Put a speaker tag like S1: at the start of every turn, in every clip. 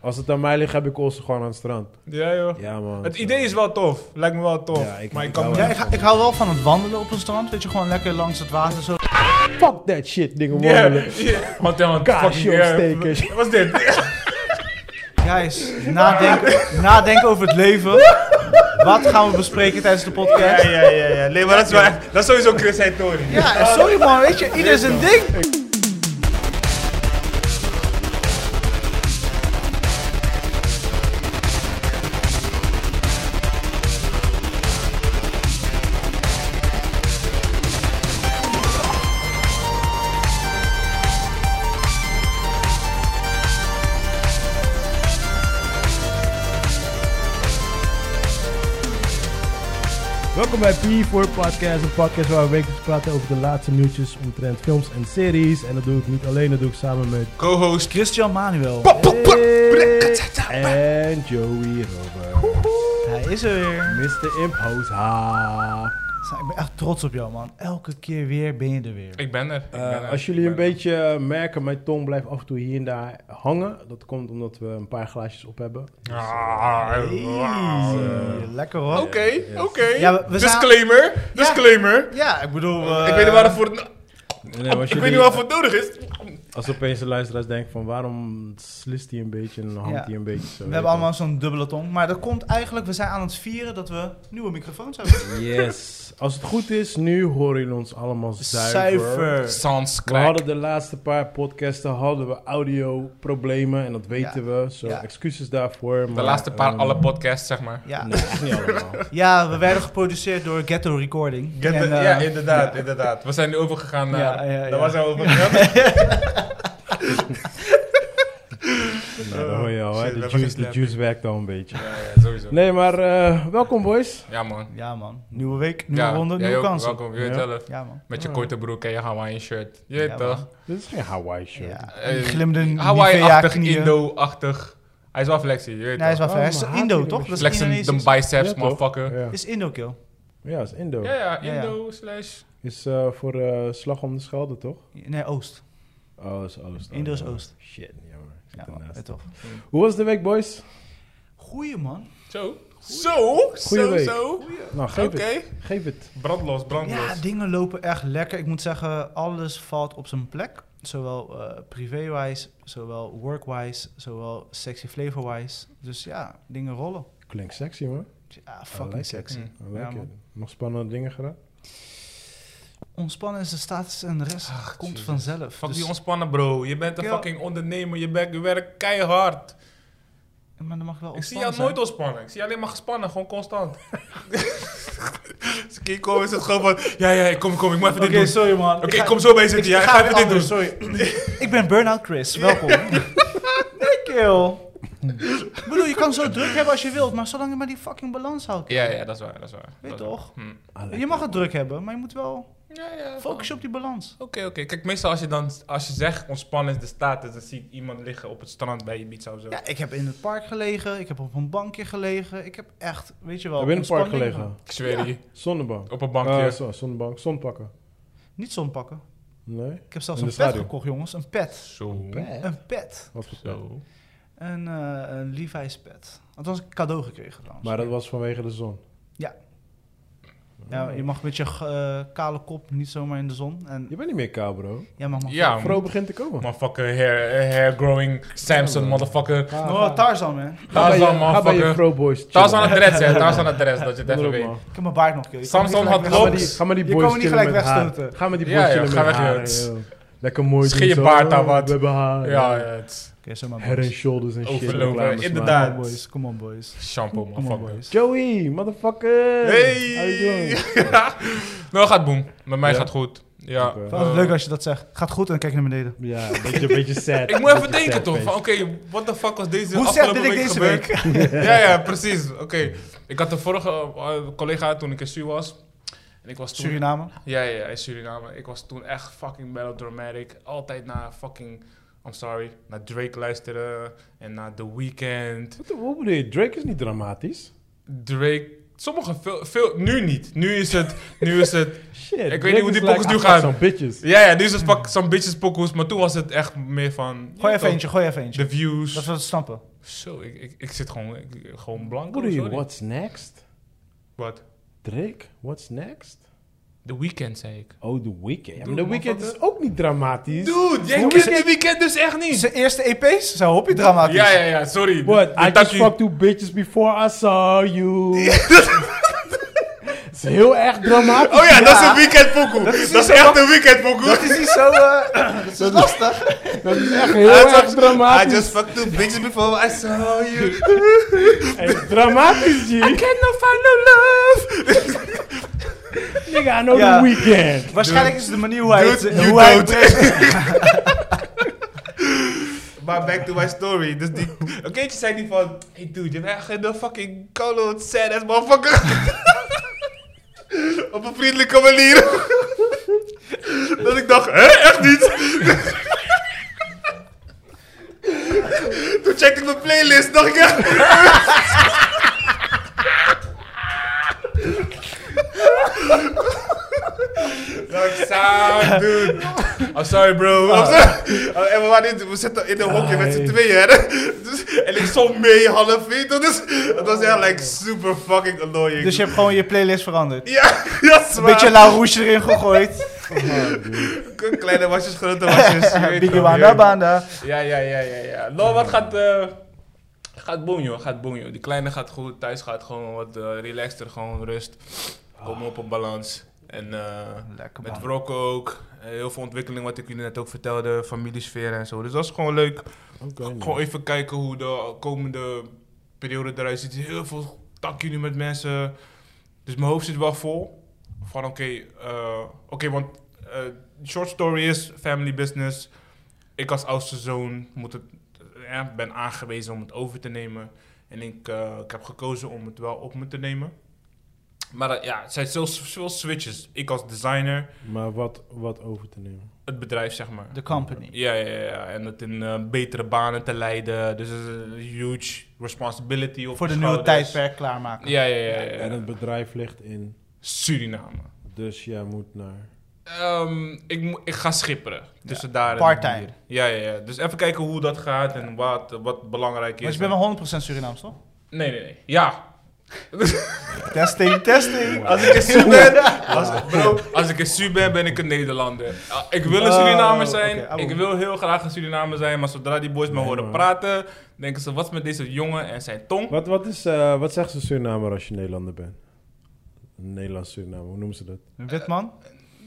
S1: Als het aan mij ligt, heb ik Olsen gewoon aan het strand.
S2: Ja, joh.
S1: Ja, man.
S2: Het idee is wel tof. Lijkt me wel tof.
S1: Ja, ik-
S2: maar ik
S1: ik
S2: kan
S1: hou
S2: me-
S3: Ja, ik, ik hou wel van het wandelen op een strand. Weet je, gewoon lekker langs het water zo.
S1: Fuck that shit, dingen
S2: Ja,
S1: wandelen.
S2: ja.
S4: Wat dan?
S1: Kaarsje
S4: fucking, eh,
S1: opsteken.
S2: Wat is dit?
S3: Guys, nadenken, nadenken over het leven. Wat gaan we bespreken tijdens de
S2: Ja,
S3: podcast?
S2: ja, ja. ja. Nee, maar dat is, wel echt- dat is sowieso Chris Heitori.
S3: Ja, en sorry man, weet je, ieder zijn ding.
S5: Welkom bij P4 Podcast, een podcast waar we wekelijks praten over de laatste nieuwtjes omtrent films en series. En dat doe ik niet alleen, dat doe ik samen met
S2: Co-host.
S3: Christian Manuel,
S5: Erik en Joey Robert.
S3: hij is er weer.
S5: Mr. Imp House Ha. Eh,
S3: Ik ben echt trots op jou man. Elke keer weer ben je er weer.
S2: Ik ben er. Ik ben
S1: Eh,
S2: er.
S1: als jullie een beetje eh, merken, mijn tong blijft af en toe hier en daar hangen. Dat komt omdat we een paar glaasjes op hebben.
S2: Ah,
S3: Easy. Lekker hoor.
S2: Oké,
S3: Ja,
S2: oké.
S3: we- we zijn-
S2: Disclaimer. Disclaimer.
S3: Ja, ik bedoel... eh,
S2: Ik weet niet waar het voor... Ik weet niet waarvoor het nodig is.
S1: Als opeens de luisteraars denken van waarom slist hij een beetje en hangt
S3: Ja.
S1: hij een beetje zo.
S3: We hebben allemaal zo'n dubbele tong. Maar dat komt eigenlijk, we zijn aan het vieren dat we nieuwe microfoons hebben.
S1: Yes. Als het goed is, nu horen jullie ons allemaal zuiver.
S2: Sans
S1: We hadden de laatste paar podcasten hadden we audio-problemen en dat weten we. Zo,
S3: Ja.
S1: excuses daarvoor. ehm,
S4: De laatste paar, alle podcasts, zeg maar.
S3: Ja.
S1: Nee, niet allemaal.
S3: ja, we werden geproduceerd door Ghetto Recording. En, eh,
S2: ja, inderdaad, inderdaad.
S4: We zijn nu overgegaan naar...
S3: ja, ja, ja.
S2: Dat was al over.
S1: Nou, dat hoor je al, hè.
S2: Shit,
S1: De
S2: dat was
S1: juice,
S2: echt
S1: de juice werkt al een beetje.
S4: Ja, ja, sowieso.
S1: Nee, maar eh, welkom boys.
S4: Ja, man.
S3: Ja man, nieuwe week, nieuwe
S4: ja,
S3: ronde,
S4: jij
S3: nieuwe
S4: ook.
S3: kansen.
S4: Welkom, je weet
S1: Ja.
S4: zelf.
S3: Ja man.
S4: Met je korte broek en je Hawaiian shirt. Je
S3: Ja,
S4: weet toch?
S1: Dit is geen Hawaii shirt.
S3: Ja,
S4: Eh,
S3: die glimmende
S4: Hawaii-achtig,
S3: Nivea-knieën.
S4: Indo-achtig. Hij is wel flexie, je weet
S3: Nee, hij is
S4: toch?
S3: wel
S1: Oh,
S3: ver. Hij is
S1: maar
S3: Indo
S1: haat
S3: toch?
S1: die
S3: Dat is
S4: Flexen de
S3: Indonesisch.
S4: biceps,
S1: Ja, toch?
S4: motherfucker.
S1: Ja.
S3: Is Indo kill.
S1: Ja, is Indo.
S4: Ja, ja,
S3: Ja, ja.
S4: Indo slash...
S1: Is eh, voor eh, Slag om de Schelde, toch?
S3: Nee, Oost.
S1: Oh, is Oost.
S3: Indo
S1: Oh,
S3: is
S1: ja.
S3: Oost.
S1: Shit, jammer. Ik zit
S3: Ja man,
S1: ernaast.
S3: weet toch.
S1: Hoe was de week, boys?
S3: Goeie man.
S4: Zo. Zo,
S1: Goeie
S4: zo,
S1: week.
S4: zo.
S1: Nou, geef
S4: Oké.
S1: het. Geef het.
S2: Brandlos,
S3: Ja,
S2: brandlos.
S3: dingen lopen echt lekker. Ik moet zeggen, alles valt op zijn plek. Zowel eh privé-wise, zowel work-wise, zowel sexy flavor-wise. Dus ja, dingen rollen.
S1: Klinkt sexy, man.
S3: Ja,
S1: I
S3: fucking
S1: like it.
S3: sexy.
S4: Mm.
S1: I like
S3: Ja, man.
S1: it. Nog spannende dingen gedaan?
S3: Ontspannen is de status en de rest komt
S4: Jesus.
S3: vanzelf.
S4: Fuck
S3: Dus-
S4: die ontspannen, bro. Je bent een
S3: Ja.
S4: fucking ondernemer. Je, bent, je werkt keihard.
S3: maar dan mag wel
S4: Ik zie jou
S3: ontspannen
S4: nooit ontspannen. Ik zie je alleen maar gespannen, gewoon constant.
S2: Als ik hier kom, is het gewoon van... Ja, ja, kom, kom, ik moet even dit doen.
S3: sorry man.
S2: Oké, ik kom zo bij je zitten. Ja, ik ga even dit doen.
S3: Sorry. ik ben Burnout Chris, welkom. Thank you. Ik bedoel, je kan zo druk hebben als je wilt, maar zolang je maar die fucking balans houdt.
S4: Ja, ja, dat is waar. Dat is waar.
S3: Weet
S4: Dat is waar.
S3: toch?
S4: Hm.
S1: I like
S3: Je mag het druk hebben, maar je moet wel
S4: Ja, ja.
S3: focussen op die balans.
S4: Oké, oké. Kijk, meestal als je dan als je zegt ontspannen is de status, dan zie ik iemand liggen op het strand bij Ibiza of zo.
S3: Ja, ik heb in het park gelegen, ik heb op een bankje gelegen, ik heb echt, weet je wel...
S1: Heb je in een park
S3: ontspanning-
S1: gelegen?
S4: Ik zweer je.
S1: Zonnebank.
S4: Op een
S1: Eh,
S4: bankje.
S1: zo, zonnebank. Zon pakken.
S3: Niet zon pakken.
S1: Nee?
S3: Ik heb zelfs
S1: In
S3: een
S1: de
S3: pet
S1: schaduw.
S3: gekocht, jongens. Een pet.
S4: zo.
S3: Een pet.
S1: Wat voor pet?
S4: Zo.
S3: Een, eh, een Levi's pet. Althans, een cadeau gekregen trouwens.
S1: Maar dat was vanwege de zon.
S3: Ja, je mag met je eh, kale kop niet zomaar in de zon. En,
S1: Je bent niet meer kaal, bro.
S3: ja, maar mag
S4: Ja,
S1: Vrouw begint te komen.
S4: motherfucker, hair, hair growing, Samson, motherfucker.
S1: Ga-
S3: Oh, Tarzan,
S1: ga
S3: man.
S1: bij je-
S4: Tarzan,
S1: Ga bij je
S4: motherfucker.
S1: pro boys chillen.
S4: Tarzan adres, hè. Tarzan adres, dat je het even
S1: Kom
S4: weet.
S1: erop, man.
S3: Ik heb mijn baard nog, joh. Je
S4: Samson
S3: kan me niet
S4: had
S3: gelijk
S1: Ga
S4: Klopt.
S1: maar die, ga maar die
S3: Je
S1: boys
S3: kan me niet
S1: chillen met
S3: gelijk
S1: haar.
S3: wegstoten.
S1: Ga maar die
S4: Ja,
S1: boys
S4: ja,
S1: chillen
S4: ga
S1: met
S4: weg,
S1: haar,
S4: jongens.
S1: joh. Lekker mooi
S4: Schei
S1: doen
S4: je
S1: zo.
S4: baard aan wat.
S1: We hebben haar. Ja,
S4: Ja, ja, het is
S3: Oké, zo maar,
S1: Head and
S3: boys.
S1: shoulders en shit.
S4: Overlopen,
S1: reclame smaak.
S4: inderdaad.
S3: Come on, boys. Come on, boys.
S4: shampoo,
S3: Come on,
S4: motherfucker.
S3: boys.
S1: Joey, motherfucker.
S2: Hey!
S1: How you doing?
S4: Nou, gaat boem. Met mij
S1: Ja?
S4: gaat goed. Ja.
S1: Oké.
S3: Wel
S4: eh,
S3: leuk als je dat zegt. Gaat goed en dan kijk je naar beneden.
S1: Ja, een beetje, beetje sad.
S4: Ik moet even
S1: Beetje
S4: denken
S1: sad
S4: toch,
S1: face.
S4: van oké, what the fuck was deze
S3: Hoe zet
S4: afgelopen
S3: dit ik
S4: week
S3: deze
S4: gebeurd?
S3: week?
S4: ja, ja, precies. Oké, ik had de vorige eh, collega toen ik in Su was. En ik was toen...
S3: Suriname.
S4: Ja, ja, ja, in Suriname. Ik was toen echt fucking melodramatic. Altijd naar fucking, I'm sorry, naar Drake luisteren. En naar The Weeknd.
S1: Wat hoe bedoel je? Drake is niet dramatisch.
S4: Drake... Sommige veel, veel... Nu niet. Nu is het... Nu is het...
S1: Shit.
S4: weet
S1: Drake
S4: niet hoe
S1: is
S4: die
S1: like,
S4: pokus nu
S1: I got
S4: gaan.
S1: some bitches.
S4: Ja, ja, nu is het fuck zo'n beetje pokoes. Maar toen was het echt meer van...
S3: Gooi
S4: ja,
S3: even
S4: toch, Dus-
S3: eentje, gooi even eentje.
S4: De views.
S3: Dat we het snappen.
S4: Zo, ik, ik, ik zit gewoon, ik- gewoon blank.
S1: Broer,
S4: sorry.
S1: what's next?
S4: Wat?
S1: Drake, what's next?
S4: The Weeknd, zei ik.
S1: Oh, The Weeknd. Ja, maar
S4: Dude,
S1: The Weeknd is
S4: motherfucker.
S1: ook niet dramatisch.
S4: Dude, jij
S3: Hoe
S4: kent
S3: is het-
S4: The Weeknd dus echt niet.
S3: Zijn eerste E EP's zijn hoppie dramatisch.
S4: Ja, ja, ja, sorry.
S1: What?
S4: De- de
S1: I just
S4: takkie.
S1: fucked two bitches before I saw you. Het is heel erg dramatisch.
S2: Oh ja, dat is een weekend pokoe. Dat is echt een weekend pokoe.
S3: Dat is niet zo... eh, dat is lastig.
S1: Dat is echt heel erg
S2: I
S1: dramatisch.
S2: just fucked two bitches before I saw you.
S1: Hey, dramatisch, G. I
S4: Can't no find no love.
S1: nigga, I know The
S3: Ja.
S1: Weeknd.
S3: Waarschijnlijk is de manier hoe hij het...
S2: Dude, you
S3: hoe hij het
S2: don't.
S3: brengt.
S2: Maar back to my story. Dus die een keertje zei die van... Hey dude, je bent echt een fucking colo sad ass motherfucker. Op een vriendelijke manier. dat ik dacht, hè? Echt niet? Toen checkte ik mijn playlist, dacht ik echt... Dacht, sound, dude. I'm sorry, bro. I'm sorry. Oh, en we, waren in, we zitten in een hokje met z'n
S1: Ah,
S2: tweeën. Hè? Dus, en ik zong mee, half weet je. Dus het was echt like, super fucking annoying.
S3: Dus je hebt gewoon je playlist veranderd.
S2: Ja, ja,
S3: Een
S2: zwaar.
S3: beetje La Rouge erin gegooid.
S2: K- Kleine wasjes, grote wasjes. je weet
S3: Biggie
S2: wel,
S3: Wanda Banda.
S4: Ja, ja, ja, ja, ja. Nou, wat gaat... eh gaat boem, joh. Gaat boem, joh. Die kleine gaat goed. Thuis gaat gewoon wat eh, relaxter. Gewoon rust. Komen op een balans. En eh,
S3: Lekker
S4: met
S3: man.
S4: Wrok ook. Eh, heel veel ontwikkeling, wat ik jullie net ook vertelde. Familiesfeer en zo. Dus dat is gewoon leuk. Gewoon even kijken hoe de komende periode eruit ziet. Heel veel takken nu met mensen. Dus mijn hoofd zit wel vol. Van oké, eh, oké, want eh, short story is family business. Ik als oudste zoon moet het, eh, ja, ben aangewezen om het over te nemen. En ik, eh, ik heb gekozen om het wel op me te nemen. Maar eh, ja, het zijn zoveel switches. Ik als designer,
S1: Maar wat, wat over te nemen?
S4: het bedrijf zeg maar.
S3: The Company.
S4: Ja, ja, ja, ja. En het in eh, betere banen te leiden. Dus het is een huge responsibility. Op
S3: Voor de
S4: je
S3: nieuwe
S4: schouders.
S3: tijdperk klaarmaken.
S4: Ja, ja, ja. ja,
S1: En
S4: ja.
S1: het bedrijf ligt in,
S4: Suriname.
S1: dus jij moet naar...
S4: Ehm, ik, mo- ik ga schipperen. Tussen daar en
S3: Part-time.
S4: hier. Ja, ja, ja. Dus even kijken hoe dat gaat en wat, wat belangrijk is.
S3: Maar je bent wel 100% Surinaams, toch?
S4: Nee, nee, nee. Ja.
S3: Testing, testing.
S4: Als ik een Su ben, als, bro, als ik een Su ben, ben ik een Nederlander. Ah, Ik wil een
S3: Oh,
S4: Surinamer zijn.
S3: oké, ah,
S4: ik
S3: boem.
S4: wil heel graag een Surinamer zijn. Maar zodra die boys me
S1: Nee,
S4: horen
S1: man.
S4: praten, denken ze, wat is met deze jongen en zijn tong?
S1: Wat, wat, is, eh, wat zegt ze Surinamer als je Nederlander bent? Een Nederlands Surinamer, hoe noemen ze dat?
S3: Witman.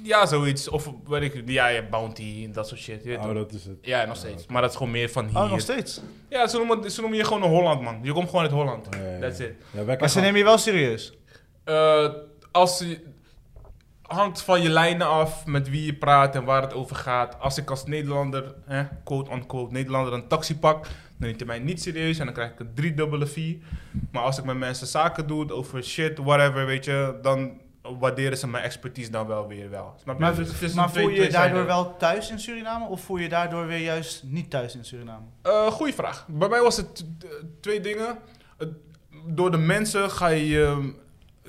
S4: Ja, zoiets. Of weet ik, ja, ja, bounty en dat soort shit. Je weet
S1: Oh,
S4: toch?
S1: dat is het.
S4: Ja, nog steeds. Maar dat is gewoon meer van hier.
S3: Oh, nog steeds.
S4: Ja, ze noemen, ze noemen je gewoon een Holland, man. Je komt gewoon uit Holland.
S1: Ja, ja, ja.
S4: That's it.
S1: Ja, wij
S3: Maar ze
S1: krijgen-
S3: nemen je wel serieus.
S4: Eh, als je, hangt van je lijnen af met wie je praat en waar het over gaat. Als ik als Nederlander, hè, quote unquote, Nederlander een taxi pak, dan neemt je mij niet serieus en dan krijg ik een driedubbele fee. Maar als ik met mensen zaken doe over shit, whatever, weet je, dan waarderen ze mijn expertise dan wel weer wel. Snap je?
S3: Maar,
S4: Dus het is een
S3: maar
S4: twee-
S3: voel je je
S4: tweezijdig.
S3: daardoor wel thuis in Suriname of voel je je daardoor weer juist niet thuis in Suriname?
S4: Eh, goeie vraag. Bij mij was het eh, twee dingen. Het- door de mensen ga je. je-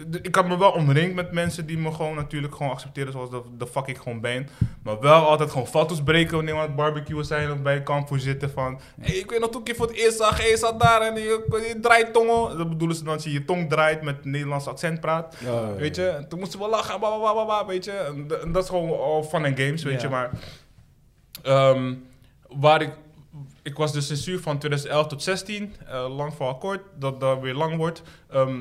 S4: de- ik had me wel omringd met mensen die me gewoon natuurlijk gewoon accepteren zoals de, de fuck ik gewoon ben. Maar wel altijd gewoon foto's breken wanneer we aan het barbecuen zijn of bij een kampvuur zitten van... Hey, ik weet nog toen ik je voor het eerst zag, hey, je zat daar en je, je draait tongen. Dat bedoelen ze dan als je je tong draait met een Nederlands accent praat.
S1: Ja, ja,
S4: Weet
S1: ja.
S4: je, en toen moesten we lachen, bla, bla, bla, bla, bla, weet je. En, d- en dat is gewoon al fun en games, weet je.
S3: Ja.
S4: Maar ehm, waar ik... Ik was dus censuur van 2011 tot 16. eh, lang vooral kort, dat dat weer lang wordt. Ehm,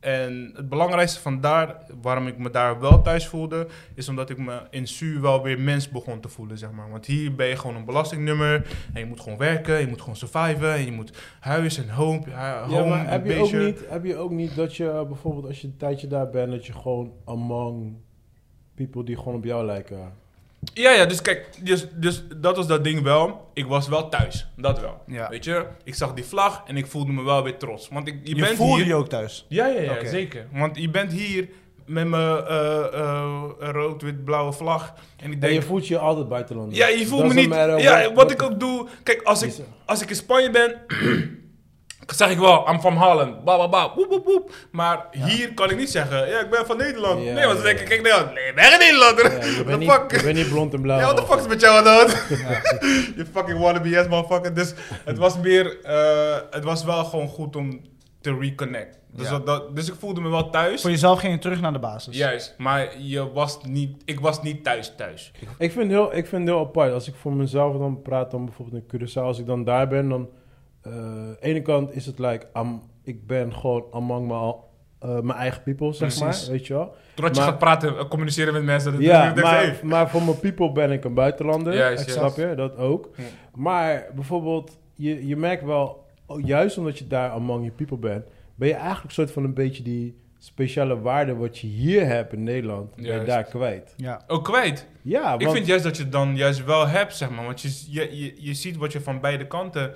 S4: en het belangrijkste van daar, waarom ik me daar wel thuis voelde, is omdat ik me in Su wel weer mens begon te voelen, zeg maar. Want hier ben je gewoon een belastingnummer en je moet gewoon werken, je moet gewoon surviven en je moet huis en home, hu- home
S1: Ja, maar
S4: en
S1: heb je, ook
S4: beestje.
S1: niet, heb je ook niet dat je eh, bijvoorbeeld als je een tijdje daar bent, dat je gewoon among people die gewoon op jou lijken.
S4: Ja, ja, dus kijk, dus, dus dat was dat ding wel. Ik was wel thuis, dat wel.
S3: Ja.
S4: Weet je, ik zag die vlag en ik voelde me wel weer trots. Want ik, je,
S3: Je,
S4: bent
S3: voelde
S4: hier...
S3: je ook thuis.
S4: Ja, ja, ja,
S3: Oké.
S4: zeker. Want je bent hier met mijn eh, eh, rood-wit-blauwe vlag. En ik
S1: En
S4: denk...
S1: je voelt je altijd buitenlander.
S4: Ja, je voelt me
S1: Doesn't
S4: niet.
S1: matter
S4: Ja,
S1: what-
S4: wat ik
S1: what-
S4: ook doe. Kijk, als ik,
S1: Is-
S4: als ik in Spanje ben, zeg ik wel, I'm from Holland. Ba, ba, ba, woep, woep, woep. Maar hier kan ik niet zeggen, ja, ik ben van Nederland.
S1: Ja,
S4: nee, want dan
S1: ja,
S4: denk ik, kijk, Nederland. Nee, ik ben geen Nederlander.
S1: Ja, je, bent
S4: What the
S1: niet,
S4: fuck?
S1: je bent niet blond en blauw.
S4: Ja, what the fuck is met jou aan de hand? Je fucking wannabe ass motherfucker. Dus het was meer, eh, het was wel gewoon goed om te reconnect. Dus,
S3: Ja.
S4: dat, dat- dus ik voelde me wel thuis.
S3: Voor jezelf ging je terug naar de basis.
S4: Juist, maar je was niet, ik was niet thuis thuis.
S1: Ik vind, heel, ik vind het heel apart. Als ik voor mezelf dan praat, dan bijvoorbeeld in Curaçao, als ik dan daar ben, dan... eh, aan de ene kant is het like, am- ik ben gewoon among my, eh, mijn eigen people, zeg
S4: Precies.
S1: maar. Weet je wel?
S4: Doordat je
S1: Maar-
S4: gaat praten, eh, communiceren met mensen. Dat
S1: Ja,
S4: dat je denkt,
S1: maar,
S4: hey.
S1: maar voor mijn people ben ik een buitenlander.
S4: Juist,
S1: Ik
S4: juist.
S1: Snap je? Dat ook.
S4: Ja.
S1: Maar bijvoorbeeld, je, je merkt wel, oh, juist omdat je daar among je people bent, ben je eigenlijk soort van een beetje die speciale waarde wat je hier hebt in Nederland, ben je
S4: Juist.
S1: daar kwijt.
S3: Ja.
S4: Ook kwijt.
S1: Ja, want,
S4: Ik vind juist dat je het dan juist wel hebt, zeg maar. Want je, je, je, je ziet wat je van beide kanten...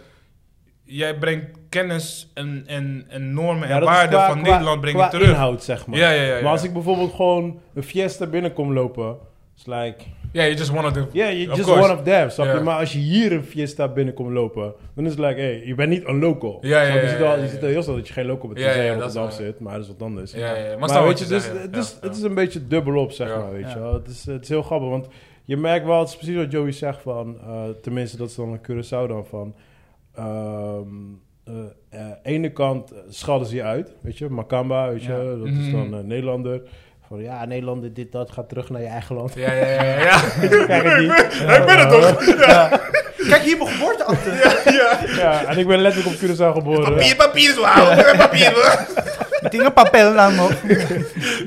S4: Jij brengt kennis en, en, en normen
S1: ja,
S4: en
S1: dat is
S4: waarden
S1: qua-
S4: van
S1: qua-
S4: Nederland breng je
S1: qua
S4: terug.
S1: inhoud, zeg maar.
S4: Ja, ja, ja, ja.
S1: Maar als ik bijvoorbeeld gewoon een fiesta binnenkom lopen, is like,
S4: Ja, je just wanna do.
S1: yeah, you're
S4: Of
S1: just
S4: course.
S1: one of them, snap je?
S4: Ja.
S1: Maar als je hier een fiesta binnenkomt lopen, dan is het like, hey, je bent niet een local.
S4: Ja, ja,
S1: Snap je?
S4: ja,
S1: je ziet al,
S4: ja,
S1: je
S4: ja.
S1: ziet al heel snel dat je geen local bent,
S4: Ja,
S1: tenzij
S4: ja,
S1: je in
S4: dat is
S1: Rotterdam
S4: waar.
S1: zit, maar dat is wat anders.
S4: Ja, ja, ja. Maar,
S1: Maar,
S4: snap
S1: weet
S4: wat
S1: je,
S4: je
S1: dus,
S4: zegt, ja.
S1: het, is,
S4: Ja,
S1: het
S4: ja.
S1: is een beetje dubbelop, zeg
S4: Ja.
S1: maar, weet
S3: Ja.
S1: je wel. Het is, het is heel grappig, want je merkt wel, het is precies wat Joey zegt van, eh, tenminste dat is dan een Curaçao dan van, ehm eh, eh, ene kant schalden ze je uit, weet je, Makamba, weet je,
S3: Ja.
S1: dat is dan
S4: Mhm.
S1: eh, Nederlander. Van ja, Nederlander, dit, dat, ga terug naar je eigen land.
S4: Ja, ja, ja. ja, ja.
S1: Kijk, ik niet.
S4: ik ben het toch?
S3: Kijk, hier mijn geboorteakte.
S1: Ja, en ik ben letterlijk op Curaçao geboren.
S4: Papier, papier is wauw. Papier, hoor.
S3: Dingen papel lang op.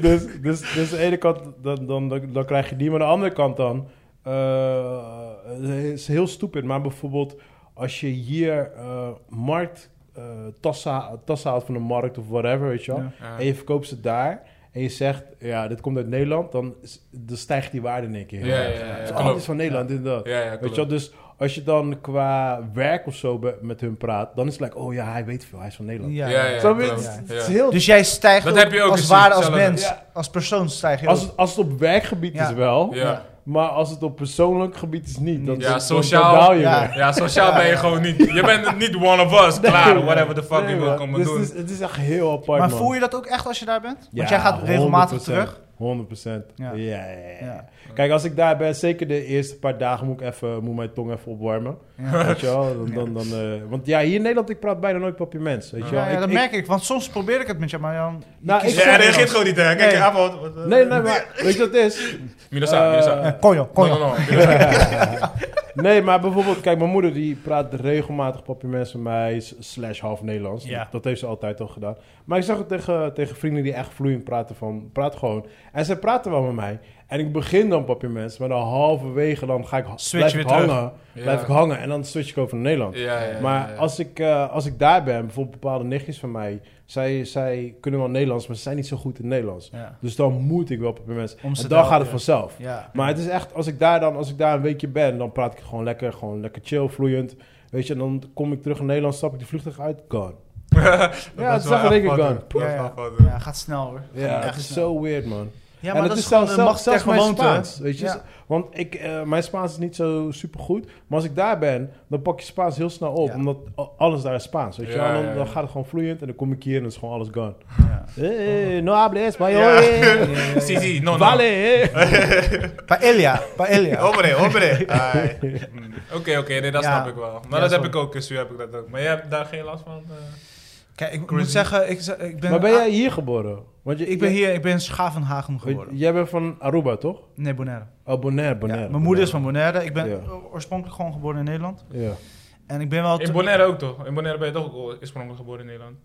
S1: dus, dus, dus aan de ene kant, dan, dan, dan, dan krijg je die. Maar aan de andere kant dan, eh, het is heel stupid. Maar bijvoorbeeld als je hier eh, markt, eh, tassen, tassen haalt van de markt of whatever, weet je wel.
S3: Ja.
S4: Ja.
S1: En je verkoopt ze daar. En je zegt, ja, dit komt uit Nederland. Dan, is- dan stijgt die waarde in één keer.
S4: Ja, ja, ja, ja,
S1: Dus, oh,
S4: klopt.
S1: dit is van Nederland, dit en dat.
S4: Ja, ja,
S1: Weet je wel,
S4: klopt.
S1: dus als je dan qua werk of zo be- met hun praat, dan is het like, oh ja, hij weet veel, hij is van Nederland.
S3: Ja.
S4: Ja, ja, ja,
S1: Snap je?
S4: klopt.
S1: Het is- het is
S4: Ja.
S1: heel
S3: Dus jij stijgt
S4: Dat
S3: ook
S4: heb je ook
S3: als
S4: gezien,
S3: waarde als
S4: zelf.
S3: mens,
S1: Ja.
S3: als persoon stijg je
S1: Als
S3: ook.
S1: het, als het op werkgebied
S3: Ja.
S1: is wel,
S4: Ja.
S1: maar als het op persoonlijk gebied is niet. Dan,
S3: Niet.
S4: Ja,
S1: dan- dan-
S4: sociaal.
S1: dan daal je
S3: Ja.
S1: weer.
S4: Ja, sociaal ben je gewoon niet. Je bent niet one of us. Klaar, whatever the fuck
S1: Nee,
S4: je wil
S1: man.
S4: komen
S1: Dus
S4: doen.
S1: Het is, het is echt heel apart,
S3: Maar
S1: man.
S3: voel je dat ook echt als je daar bent? Want
S1: Ja,
S3: jij gaat regelmatig
S1: 100%.
S3: terug.
S1: 100%. Ja.
S3: Ja.
S1: Ja, ja, ja.
S3: Ja.
S1: Kijk, als ik daar ben, zeker de eerste paar dagen moet ik even, moet mijn tong even opwarmen. Weet je wel? Dan, dan, dan, eh, want ja, hier in Nederland, ik praat bijna nooit papiaments, weet je wel.
S3: Ja, ja, dat merk ik. Want soms probeer ik het met jou, maar dan... je
S1: Nou,
S3: kiest
S1: ik
S4: Ja,
S1: zeg-
S4: hij
S3: zelf
S4: reageert
S3: Nederlands.
S4: gewoon niet, hè. Kijk,
S3: Nee.
S4: hij valt- wat- wat-
S1: Nee, nee, maar weet je wat het is?
S4: Minasa, Minasa.
S1: Eh,
S3: Eh, Konjo,
S4: No,
S3: konjo.
S4: no, no. Minasa.
S1: Nee, maar bijvoorbeeld, kijk, mijn moeder die praat regelmatig papiaments met mij, s- slash half Nederlands.
S3: Ja.
S1: Dat, dat heeft ze altijd al gedaan. Maar ik zag het tegen, tegen vrienden die echt vloeiend praten van, praat gewoon. En zij praten wel met mij. En ik begin dan papiaments, maar dan halverwege dan ga ik, ha-
S3: Switch
S1: blijf ik
S3: weer terug.
S1: hangen.
S4: Ja.
S1: Blijf ik hangen en dan switch ik over naar Nederland.
S4: Ja, ja, ja,
S1: maar
S4: ja, ja.
S1: Als, ik, eh, als ik daar ben, bijvoorbeeld bepaalde nichtjes van mij, zij, zij kunnen wel Nederlands, maar ze zijn niet zo goed in Nederlands.
S3: Ja.
S1: Dus dan moet ik wel papiaments.
S3: Om ze
S1: En
S3: te
S1: dan gaat het
S3: helpen.
S1: vanzelf.
S3: Ja.
S1: Maar het is echt, als ik daar dan, als ik daar een weekje ben, dan praat ik gewoon lekker, gewoon lekker chill, vloeiend. Weet je, en dan kom ik terug in Nederland, stap ik de vliegtuig uit, gone. ja, het is echt een rekening gone.
S3: Ja, ja.
S4: gun.
S3: Ja, gaat snel hoor.
S1: Ja,
S3: Gaat echt
S1: het is
S3: snel.
S1: zo weird, man.
S3: Ja,
S1: en
S3: maar
S1: het
S3: dat is
S1: zelfs-
S3: gewoon de macht
S1: zelfs
S3: der
S1: mijn
S3: gewoonte.
S1: Spaans, weet je.
S3: Ja.
S1: Want ik, eh, mijn Spaans is niet zo super goed, maar als ik daar ben, dan pak je Spaans heel snel op,
S3: Ja.
S1: omdat a- alles daar is Spaans, weet je.
S4: Ja,
S1: en dan,
S4: ja, ja.
S1: dan gaat het gewoon vloeiend en dan kom ik hier en dan is gewoon alles gone.
S3: Ja. Eh,
S1: Hey, no hables, bayoe,
S4: Si, si, no, no.
S1: vale.
S3: Paella, paella.
S4: Hombre, hombre. Ai. Oké, oké, nee, dat
S3: Ja.
S4: snap ik wel. Maar
S3: Ja,
S4: dat heb
S3: sorry.
S4: ik ook, Su, heb ik dat ook. Maar jij hebt daar geen last van? eh?
S3: Kijk, ik moet
S4: Crazy.
S3: zeggen, ik, z- ik ben...
S1: Maar ben jij hier geboren? Want je,
S3: Ik ben hier, ik ben in Schavenhagen geworden.
S1: Jij bent van Aruba, toch?
S3: Nee, Bonaire.
S1: Oh, Bonaire,
S3: Ja,
S1: Bonaire.
S3: mijn moeder is van Bonaire. Ik ben
S1: Ja.
S3: o- oorspronkelijk gewoon geboren in Nederland.
S1: Ja.
S3: En ik ben wel...
S4: In Bonaire ook toch? In Bonaire ben je toch ook oorspronkelijk geboren in Nederland?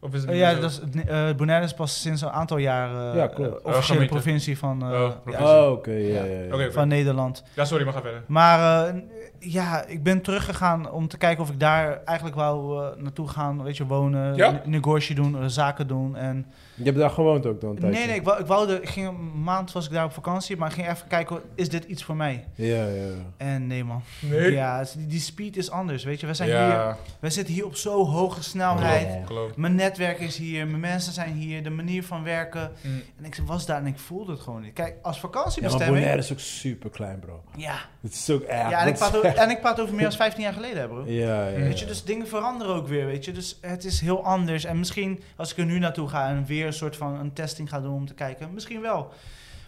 S4: Of is het
S3: Eh,
S4: niet
S3: ja,
S4: zo?
S3: dat is, eh, Bonaire is pas sinds een aantal jaar eh,
S1: Ja, klopt.
S3: eh, officiële
S4: gemeente.
S3: provincie van, eh,
S4: Oh,
S3: ja,
S4: provincie.
S1: Oh, oké, ja, ja, ja.
S4: Oké, oké.
S3: van Nederland.
S4: Ja, sorry, maar ga verder.
S3: Maar eh, ja, ik ben teruggegaan om te kijken of ik daar eigenlijk wou eh, naartoe gaan. Weet je, wonen,
S4: Ja?
S3: ne- negotie doen, eh, zaken doen. En...
S1: Je hebt daar gewoond ook dan een
S3: Nee,
S1: tijdje?
S3: nee, ik, wou, ik, wou de, ik ging een maand was ik daar op vakantie, maar ik ging even kijken, is dit iets voor mij?
S1: Ja, ja, ja.
S3: En nee man,
S4: Nee?
S3: ja, het is- die, die speed is anders, weet je. We zijn hier,
S4: ja,
S3: we zitten hier op zo'n hoge snelheid.
S1: Ja.
S4: klopt.
S3: Maar net netwerk is hier, mijn mensen zijn hier, de manier van werken.
S4: Mm.
S3: En ik was daar en ik voelde het gewoon niet. Kijk, als
S1: Ja, maar Bonaire
S3: vakantiebestemming...
S1: is ook super klein, bro.
S3: Ja,
S1: Het is ook echt...
S3: ja, en, ik
S1: dat is
S3: praat over,
S1: echt-
S3: en ik praat over meer dan 15 jaar geleden, hè, bro.
S1: Ja, ja,
S3: Weet je,
S1: ja.
S3: dus dingen veranderen ook weer, weet je. Dus het is heel anders. En misschien als ik er nu naartoe ga en weer een soort van een testing ga doen om te kijken, misschien wel.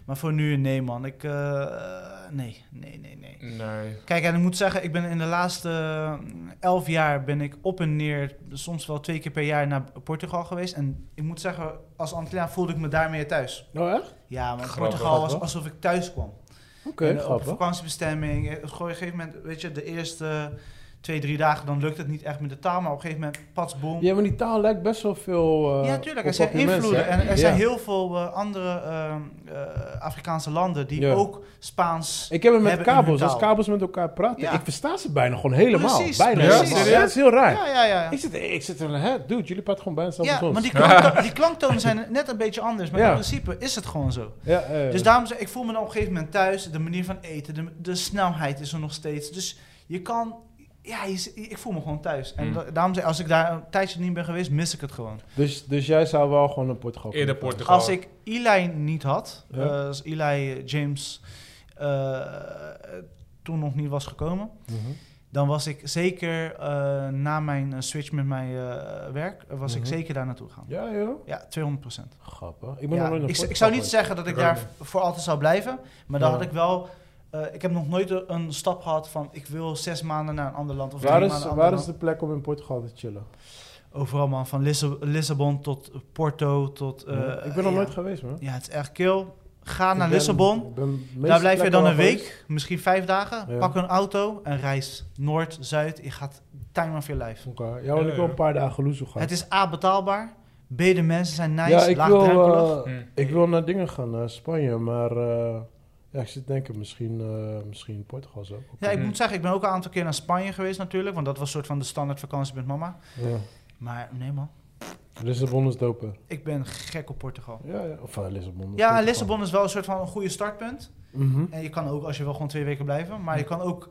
S3: Maar voor nu, nee man, ik... eh, nee, nee, nee, nee.
S4: Nee.
S3: Kijk, en ik moet zeggen, ik ben in de laatste eh, elf jaar ben ik op en neer, soms wel twee keer per jaar naar Portugal geweest. En ik moet zeggen, als Antilliaan voelde ik me daar meer thuis.
S1: Oh, echt?
S3: Ja, maar
S4: Grappig.
S3: Portugal was
S1: Grappig.
S3: alsof ik thuis kwam.
S1: Oké,
S3: En, eh, op
S1: grappig.
S3: vakantiebestemming. eh, Gewoon op een gegeven moment, weet je, de eerste twee, drie dagen, dan lukt het niet echt met de taal. Maar op een gegeven moment, pats, boom.
S1: Ja, maar die taal lijkt best wel veel... eh,
S3: Ja, tuurlijk.
S1: op
S3: Er zijn
S1: wat die mensen-
S3: invloeden. En er
S1: Ja.
S3: zijn heel veel eh, andere ehm, eh, Afrikaanse landen die
S1: Ja.
S3: ook Spaans...
S1: Ik heb hem met
S3: hebben in hun
S1: kabels. Als
S3: taal.
S1: kabels met elkaar praten,
S3: Ja.
S1: ik versta ze bijna gewoon helemaal.
S3: Precies,
S1: bijna
S4: precies.
S1: helemaal.
S4: Ja,
S1: Ja, dat is heel raar.
S3: Ja, ja, ja.
S1: Ik zit, ik zit er hè, dude, jullie praten gewoon bijna hetzelfde
S3: Ja,
S1: als ons.
S3: maar die, klankto- die klanktonen zijn net een beetje anders. Maar
S1: Ja.
S3: in principe is het gewoon zo.
S1: Ja, ja, ja.
S3: Dus daarom zeg ik voel me dan op een gegeven moment thuis. De manier van eten, de, de snelheid is er nog steeds. Dus je kan... Ja, je z- ik voel me gewoon thuis. En
S4: Mm.
S3: da- daarom zeg ik, als ik daar een tijdje niet ben geweest, mis ik het gewoon.
S1: dus, dus jij zou wel gewoon een Portugal kunnen
S4: Eerder
S1: gaan.
S4: Portugal.
S3: Als ik Eli niet had,
S1: Ja.
S3: eh, als Eli eh, James eh, toen nog niet was gekomen,
S1: Mhm.
S3: dan was ik zeker eh, na mijn eh, switch met mijn eh, werk, eh, was
S1: Mhm.
S3: ik zeker daar naartoe gaan.
S1: Ja, joh.
S3: Ja, 200 procent.
S1: Grappig. Ik ben nog nooit naar
S3: ik, z- ik
S1: Portugal
S3: zou niet
S1: geweest.
S3: zeggen dat ik
S4: Ik ook
S3: daar
S4: niet.
S3: v- voor altijd zou blijven, maar dan
S1: Ja.
S3: had ik wel. eh, ik heb nog nooit een- een stap gehad van ik wil zes maanden naar een ander land of
S1: Waar
S3: drie
S1: is,
S3: maanden
S1: waar
S3: naar
S1: is
S3: een ander
S1: de plek om in Portugal te chillen?
S3: land. Overal man, van Lisse- Lissabon tot Porto tot. eh,
S1: Ja, ik ben nog
S3: ja.
S1: nooit geweest, man.
S3: Ja, het is echt kil. Ga
S1: Ik
S3: naar
S1: ben-
S3: Lissabon.
S1: ik ben meeste
S3: Daar blijf je
S1: plekken
S3: dan
S1: al
S3: een week,
S1: geweest.
S3: misschien vijf dagen.
S1: Ja.
S3: Pak een auto en reis noord, zuid. Je gaat time of your life.
S1: Oké. Ja, want ik wil een paar dagen loezo gaan.
S3: Eh, Het is A, betaalbaar. B, de mensen zijn nice, Hmm.
S1: ja, ik wil,
S3: laagdrempelig.
S4: Oh.
S1: eh,
S4: Hm.
S1: ik wil naar dingen gaan, naar Spanje, maar eh, ja, ik zit te denken, misschien, eh, misschien Portugal zo.
S3: ja, ik
S4: Mhm.
S3: moet zeggen, ik ben ook een aantal keer naar Spanje geweest natuurlijk. Want dat was een soort van de standaard vakantie met mama.
S1: Ja.
S3: Maar nee man,
S1: Lissabon is doper.
S3: ik ben gek op Portugal.
S1: Ja, ja. Of eh, Lissabon.
S3: Ja,
S1: Portugal.
S3: en Lissabon is wel een soort van een goede startpunt.
S1: Mhm.
S3: En je kan ook, als je wil, gewoon twee weken blijven. Maar je kan ook...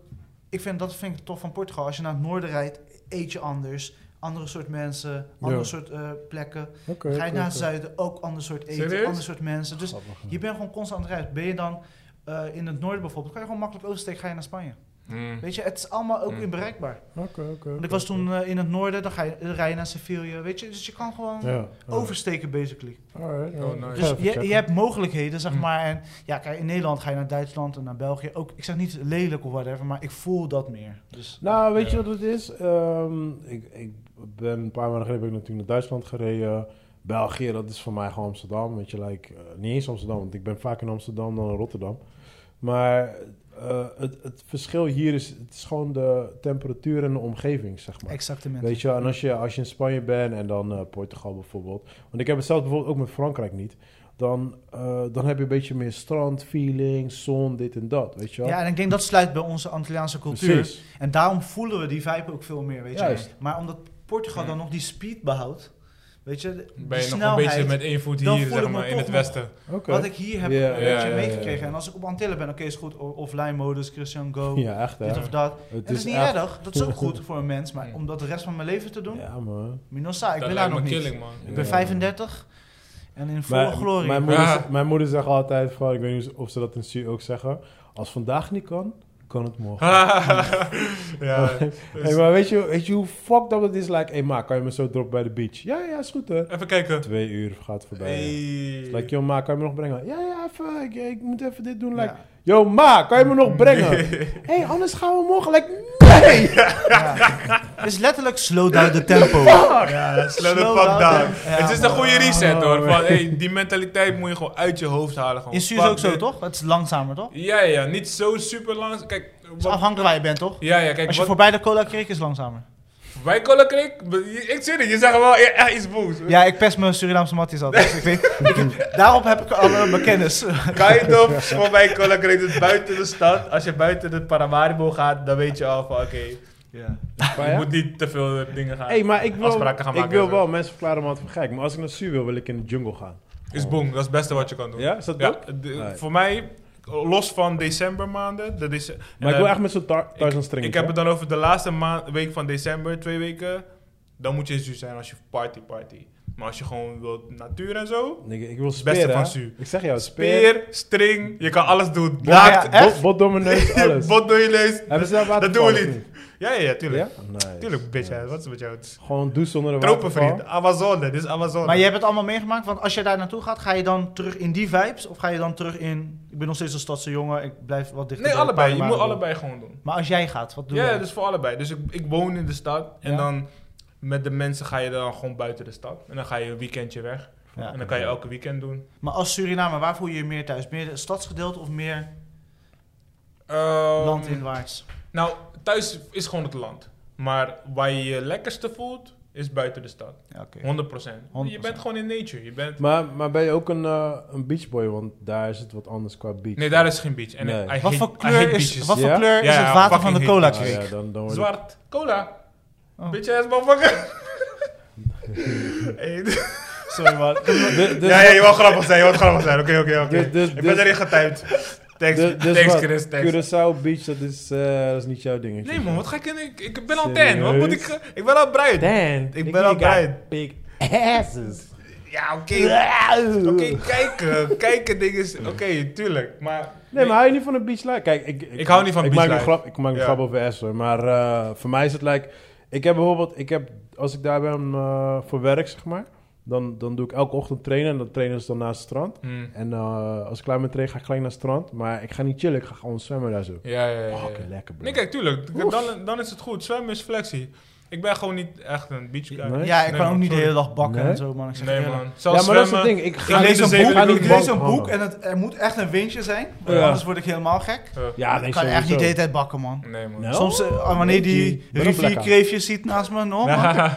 S3: Ik vind, dat vind ik tof van Portugal. Als je naar het noorden rijdt, eet je anders. Andere soort mensen, andere
S1: Ja.
S3: soort eh, plekken.
S1: Oké,
S3: Ga je
S1: oké,
S3: naar het
S1: oké.
S3: zuiden, ook ander soort eten,
S4: Serieus?
S3: ander soort mensen. Dus
S1: Grappig, ja.
S3: je bent gewoon constant aan het reizen. Ben je dan eh, in het noorden bijvoorbeeld, kan je gewoon makkelijk oversteken, ga je naar Spanje.
S1: Hm.
S4: Mm.
S3: Weet je, het is allemaal ook
S4: Mm.
S3: weer bereikbaar.
S1: Oké, oké.
S3: Want ik was toen eh, in het noorden, dan ga je, dan rij je naar Sevilla, weet je. Dus je kan gewoon
S1: Ja.
S3: oversteken, basically.
S1: Alright,
S4: Oh,
S1: alright.
S4: nice.
S1: Ik ga
S3: Dus
S1: even
S3: je,
S1: checken. Hm.
S3: je hebt mogelijkheden, zeg
S4: Mm.
S3: maar. En ja, kijk, in Nederland ga je naar Duitsland en naar België. Ook, ik zeg niet lelijk of whatever, maar ik voel dat meer. Dus
S1: Nou, weet je
S4: Ja.
S1: wat het is? Ehm, ik, ik ben een paar maanden geleden ben ik natuurlijk naar Duitsland gereden. België, dat is voor mij gewoon Amsterdam. Weet je, like, eh, niet eens Amsterdam, want ik ben vaak in Amsterdam dan in Rotterdam. Maar eh, het, het verschil hier is, het is gewoon de temperatuur en de omgeving, zeg maar.
S3: exactement.
S1: Weet je, en als je, als je in Spanje bent en dan eh, Portugal bijvoorbeeld. Want ik heb het zelf bijvoorbeeld ook met Frankrijk niet. Dan, eh, dan heb je een beetje meer strandfeeling, zon, dit en dat. Weet je wel?
S3: Ja, en ik denk dat sluit bij onze Antilliaanse cultuur.
S1: Precies.
S3: En daarom voelen we die vibe ook veel meer, weet je.
S1: Juist.
S3: Maar omdat Portugal
S4: Ja.
S3: dan nog die speed behoudt, weet je, de-
S4: Ben
S3: die
S4: je nog een beetje
S3: snelheid,
S4: met één voet
S3: dan
S4: hier,
S3: voel ik
S4: zeg
S3: me
S4: maar, in
S3: toch
S4: het
S3: nog-
S4: westen.
S1: Oké.
S3: wat ik hier heb
S1: Ja,
S3: een
S4: ja,
S3: beetje
S4: ja, ja, ja.
S3: meegekregen. En als ik op Antillen ben, oké, is goed, o- offline modus, Christian Go,
S1: Ja, echt hè.
S3: dit of dat. En
S1: Het
S3: dat is niet
S1: echt-
S3: erg, dat is ook goed voor een mens, maar
S4: Ja.
S3: om dat de rest van mijn leven te doen,
S1: Ja, man.
S3: Minosa, ik
S4: Dat
S3: ben daar
S4: lijkt
S3: nog
S4: me
S3: niet.
S4: killing, man.
S3: Ik ben
S1: Ja.
S3: 35 en in volle
S1: Mijn,
S3: glorie.
S1: mijn, moeder,
S4: Ja.
S1: mijn moeder zegt altijd van, ik weet niet of ze dat in Su ook zeggen. Als vandaag niet kan, kan het morgen.
S4: ja.
S1: Hey, maar weet je, weet je hoe fucked up dat is? Like, hey ma, kan je me zo droppen bij de beach? Ja, ja, is goed hè.
S4: Dus Even kijken.
S1: Twee uur gaat voorbij.
S4: Hey.
S1: Like, yo ma, kan je me nog brengen? Ja, ja, even, ik, ik moet even dit doen.
S3: Ja.
S1: Like, yo ma, kan je me nog brengen? hey, anders gaan we morgen. Like, nee!
S3: Ja. Het is letterlijk slow down the tempo.
S4: Ja, slow the
S3: Slow
S4: fuck
S3: down.
S4: down.
S3: Ja,
S4: het is een
S3: man.
S4: goede reset hoor.
S1: Oh,
S4: Van, hey, die mentaliteit moet je gewoon uit je hoofd halen. Gewoon.
S3: In Suus
S4: Fuck
S3: ook zo,
S4: dit.
S3: toch? Het is langzamer, toch? Het
S4: Ja, ja, niet zo super lang. Kijk,
S3: is
S4: wat-
S3: afhankelijk waar je bent, toch?
S4: ja, ja, kijk,
S3: Als je
S4: wat,
S3: voorbij de cola kreeg, is het langzamer.
S4: wij Colin Creek, ik zie het, je zegt wel e- echt iets boos.
S3: Ja, ik pest mijn Surinaamse matties altijd. Dus ik weet, ik- daarop heb ik al eh, mijn kennis.
S4: Kind of, voor mij Colin Creek is buiten de stad. Als je buiten de Paramaribo gaat, dan weet je al van, oké,
S1: Maar
S4: je
S1: Ah, ja?
S4: moet niet te veel eh, dingen gaan.
S1: Hey, maar ik wil,
S4: Afspraken gaan
S1: ik
S4: maken
S1: wil
S4: en zo.
S1: wel mensen verklaren me wat voor gek. Maar als ik naar Su wil, wil ik in de jungle gaan.
S4: Is boom, dat is het beste wat je kan doen.
S1: Ja, is dat ook?
S4: de-
S1: Nee.
S4: Voor mij, los van decembermaanden. De dece-
S1: Maar ik
S4: en,
S1: wil
S4: eh,
S1: echt met zo'n tar Tarzan
S4: ik,
S1: string.
S4: ik heb het dan over de laatste maand, week van december, twee weken. Dan moet je in Zuid zijn als je party party. Maar als je gewoon wilt natuur en zo.
S1: Nigga, ik wil
S4: beste
S1: speer,
S4: van
S1: hè?
S4: Su.
S1: Ik zeg jou, speer,
S4: Speer, string, je kan alles doen.
S1: Ja,
S4: Baard,
S1: ja, bot, bot door mijn neus, alles.
S4: Bot door je lees.
S1: Hebben ze daar
S4: Dat doen we
S1: watervallen
S4: niet. Ja, ja, ja, tuurlijk.
S1: Ja? Nice.
S4: Tuurlijk, bitch. hè. Wat is met jou?
S1: Gewoon doe zonder een
S4: Tropenvriend,
S1: waterval.
S4: Amazone, dit is Amazone.
S3: Maar je hebt het allemaal meegemaakt, want als je daar naartoe gaat, ga je dan terug in die vibes? Of ga je dan terug in, ik ben nog steeds een stadse jongen, ik blijf wat dichter
S4: Nee,
S3: bij
S4: allebei. Je moet
S3: Paramaribo.
S4: allebei gewoon doen.
S3: Maar als jij gaat, wat doe
S4: Ja,
S3: jij?
S4: dus voor allebei. Dus ik, ik woon in de stad en
S3: Ja.
S4: dan met de mensen ga je dan gewoon buiten de stad. En dan ga je een weekendje weg.
S3: Ja.
S4: En dan kan je elke weekend doen.
S3: Maar als Surinamer, waar voel je je meer thuis? Meer het stadsgedeelte of meer
S4: Ehm,
S3: landinwaarts?
S4: Nou, thuis is gewoon het land. Maar waar je je lekkerste voelt, is buiten de stad.
S3: Ja, oké.
S4: 100%.
S3: 100%.
S4: Je bent gewoon in nature. Je bent...
S1: Maar, maar ben je ook een, eh, een beachboy? Want daar is het wat anders qua beach.
S4: Nee, daar is geen beach. En
S1: Nee.
S4: ik- I
S3: Wat
S4: hate-
S3: voor
S4: I
S3: kleur
S4: hate
S3: is,
S4: beaches.
S3: wat voor
S1: Ja?
S3: kleur is
S4: Ja,
S3: het water van
S4: fucking
S3: de
S4: hate
S3: cola
S4: beaches.
S1: Ah,
S3: creek?
S1: ja, dan, dan word je-
S4: Zwart. Cola.
S3: Oh.
S4: Bitch ass motherfucker. Hey,
S3: Sorry man.
S1: Dus- dus
S4: ja, ja,
S1: wat-
S4: je wil grappig zijn, je wil grappig zijn. Oké, oké, oké.
S1: Dus- dus-
S4: Ik
S1: dus-
S4: ben erin getimed. Thanks,
S1: dus- dus
S4: thanks
S1: wat?
S4: Chris, thanks.
S1: Curaçao Beach, dat is, eh, dat is niet jouw dingetje.
S4: Nee man, wat ga ik in? Ik, ik ben al
S1: Serieus?
S4: tan, wat moet ik... ge- Ik ben al bruin.
S1: Dan,
S4: Ik ben al bruin.
S1: Big asses.
S4: Ja, oké. Oké, kijken. kijken dingen. Oké, tuurlijk. Maar...
S1: Nee, maar hou je niet van een beach life? Kijk, ik, ik,
S4: Ik hou niet van
S1: ik
S4: beach
S1: maak een
S4: life.
S1: grap, Ik maak een
S4: Ja.
S1: grap over ass hoor, maar eh, voor mij is het like... Ik heb bijvoorbeeld, ik heb, als ik daar ben eh, voor werk zeg maar, dan, dan doe ik elke ochtend trainen en dat trainen is dan naast het strand.
S4: Hmm.
S1: En eh, als ik klaar ben met trainen ga ik gelijk naar het strand, maar ik ga niet chillen, ik ga gewoon zwemmen daar zo.
S4: Ja, ja, ja. ja.
S1: Fucking lekker bro.
S4: Nee, kijk, tuurlijk. Dan, dan is het goed. Zwemmen is flexie. Ik ben gewoon niet echt een beach guy.
S1: Nee?
S3: Ja, ik
S4: Nee,
S3: kan
S4: man,
S3: ook niet de
S4: sorry.
S3: hele dag bakken
S1: Nee?
S3: en zo man. Ik zeg
S4: Nee,
S3: eerlijk.
S4: man.
S1: ja,
S4: Zelfs
S1: maar dat is het
S4: zwemmen-
S1: ding. Ik,
S4: Ik
S1: ga
S4: lees
S1: niet-
S4: een boek
S1: ga
S4: en
S1: niet
S4: ik
S3: Ik
S1: bank
S3: lees een boek
S1: hangen.
S3: en het, er moet echt een windje zijn, want
S1: Ja.
S3: anders word ik helemaal gek.
S4: Eh,
S1: Ja, nee,
S3: Ik kan echt niet de hele
S1: sowieso.
S3: tijd bakken man.
S4: Nee, man.
S1: Nou,
S3: Soms eh, wanneer
S1: Ik
S3: die
S1: ben ook lekker.
S3: rivierkreefjes ziet naast me, no, Oh, man.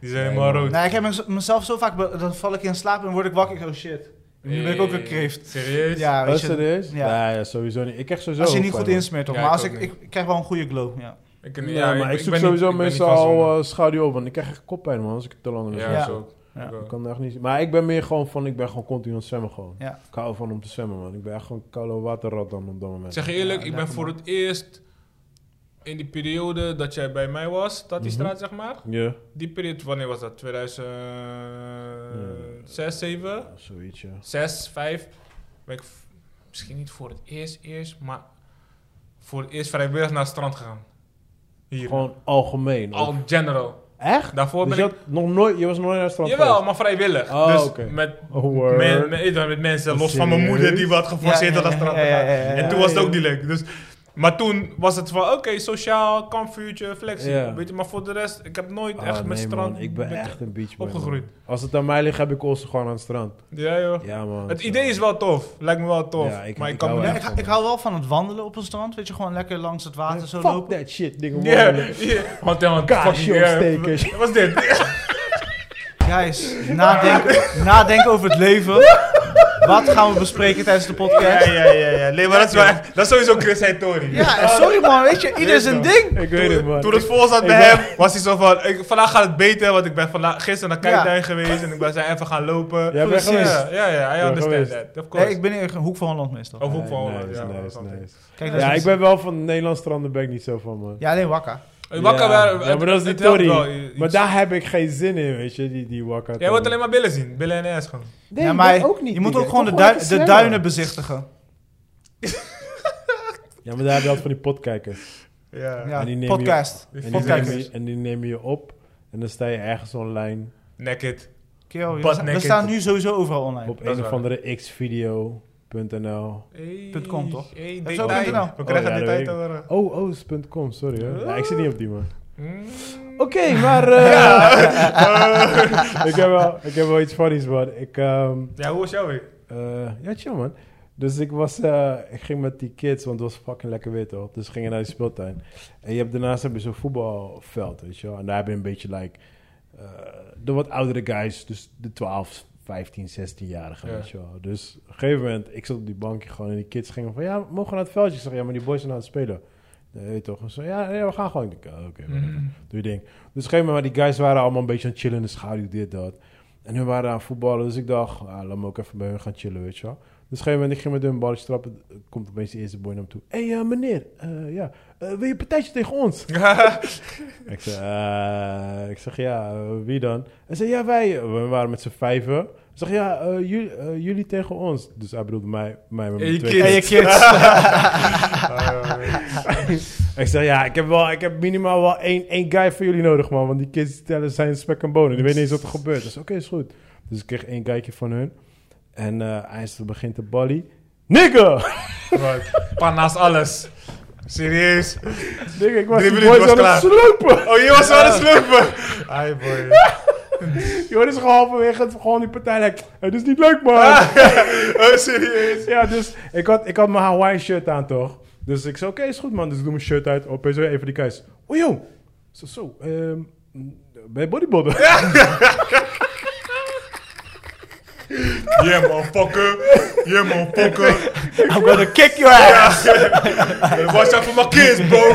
S4: Die zijn helemaal rood.
S3: Nee, ik heb mez- mezelf zo vaak, be- dan val ik in slaap en word ik wakker. Ik, Oh shit. Nu ben ik ook een kreeft.
S4: Serieus?
S3: Ja,
S1: Oh,
S3: weet je,
S1: serieus?
S3: Ja.
S1: Nee, ja, sowieso niet. Ik krijg sowieso...
S3: als je
S1: heel
S3: niet
S1: veel
S3: goed
S1: pijn.
S3: insmeert, toch?
S4: Ja,
S3: maar
S4: ik
S3: als
S4: ook
S3: ik, ik,
S4: niet. Oh,
S3: ik krijg wel een goede glow. Ja.
S4: Ik,
S1: Ja,
S4: ja,
S1: maar ik, zoek
S4: ben
S1: sowieso
S4: niet- ik ben niet van
S1: meestal
S4: zo'n-
S1: eh, schaduw over. Want ik krijg echt koppijn, man, als ik het te lang
S4: Ja,
S1: doe.
S3: Ja.
S4: zo.
S3: Ja.
S4: Ik
S1: Ik
S4: ook.
S1: kan echt niet... Maar ik ben meer gewoon van... Ik ben gewoon continu aan het zwemmen, gewoon.
S3: Ja.
S1: Ik hou van om te zwemmen, man. Ik ben echt gewoon een koude waterrat dan op dat
S4: Ik
S1: moment.
S4: zeg je eerlijk,
S3: Ja,
S4: ik ben
S3: lekker,
S4: voor
S3: man.
S4: het eerst in die periode dat jij bij mij was, dat die straat zeg maar.
S1: Ja.
S4: Die periode, wanneer was dat? 2006, 7?
S1: Ja, Zoiets, ja.
S4: 6, 5? Ben ik v- misschien niet voor het eerst eerst, maar voor het eerst vrijwillig naar het strand gegaan. Hier.
S1: Gewoon algemeen.
S4: Al
S1: of-
S4: general.
S1: Echt?
S4: Daarvoor
S1: Dus
S4: ben
S1: je,
S4: ik
S1: had nog nooit, je was nog nooit naar het strand
S4: Jawel,
S1: geweest?
S4: maar vrijwillig.
S1: Oh,
S4: dus
S1: oké.
S4: met,
S1: Oh, word.
S4: met, met, met mensen, los van mijn
S1: Serieus?
S4: moeder die wat geforceerd had
S3: Ja, ja,
S4: als
S3: ja,
S4: strand
S3: ja,
S4: te gaan.
S3: ja, ja, ja,
S4: En toen
S1: ja,
S4: was het
S1: ja.
S4: ook niet leuk. Dus, maar toen was het van, oké, sociaal, kampvuurtje, flexie.
S1: Ja.
S4: Weet je, maar voor de rest, ik heb nooit
S1: Ah,
S4: echt met
S1: nee,
S4: strand...
S1: man, Ik ben
S4: met-
S1: echt een beachboy, man.
S4: opgegroeid.
S1: Als het aan mij ligt, heb ik ons gewoon aan het strand.
S4: Ja, joh.
S1: Ja, man.
S4: Het
S1: zo.
S4: idee is wel tof. Lijkt me wel tof.
S1: Ja, ik-
S4: maar ik
S1: ik
S4: kan
S1: hou
S4: me
S3: Ja,
S1: wel
S4: niet...
S3: ik, ik hou wel van het wandelen op een strand. Weet je, gewoon lekker langs het water zo
S1: Fuck
S3: lopen.
S1: that shit, dingen.
S4: Ja,
S1: man.
S4: ja. Want dan
S1: Kaasje
S4: fucking...
S1: opstekers.
S4: Wat was dit?
S3: Guys, nadenken, nadenken over het leven. Wat gaan we bespreken tijdens de
S4: Ja,
S3: podcast?
S4: ja, ja, ja. Nee, maar dat is wel echt... Dat is sowieso Chris Heitori.
S3: Ja, en sorry man, weet je, ieder zijn ding.
S1: Ik weet het, man.
S4: Toen het vol zat bij hem, was hij zo van, ik, vandaag gaat het beter, want ik ben vandaag, gisteren naar
S3: Ja.
S4: Kijkduin geweest en ik ben zijn even gaan lopen.
S1: Jij bent
S4: Precies.
S1: geweest.
S4: Ja, ja, ja, I
S1: bent
S4: understand
S1: geweest.
S4: that, of
S3: Nee,
S4: course.
S3: ik ben in Hoek van Holland meestal.
S4: Of ook
S1: Nee,
S4: van Holland,
S1: nice,
S4: ja.
S1: nice,
S4: something.
S1: nice.
S3: Kijk, dat is
S1: Ja, ik
S3: best-
S1: ben wel van Nederlands stranden ben ik niet zo van, man.
S3: ja nee, wakka.
S4: Hey, Wakka
S1: Ja.
S4: wel-
S1: Ja, maar dat is
S4: het-
S1: die
S4: het helpt wel,
S1: Tory.
S4: i-
S1: Maar
S4: iets.
S1: daar heb ik geen zin in, weet je, die, die wakka.
S4: Jij wilt alleen maar billen zien, billen en ass gewoon.
S1: Nee,
S3: ja,
S1: ik
S3: maar
S1: wil ook niet,
S3: je moet
S1: nigga.
S3: ook
S1: Ik
S3: gewoon
S1: wil
S3: de, dui-
S1: lekker
S3: de
S1: zwemmen.
S3: duinen bezichtigen.
S1: Ja, maar daar heb je altijd van die podkijkers.
S4: Ja.
S3: Ja,
S1: En die neem je-
S3: podcast.
S1: En die,
S3: Podkijkers.
S1: nemen je, en die nemen je op. En dan sta je ergens online
S4: Naked.
S3: Kerel,
S4: Butt
S3: we,
S4: naked.
S3: staan nu sowieso overal online.
S1: op
S4: dat is
S1: een of
S4: waar.
S1: andere xvideo.nl.
S4: Hey,
S3: Punt com, toch?
S4: Hey,
S3: Dat is
S4: detail.
S3: ook .nl.
S4: We
S1: Oh,
S4: krijgen
S1: ja,
S4: dit
S1: dat
S4: uit
S1: weet
S4: hoor.
S1: Oh, oh, is punt .com, sorry hoor. Ja, ik zit niet op die man.
S4: Mm.
S1: Oké, maar eh, ik, heb wel, ik heb wel iets funnies, man. Ik, ehm,
S4: Ja, hoe was jouw week?
S1: Eh, ja, chill man. Dus ik was, eh, ik ging met die kids, want het was fucking lekker weer toch. Dus we gingen naar de speeltuin. En je hebt, daarnaast heb je zo'n voetbalveld, weet je wel. En daar heb je een beetje like, eh, de wat oudere guys, dus de 12, 15, 16-jarigen,
S4: Ja.
S1: weet je wel. Dus op een gegeven moment, ik zat op die bankje gewoon en die kids gingen van, ja, we mogen naar het veldje? Ik zeg, ja, maar die boys zijn aan het spelen. Nee, weet je toch? En ze, ja, ja, we gaan gewoon. Ik denk, ah, oké, whatever.
S4: Mm.
S1: doe je ding. Dus op een gegeven moment, die guys waren allemaal een beetje aan het chillen in de schaduw, dit, dat. En hun waren aan het voetballen, dus ik dacht, ah, laat me ook even bij hun gaan chillen, weet je wel. Dus op een gegeven moment, ik ging met hun een balletje trappen. eh, Komt opeens die eerste boy naar me toe. Hé, hey, eh, meneer. eh, ja, eh, wil je een partijtje tegen ons? ik, zei, eh, ik zeg, ja, eh, wie dan? Hij zei, ja, wij. eh, We waren met z'n vijven. Ik zeg, ja, eh, jullie, eh, jullie tegen ons. Dus hij bedoelde mij, mij met mijn
S4: je
S1: twee
S4: kind.
S3: En je kids.
S4: Oh,
S1: ik zeg, ja, ik heb, wel, ik heb minimaal wel één, één guy voor jullie nodig, man. Want die kids die tellen zijn spek en bonen. Die weten niet eens wat er gebeurt. Dus oké, is goed. Dus ik kreeg één kijkje van hun. En eh hij is- begint te ballie. Nigga!
S4: Pan naast alles.
S2: Serieus?
S1: Nigga, ik was
S2: Drie
S1: die boys
S2: minuten was
S1: aan het
S2: klaar.
S1: slopen.
S2: Oh, je was aan het slurpen. Ai, boy.
S1: Joh, dit is gewoon halverwege het- gewoon die partij. like, het is niet leuk, man.
S2: Oh, serieus?
S1: Ja, dus ik had, ik had mijn Hawaii shirt aan, toch? Dus ik zei, oké, is goed, man. Dus ik doe mijn shirt uit. Opeens weer even die guys. Oh, joh. Zo, zo. ehm, ben je bodybuilder?
S2: Yeah, motherfucker. Yeah, motherfucker.
S3: I'm gonna kick your ass.
S2: Watch out for my kids, bro.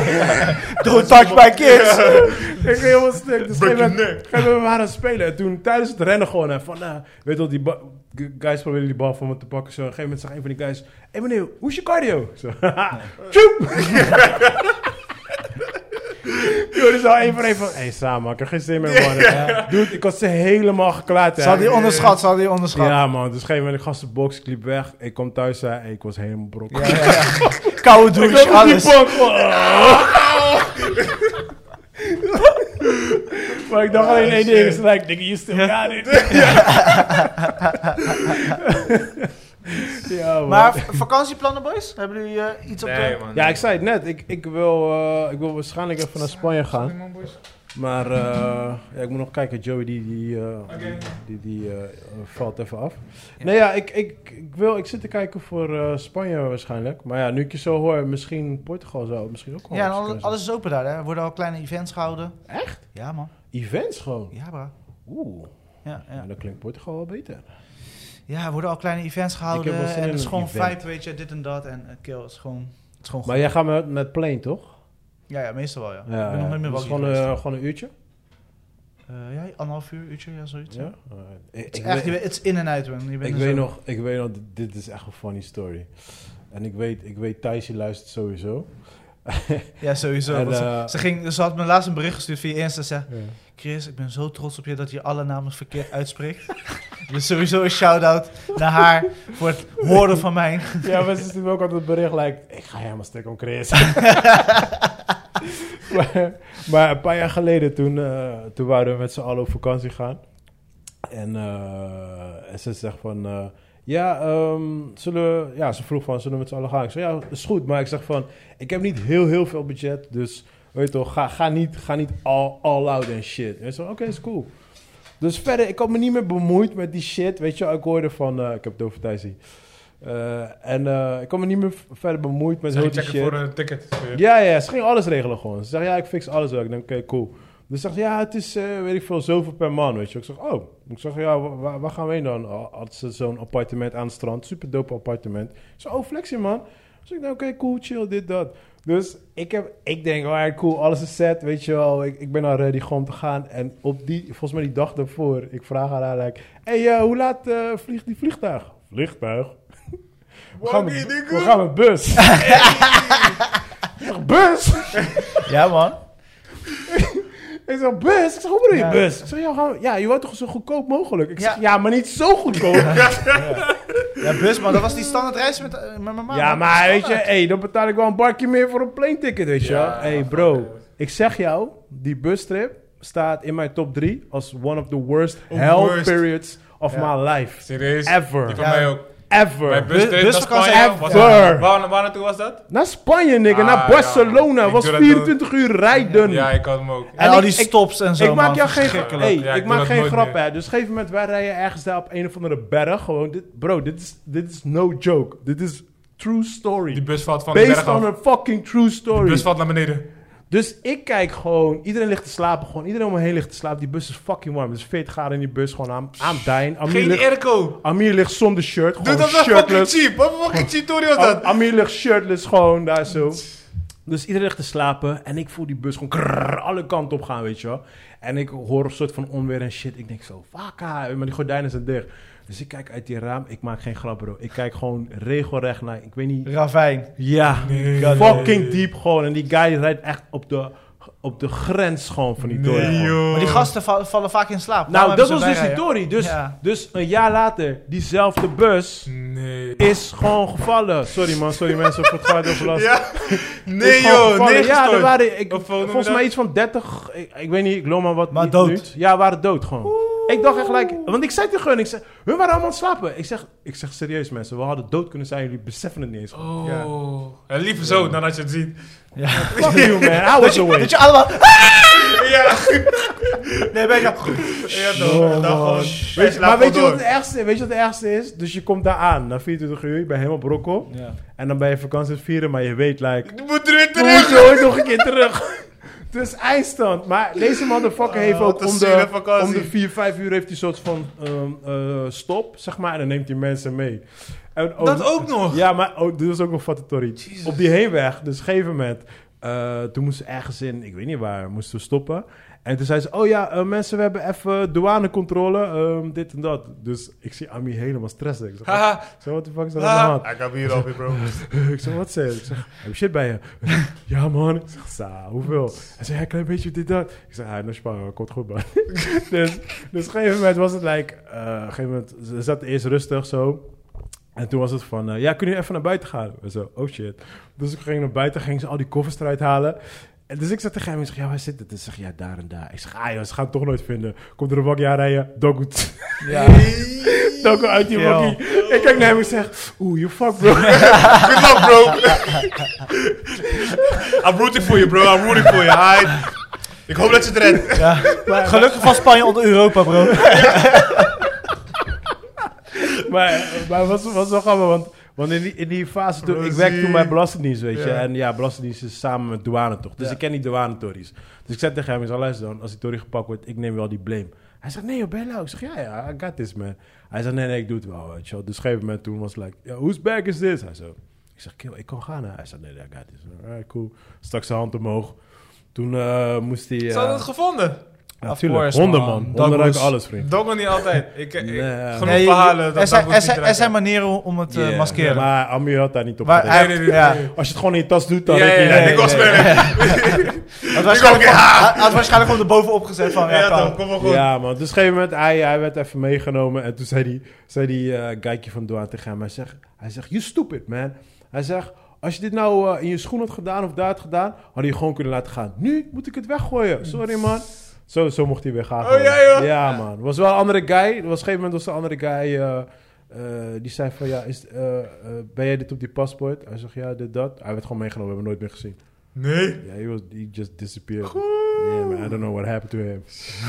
S3: Don't touch my kids.
S1: ik ging helemaal stuk. Dus
S2: Break
S1: op een
S2: your
S1: gegeven moment waren we aan het spelen. En toen tijdens het rennen gewoon hè, van, nou, weet je wel, die ba- g- guys proberen die bal van me te pakken. Zo. Op een gegeven moment zag een van die guys, hé hey, meneer, hoe is je cardio? Ik Zo, haha, tjoep! Joh, dus al één van één van, hé, samen, man, ik heb geen zin meer, man. Dude, ik had ze helemaal geklaard. hè.
S3: Zal die onderschat, zal die onderschat.
S1: Ja, man, dus op een gegeven moment, ik gaf ze box, ik liep weg. Ik kom thuis, hè, en ik was helemaal brok.
S3: Ja, ja, ja. Koude
S1: Ik lag
S3: douche,
S1: op die
S3: alles.
S1: bank. gewoon. maar ik dacht alleen één ding. Is like, nigga, you still got it. ja, man.
S3: Maar v- vakantieplannen, boys? Hebben jullie eh, iets op
S4: Nee,
S3: de...
S4: man.
S1: ja, ik zei het net. Ik, ik, wil, eh, ik wil waarschijnlijk even naar Spanje gaan. Maar eh, ja, ik moet nog kijken. Joey, die, die, eh, die, die eh, eh, valt even af. Nee, ja, ik, ik, ik, wil, ik zit te kijken voor eh, Spanje waarschijnlijk. Maar ja, nu ik je zo hoor, misschien Portugal zou misschien ook wel
S3: Ja,
S1: een
S3: en
S1: optie kunnen
S3: alles,
S1: zijn.
S3: alles is open daar, hè. Er worden al kleine events gehouden. Echt? Ja, man.
S1: Events gewoon.
S3: Ja, bro.
S1: Oeh,
S3: Ja, ja.
S1: ja. dan klinkt Portugal wel beter.
S3: ja, er worden al kleine events
S1: Ik heb wel
S3: gehouden.
S1: zin
S3: En
S1: in
S3: het is
S1: een
S3: gewoon
S1: event.
S3: vibe, weet je, dit en dat. En eh, kill, het is gewoon... Het is gewoon
S1: Maar
S3: goed.
S1: jij gaat met, met plane, toch?
S3: Ja, ja, meestal wel, ja. ik ben nog nooit meer
S1: dus
S3: wel
S1: gewoon, eh, gewoon een uurtje?
S3: ja, anderhalf uur, uurtje, ja, zoiets.
S1: Ja?
S3: ja.
S1: Alright. Ik,
S3: Het is
S1: ik
S3: echt, je
S1: weet,
S3: bent- het is in en uit, man. Je bent
S1: ik
S3: er
S1: weet
S3: zo-
S1: nog, ik weet nog, dit- dit is echt een funny story. En ik weet, ik weet Thijs, die luistert sowieso.
S3: Ja, sowieso.
S1: En,
S3: want ze-
S1: eh,
S3: ze, ging, ze had me laatst een bericht gestuurd via Insta. Ze zei, Chris, ik ben zo trots op je dat je alle namen verkeerd uitspreekt. dus sowieso een shout-out naar haar voor het horen van mijn...
S1: Ja, maar ze sturen me ook altijd het bericht, like, ik ga helemaal stuk om Chris. maar, maar een paar jaar geleden, toen, eh, toen waren we met z'n allen op vakantie gaan. En, eh, en ze zegt van, eh, ja, ehm, zullen we, ja, ze vroeg van, zullen we met z'n allen gaan? Ik zei, ja, is goed. Maar ik zeg van, ik heb niet heel, heel veel budget, dus weet je toch, ga, ga niet, ga niet all, all out en shit. En ze oké, is cool. Dus verder, ik had me niet meer bemoeid met die shit. Weet je, wel, ik hoorde van, eh, ik heb het over Thijs hier. Eh, en eh, ik had me niet meer v- verder bemoeid met
S4: Zal
S1: heel
S4: je
S1: die
S4: checken
S1: shit.
S4: voor een ticket?
S1: Ja, ja, ze ging alles regelen gewoon. Ze zegt, ja, ik fix alles wel. Ik denk, oké, cool. Dus ze zegt, ja, het is, eh, weet ik veel, zoveel per man, weet je. Ik zeg, oh. Ik zeg, ja, wa- wa- waar, gaan we heen dan? Oh, Had ze zo'n appartement aan het strand, super dope appartement. Zo, oh, flexie, man. Dus ik denk, oké, cool, chill, dit, dat. Dus ik, heb, ik denk, alright, cool, alles is set, weet je wel. Ik, ik ben al ready gewoon te gaan. En op die, volgens mij die dag daarvoor, ik vraag aan haar, like, hey, eh, hoe laat eh, vliegt die vliegtuig? Vliegtuig? We gaan, met, we gaan met bus. Ik zeg, bus?
S3: Ja, man.
S1: Ik zeg, bus? Ik zeg, hoe bedoel je
S3: Ja.
S1: bus? Ik zeg, ja, gaan we- ja, je wilt toch zo goedkoop mogelijk? Ik
S3: Ja.
S1: zeg, ja, maar niet zo goedkoop.
S3: Ja, bus, man. Dat was die standaard reis met, eh, met mijn man.
S1: ja,
S3: man.
S1: maar weet je, hey, dan betaal ik wel een barkje meer voor een plane ticket, weet je wel. hey, bro, ik zeg jou, die bustrip staat in mijn top 3 als one of the worst hell
S4: worst.
S1: periods of
S3: Ja.
S1: my life.
S4: Serieus?
S1: Ever.
S4: Die van
S3: Ja.
S4: mij ook.
S1: Ever.
S4: Mijn
S3: Bus-
S4: bus deed naar
S3: busvakantie
S4: Spanje.
S3: ook.
S4: Was-
S1: Ver.
S4: Waar waar naartoe was dat?
S1: Naar Spanje, nigga,
S4: Ah,
S1: naar
S4: ja,
S1: Barcelona.
S4: ik
S1: was
S4: doe dat
S1: 24 uur rijden.
S4: Ja, ik had hem ook.
S3: En,
S1: En
S3: al
S1: ik-
S3: die
S1: ik-
S3: stops en zo,
S1: ik maak
S3: man.
S1: jou geen,
S3: Verschrikkelijk.
S1: hey,
S4: Ja,
S1: ik maak
S4: ik doe dat
S1: geen
S4: nooit
S1: grap,
S4: meer.
S1: hè. Dus op een gegeven moment, wij rijden ergens daar op een of andere berg. Gewoon, dit, bro, dit is, dit is no joke. Dit is true story.
S4: Die bus valt van de
S1: Based
S4: berg
S1: on
S4: af.
S1: a fucking true
S4: Die
S1: story.
S4: bus valt naar beneden.
S1: Dus ik kijk gewoon, iedereen ligt te slapen. Gewoon, iedereen om me heen ligt te slapen. Die bus is fucking warm. Dus 40 graden in die bus. Gewoon, I'm, I'm dying. Amir
S4: Geen
S1: ligt,
S4: airco.
S1: Amir ligt zonder shirt. Gewoon
S2: Dude, dat was fucking
S1: Oh, shirtless. Oh,
S2: cheap. Wat voor fucking cheap tory was
S1: Am-
S2: dat?
S1: Amir ligt shirtless gewoon daar zo. Dus iedereen ligt te slapen en ik voel die bus gewoon krrrr, alle kanten op gaan, weet je wel. En ik hoor een soort van onweer en shit. Ik denk zo, vaka, maar die gordijnen zijn dicht. Dus ik kijk uit die raam, ik maak geen grap bro. Ik kijk gewoon regelrecht naar, ik weet niet...
S3: Ravijn.
S1: Ja, fucking diep gewoon. En die guy rijdt echt op de, op de grens gewoon van die dorp. gewoon.
S3: Maar die gasten va- vallen vaak in slaap.
S1: Nou,
S3: Daarom
S1: dat was
S3: hebben
S1: dus
S3: ze
S1: die
S3: bijrijden.
S1: story. Dus,
S3: Ja.
S1: dus een jaar later, diezelfde bus
S4: Nee.
S1: is gewoon gevallen. Sorry man, sorry mensen voor het geluidoverlast.
S2: Ja.
S1: Is
S2: Nee
S1: gewoon
S2: joh,
S1: gevallen.
S2: nee
S1: Ja, er
S2: gestort.
S1: waren, ik,
S2: Of, eh, hoe noem je
S1: volgens
S2: dat?
S1: mij iets van 30, ik, ik weet niet, ik loop maar wat.
S3: Maar
S1: niet
S3: dood.
S1: minuut. Ja, waren dood gewoon. Ik dacht echt gelijk, want ik zei tegen hun, ik zeg, hun waren allemaal aan het slapen. Ik zeg, ik zeg serieus mensen, we hadden dood kunnen zijn, jullie beseffen het niet eens.
S4: Oh.
S2: Ja.
S4: Ja, liever zo dan als je het ziet.
S2: Oh.
S1: Fuck you man, I was away.
S3: Dat je allemaal...
S2: Ja,
S3: Nee, ben je...
S2: ja toch.
S3: Oh,
S2: Dan gewoon.
S1: Weet je, maar weet je, wat het
S2: wat?
S1: ergste, weet je wat het ergste is? Dus je komt daar aan, na 24 uur, je bent helemaal brokkel.
S3: Ja.
S1: En dan ben je vakantie aan het vieren, maar je weet, like,
S2: Je moet er weer
S1: Toen moet
S2: terug.
S1: je ooit nog een keer terug. Dus eindstand. Maar deze motherfucker heeft
S2: Oh,
S1: ook
S2: wat
S1: om
S2: een zure
S1: de,
S2: vakantie.
S1: om de 4, 5 uur heeft hij een soort van ehm, eh, stop, zeg maar. En dan neemt hij mensen mee. En
S4: Dat ook nog?
S1: Ja, maar ook, dit is ook een fattatorie. Op die heenweg, dus op een gegeven moment. eh, toen moesten we ergens in, ik weet niet waar, moesten we stoppen. En toen zei ze, oh ja, eh, mensen, we hebben even douanecontrole, ehm, dit en dat. Dus ik zie Ami helemaal stressen. Ik zeg, wat-
S4: Haha.
S1: ik zeg, what the fuck is dat aan de hand?
S2: Ah, ik heb hier al weer, bro.
S1: Ik zeg, wat zei je? Ik zeg, heb je shit bij je? ja, man. Ik zeg, sa, hoeveel? Hij zei, ja, een klein beetje dit, dat. Ik zeg, ah, no sparen, komt goed, man. dus, dus op een gegeven moment was het, like, eh, op een gegeven moment, ze zat eerst rustig zo. En toen was het van, eh, ja, kun je even naar buiten gaan? We zo, oh shit. Dus ik ging naar buiten, ging ze al die koffers eruit halen. En dus ik zat tegen hem, ik zeg, ja, waar zit het? Hij zegt, ja, daar en daar. Ik zeg, ah joh, ze gaan het toch nooit vinden. Komt er een wakkie aanrijden, dogoed.
S3: Ja.
S1: Dogo uit die
S3: Yo.
S1: wakkie. Ik kijk naar hem, ik zeg, oeh, you fuck bro.
S2: Good luck, bro. I'm rooting for you, bro. I'm rooting for you. Hi. Ik hoop dat je het redt.
S3: Gelukkig van Spanje onder Europa, bro.
S1: maar maar het was, was wel grappig, want, want in, die, in die fase toen... Ik werkte toen bij Belastingdienst, weet je.
S2: Ja.
S1: En ja, Belastingdienst is samen met douane toch. Dus ik ken die douanetories. Dus ik zei tegen hem, ik zeg, luister dan, als die tory gepakt wordt, ik neem wel die blame. Hij zegt, nee joh, ben je lauw? Ik zeg, ja, ja, I got this, man. Hij zegt, nee, nee, ik doe het wel, weet je wel. Dus op een gegeven moment toen was het like, ja, whose back is this? Hij zo, ik zeg, kill, ik kan gaan, hè. Hij zegt, nee, nee, I got this. Alright, cool. Stak zijn hand omhoog. Toen eh, moest hij...
S4: Ze hadden
S1: eh
S4: het gevonden.
S1: natuurlijk,
S3: course,
S1: honden,
S3: man.
S1: man.
S3: Dat
S1: Honden ruiken
S3: was-
S1: alles, vriend.
S4: Doggen niet altijd. Ik, ik,
S1: Nee.
S4: Genoeg
S1: Nee,
S4: verhalen.
S3: er,
S4: Dat,
S3: zijn,
S4: dat wordt
S3: er,
S4: niet
S3: zijn, er
S4: eruit.
S3: zijn manieren om het eh,
S4: Yeah.
S3: maskeren.
S1: Maar Amir had daar niet op
S3: Waar
S1: gelet.
S3: hij-
S4: nee, nee,
S3: ja.
S4: nee.
S1: Als je het gewoon in je tas doet, dan
S4: Ja,
S1: heb je...
S4: ja, ja,
S1: Nee,
S4: ik was
S1: nee,
S4: verder.
S3: Had waarschijnlijk, gewoon- had waarschijnlijk gewoon erbovenop gezet van... Ja,
S2: Ja,
S3: kan.
S2: toch. Kom maar goed.
S1: Ja, man. Dus op een gegeven moment, hij, hij werd even meegenomen. En toen zei die, zei die eh geitje van Doan tegen hem. Hij zegt, hij zegt, you stupid, man. Hij zegt, als je dit nou eh, in je schoen had gedaan of daar had gedaan... had je gewoon kunnen laten gaan. Nu moet ik het weggooien. Sorry, man. Zo, zo mocht hij weer gaan.
S2: Oh,
S1: gewoon.
S2: ja, joh.
S1: Ja, man. Er was wel een andere guy. Er was op een gegeven moment was er een andere guy... eh, eh, die zei van, ja, is, eh, eh, ben jij dit op die paspoort? Hij zegt, ja, dit, dat. Hij werd gewoon meegenomen, we hebben hem nooit meer gezien.
S2: Nee.
S1: Ja, he, was, he just disappeared. Yeah, man, I don't know what happened to him.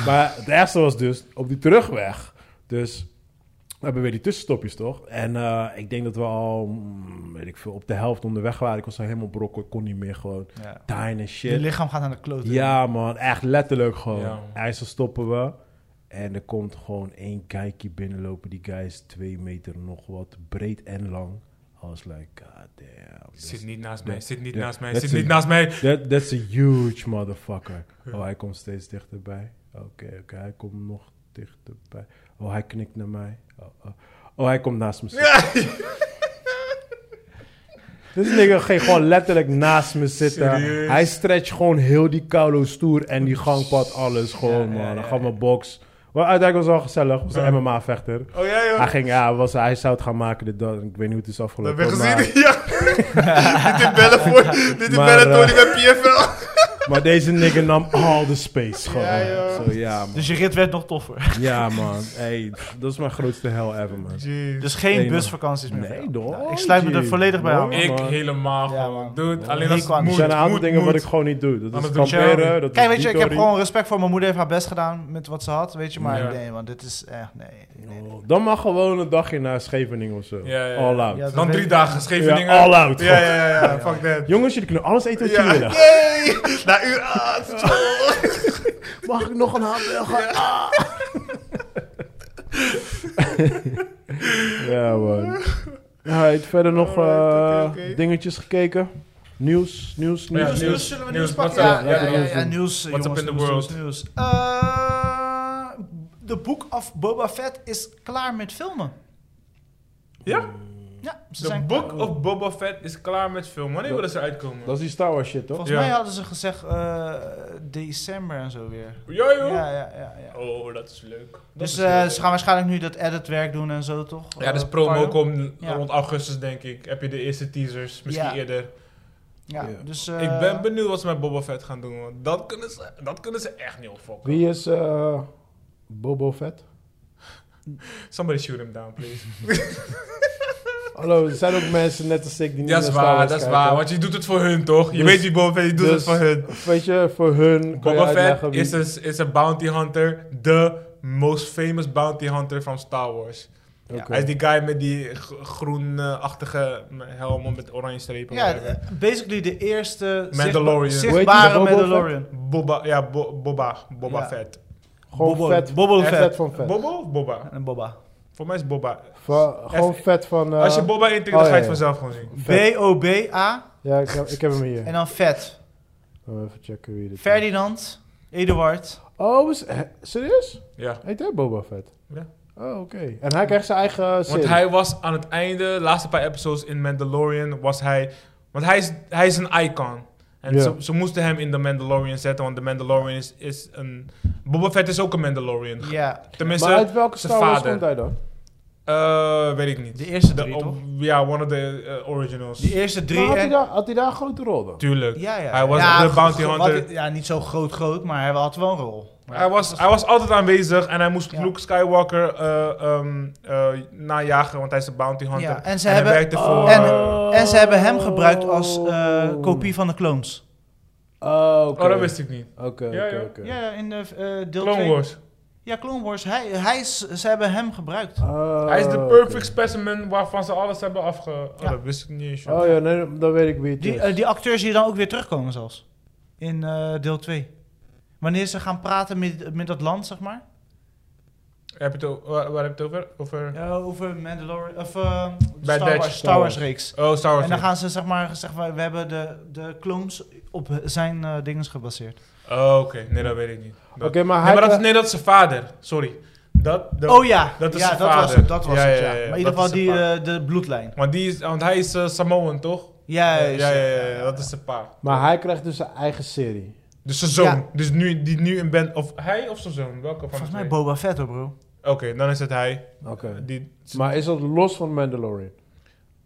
S1: maar het ergste was dus op die terugweg. Dus we hebben weer die tussenstopjes, toch? En eh, ik denk dat we al, mm, weet ik veel, op de helft onderweg waren. Ik was al helemaal brokkel, ik kon niet meer gewoon.
S3: Ja.
S1: Dine en
S3: Je
S1: shit.
S3: lichaam gaat aan de klote.
S1: Ja, man, echt letterlijk gewoon.
S4: Ja.
S1: IJssel stoppen we. En er komt gewoon één kijkje binnenlopen. Die guy is twee meter nog wat, breed en lang. I was like, god damn. this
S4: Zit niet naast mij. Zit niet
S1: Ja,
S4: naast mij.
S1: dat
S4: Zit
S1: is-
S4: niet naast mij.
S1: That, that's a huge motherfucker. Oh, hij komt steeds dichterbij. Oké, oké, hij komt nog dichterbij. Oh, hij knikt naar mij. Oh, oh. Oh, hij komt naast me zitten. Dit nigga ging gewoon letterlijk naast me zitten.
S4: Serieus?
S1: Hij stretcht gewoon heel die koulo stoer en die gangpad, alles gewoon, man. Dan gaf me box. Wel, uiteindelijk was het wel gezellig. Was een MMA-vechter.
S2: Oh ja, joh.
S1: Hij ging, ja, was, hij zou het gaan maken, dit, dat. Ik weet niet hoe het is
S2: Dat
S1: afgelopen.
S2: heb je
S1: maar-
S2: gezien. Ja. Dit in bellen voor. Dit in
S1: Maar,
S2: bellen door
S1: eh,
S2: die bij PFL.
S1: Maar deze nigga nam al de space gewoon.
S2: Ja, joh.
S1: Zo, ja, man.
S3: Dus je rit werd nog toffer.
S1: Ja, man. Hey, pff, dat is mijn grootste hell ever, man.
S2: Jeez.
S3: Dus geen
S1: Nee, man.
S3: busvakanties meer.
S1: Nee, door.
S3: Ik sluit me er volledig bij aan.
S1: Ja,
S4: Ik
S1: Oh, man.
S4: helemaal.
S3: Ja,
S4: gewoon.
S3: man.
S4: Dude,
S3: Ja.
S4: alleen
S3: Heel
S4: als het
S3: kwaad. Er
S1: Er
S4: moet.
S1: zijn een aantal
S4: moet,
S1: dingen
S4: moet.
S1: wat ik gewoon niet doe. Dat is
S4: Anders doe je-
S1: kamperen, dat
S3: Kijk,
S1: is
S3: weet je, ik heb
S1: detorie.
S3: gewoon respect voor mijn moeder. heeft haar best gedaan met wat ze had, weet je. Maar
S4: Ja.
S3: nee, want dit is echt... Nee, nee, nee.
S1: Oh, Dan mag gewoon een dagje naar Scheveningen of zo.
S4: Ja, ja, ja.
S1: All out.
S3: Ja, dat
S4: Dan
S3: weet
S4: drie
S3: ik.
S4: dagen
S1: Ja,
S4: Scheveningen.
S1: all out.
S2: Ja, ja, ja, ja. Fuck that.
S1: Jongens, jullie kunnen alles eten wat
S2: Ja.
S1: jullie willen.
S2: Yay. Na uur
S4: ah,
S2: acht.
S1: Mag ik nog een hamburger? Ja, man. Alright, verder nog eh,
S2: Alright, oké, oké.
S1: dingetjes eh, gekeken. Nieuws, nieuws, nieuws.
S4: Ja,
S3: nieuws,
S4: nieuws,
S3: nieuws, zullen we nieuws,
S4: nieuws,
S3: pakken?
S4: what's
S3: Ja,
S4: up?
S1: Ja,
S3: ja, ja,
S1: nieuws
S3: ja,
S1: doen.
S3: nieuws,
S4: What's up
S3: jongens,
S4: in the
S3: nieuws,
S4: world?
S3: nieuws. Eh, De boek of Boba Fett is klaar met filmen.
S4: Ja?
S3: Ja, ze
S4: The
S3: zijn
S4: Book of Boba Fett is klaar met film. Wanneer willen ze uitkomen?
S1: Dat is die Star Wars shit, toch?
S3: Volgens
S4: Ja.
S3: mij hadden ze gezegd eh, december en zo weer.
S4: Ja, joh.
S3: Ja, ja, ja. ja.
S4: Oh, dat is leuk. Dat
S3: Dus
S4: is
S3: eh,
S4: leuk.
S3: ze gaan waarschijnlijk nu dat editwerk doen en zo, toch?
S4: Ja, dus
S3: Eh,
S4: promo
S3: Pardo?
S4: komt
S3: Ja.
S4: rond augustus, denk ik. Heb je de eerste teasers, misschien
S3: Ja.
S4: eerder.
S3: Ja,
S1: Ja.
S3: dus... eh,
S4: ik ben benieuwd wat ze met Boba Fett gaan doen. Want dat kunnen ze, dat kunnen ze echt niet opfokken.
S1: Wie is eh, Bobo Vet?
S4: Somebody shoot him down, please.
S1: Hallo, er zijn ook mensen net als ik die niet
S4: Ja, dat is
S1: naar Star
S4: waar,
S1: Wars
S4: dat is
S1: kijken.
S4: waar. Want je doet het voor hun, toch? Je
S1: Dus-
S4: weet die Boba Fett, je doet
S1: dus-
S4: het voor hun.
S1: Weet je, voor hun kan je
S4: Boba
S1: uitleggen
S4: Fett
S1: wie...
S4: is een, is een bounty hunter. De most famous bounty hunter van Star Wars.
S1: Oké.
S4: Hij is die guy met die g- groenachtige helm met oranje strepen.
S3: Ja,
S4: whatever.
S3: eh, basically de eerste zichtba-
S4: Mandalorian.
S1: Hoe heet
S3: zichtbare
S1: die, de Boba
S3: Mandalorian.
S4: Boba, ja, Bo- Boba. Boba
S3: Ja.
S4: Fett.
S1: Gewoon
S3: Bobo-
S1: vet.
S3: Bobo
S1: echt
S3: Fett.
S1: van vet.
S4: Bobo of Boba?
S3: En Boba.
S4: Voor mij is Boba.
S1: Va- gewoon
S4: Echt-
S1: vet van... eh,
S4: Als je Boba intikt,
S1: oh,
S4: dan ga je
S1: ja,
S4: het vanzelf gewoon zien.
S1: Vet.
S3: B-O-B-A
S1: Ja, ik heb, ik heb hem hier.
S3: en dan vet.
S1: Laten we even checken wie dit is.
S3: Ferdinand, Eduard.
S1: Oh, is, eh, serieus?
S4: Ja.
S1: Heet hij Boba Fett?
S4: Ja.
S1: Oh, oké. En hij krijgt zijn eigen eh, serie.
S4: Want hij was aan het einde, de laatste paar episodes in Mandalorian, was hij... Want hij is, hij is een icon. En
S1: Ja.
S4: ze, ze moesten hem in de Mandalorian zetten, want de Mandalorian is, is een... Boba Fett is ook een Mandalorian.
S3: Ja,
S4: Tenminste,
S1: maar uit welke
S4: zijn
S1: Star Wars
S4: vader.
S1: komt hij dan?
S4: eh, weet ik niet.
S3: de eerste
S4: De-
S3: drie,
S4: oh,
S3: toch?
S4: Ja, one of the eh, originals.
S3: De eerste
S1: Maar
S3: drie
S1: had, hij
S3: en...
S1: daar, had hij daar een grote rol dan?
S4: Tuurlijk.
S3: Ja, ja.
S4: Hij was
S3: ja,
S4: de bounty
S3: gro-
S4: hunter.
S3: wat- ja, niet zo groot groot, maar hij had wel een rol. Maar
S4: Hij was, hij was altijd aanwezig en hij moest
S3: Ja.
S4: Luke Skywalker eh, ehm, eh, najagen, want hij is de bounty hunter.
S3: Ja, en ze
S4: hij
S3: hebben-
S4: werkte voor...
S3: en-
S4: eh,
S3: En ze hebben hem gebruikt als eh, kopie van de clones.
S1: Oh, oké.
S4: Oh, dat wist ik niet.
S1: Oké,
S4: Ja,
S1: oké,
S4: ja.
S1: oké.
S3: Ja, ja, in de eh deel
S4: Clone
S3: twee.
S4: Wars.
S3: Ja, Clone Wars. Hij, hij is, ze hebben hem gebruikt.
S1: Oh,
S4: Hij is de
S1: oké.
S4: perfect specimen waarvan ze alles hebben afge... Oh,
S3: Ja.
S4: dat wist ik niet eens. joh.
S1: Oh ja, nee, dan weet ik wie het
S3: Die,
S1: is.
S3: eh, die acteurs die dan ook weer terugkomen zelfs. In eh, deel 2. Wanneer ze gaan praten met, met dat land, zeg maar.
S4: Heb je het o- waar, waar heb je het over? over...
S3: Ja, over Mandalorian. Of eh, de
S4: Bad
S3: Star,
S4: Batch.
S3: Wars, Star
S1: Star
S3: Wars
S1: Wars.
S3: reeks.
S4: Oh, Star Wars.
S3: En dan gaan ze zeg maar zeggen, we, we hebben de, de clones op zijn eh dingen gebaseerd.
S4: Oh, oké. Nee, dat weet ik niet. Dat-
S1: Oké, maar hij...
S4: nee, maar dat, is-
S1: krijgt-
S4: nee, dat is zijn vader. Sorry. Dat, dat-
S3: oh ja,
S4: dat is
S3: ja,
S4: zijn
S3: dat was
S4: vader.
S3: het. Dat was
S4: Ja,
S3: het,
S4: ja,
S3: ja.
S4: ja, ja,
S3: Maar in ieder
S4: dat
S3: geval
S4: is
S3: die,
S4: zijn
S3: eh, de bloedlijn.
S4: Want, die is, want hij is eh, Samoan, toch?
S3: Juist.
S4: ja, ja, ja, ja, dat is zijn pa.
S1: Maar hij krijgt dus zijn eigen serie.
S4: Dus zijn zoon.
S3: Ja.
S4: Dus nu, die nu in band... Of hij of zijn zoon? Welke van
S3: Volgens
S4: de
S3: mij
S4: twee?
S3: Boba Fett, hoor, bro.
S4: Oké, dan is het hij.
S1: Oké.
S4: Die,
S1: Maar is dat los van Mandalorian?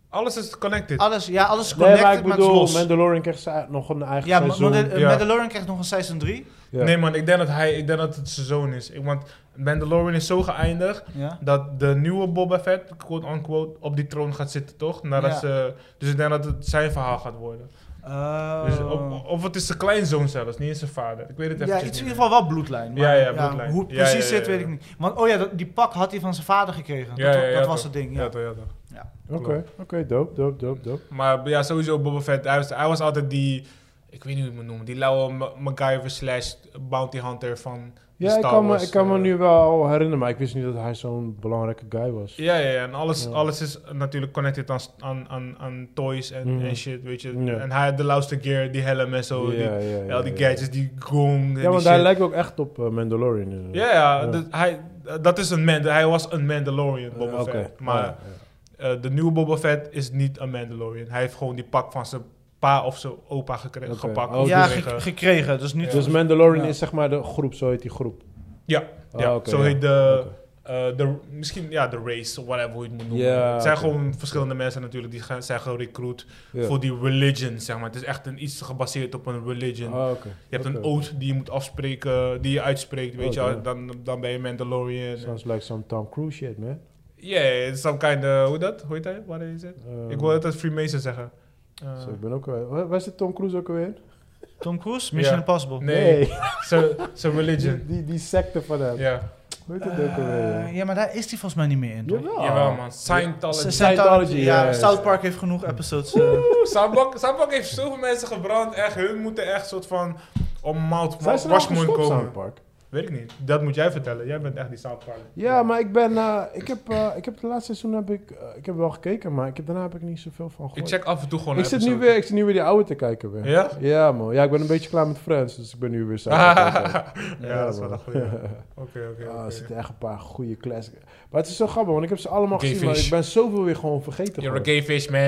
S4: alles is connected.
S3: Alles, ja, alles is
S1: Nee,
S3: connected,
S1: maar ik
S3: maar het is
S1: bedoel,
S3: los.
S1: Mandalorian krijgt zijn- nog een eigen
S3: Ja, Ma-
S1: seizoen.
S3: Mandal-
S4: ja.
S3: Mandalorian krijgt nog een seizoen 3.
S1: Ja.
S4: Nee man, ik denk dat, hij, ik denk dat het zijn zoon is. Ik, want Mandalorian is zo geëindigd...
S3: Ja.
S4: dat de nieuwe Boba Fett, quote-unquote, op die troon gaat zitten, toch? Nadat
S3: Ja.
S4: ze, dus ik denk dat het zijn verhaal gaat worden.
S3: Oh.
S4: Dus of, of het is zijn kleinzoon zelfs, niet eens zijn vader. Ik weet het even
S3: Ja, iets in ieder geval wel bloedlijn. Maar
S4: Ja, ja, bloedlijn.
S3: hoe het
S4: Ja,
S3: precies
S4: ja, ja,
S3: zit,
S4: ja.
S3: weet ik niet. Want, oh ja, dat- die pak had hij van zijn vader gekregen.
S4: Ja,
S3: dat
S4: ja, ja,
S3: dat
S4: ja,
S3: was
S4: toch.
S3: het ding, ja.
S4: Ja, toch, ja, toch.
S1: Oké, oké, dope, dope, dope, dope.
S4: Maar ja, sowieso Boba Fett, hij was, hij was altijd die, ik weet niet hoe je het moet noemen, die lauwe Ma- MacGyver slash bounty hunter van de
S1: Ja, ik
S4: Star
S1: kan, me,
S4: Wars,
S1: ik kan me
S4: eh,
S1: nu wel herinneren, maar ik wist niet dat hij zo'n belangrijke guy was.
S4: Ja, ja, ja, en alles,
S1: Ja.
S4: alles is natuurlijk connected aan, s- aan, aan, aan toys en,
S1: Mhm.
S4: en shit, weet je.
S1: Ja.
S4: En hij had de lauwste gear, die helm en zo, die,
S1: ja,
S4: al die gadgets, die gong en
S1: Ja,
S4: die
S1: want
S4: shit.
S1: hij lijkt ook echt op eh, Mandalorian. eh. inderdaad.
S4: Ja, ja,
S1: Ja.
S4: dat- hij, dat is een man. Hij was een Mandalorian, Boba
S1: Eh, oké.
S4: Fett. Maar
S1: Ah, ja, ja.
S4: eh, de nieuwe Boba Fett is niet een Mandalorian. Hij heeft gewoon die pak van zijn pa of zijn opa gekre-
S1: Oké.
S4: gepakt.
S1: Oh,
S3: ja,
S1: dus-
S4: eh.
S3: ge- gekregen. Dus niet...
S1: Dus Mandalorian
S3: Ja.
S1: is zeg maar de groep, zo heet die groep.
S4: Ja,
S1: Ah,
S4: ja,
S1: oké,
S4: zo
S1: ja.
S4: heet de...
S1: Oké.
S4: eh, de, misschien ja, de race, of whatever hoe je het moet noemen.
S1: Ja,
S4: het zijn
S1: oké.
S4: gewoon verschillende mensen natuurlijk die gaan, zijn gerecruit
S1: Ja.
S4: voor die religion, zeg maar. Het is echt een, iets gebaseerd op een religion.
S1: Ah, oké.
S4: je hebt een
S1: Oké.
S4: oath die je moet afspreken, die je uitspreekt, weet
S1: Oh,
S4: je. wel.
S1: damn.
S4: Dan, dan ben je Mandalorian. Ja,
S1: Sounds like some Tom Cruise shit, man.
S4: yeah, it's some kind of... Hoe dat? Hoe heet hij? Wat is het?
S1: Ehm,
S4: Ik wil altijd Freemason zeggen. Eh,
S1: zo, ik ben ook alweer- Waar- Waar zit Tom Cruise ook alweer?
S3: Tom Cruise, Mission
S4: Ja.
S3: Impossible.
S4: nee, zijn zijn
S1: Die,
S4: religion.
S1: die, die secte van hem.
S4: Ja,
S1: Hoe heet
S3: Eh,
S1: het ook alweer?
S3: ja, maar daar is hij volgens mij niet meer in, toch?
S1: Jawel.
S4: jawel man. Scientology.
S1: Ze- Scientology,
S3: ja.
S1: ja.
S3: South Park heeft genoeg episodes. eh.
S4: Oeh, Sabak, Sabak heeft zoveel mensen gebrand. Echt, hun moeten echt soort van om mouth
S1: Zijn ze
S4: washmoen
S1: nou gestopt,
S4: komen.
S1: South Park?
S2: Weet ik niet. Dat moet jij vertellen. Jij bent echt die soundparler.
S1: Ja, maar ik ben, eh, ik heb, eh, ik heb het laatste seizoen heb ik, eh, ik heb wel gekeken, maar ik heb, daarna heb ik niet zoveel van
S4: Ik
S1: gehoord.
S4: check af en toe gewoon
S1: Ik
S4: een
S1: zit, nu
S4: episode.
S1: weer, ik zit nu weer die oude te kijken weer.
S4: Ja?
S1: Ja, man. Ja, ik ben een beetje klaar met Friends, dus ik ben nu weer samen.
S2: Ja, dat is wel een goeie. Oké, oké,
S1: Ah,
S2: oké.
S1: er zitten echt een paar goede classics. Maar het is zo grappig, want ik heb ze allemaal
S4: Gay
S1: gezien, maar
S4: fish.
S1: ik ben zoveel weer gewoon vergeten.
S4: You're a
S1: geworden.
S4: gay fish, man.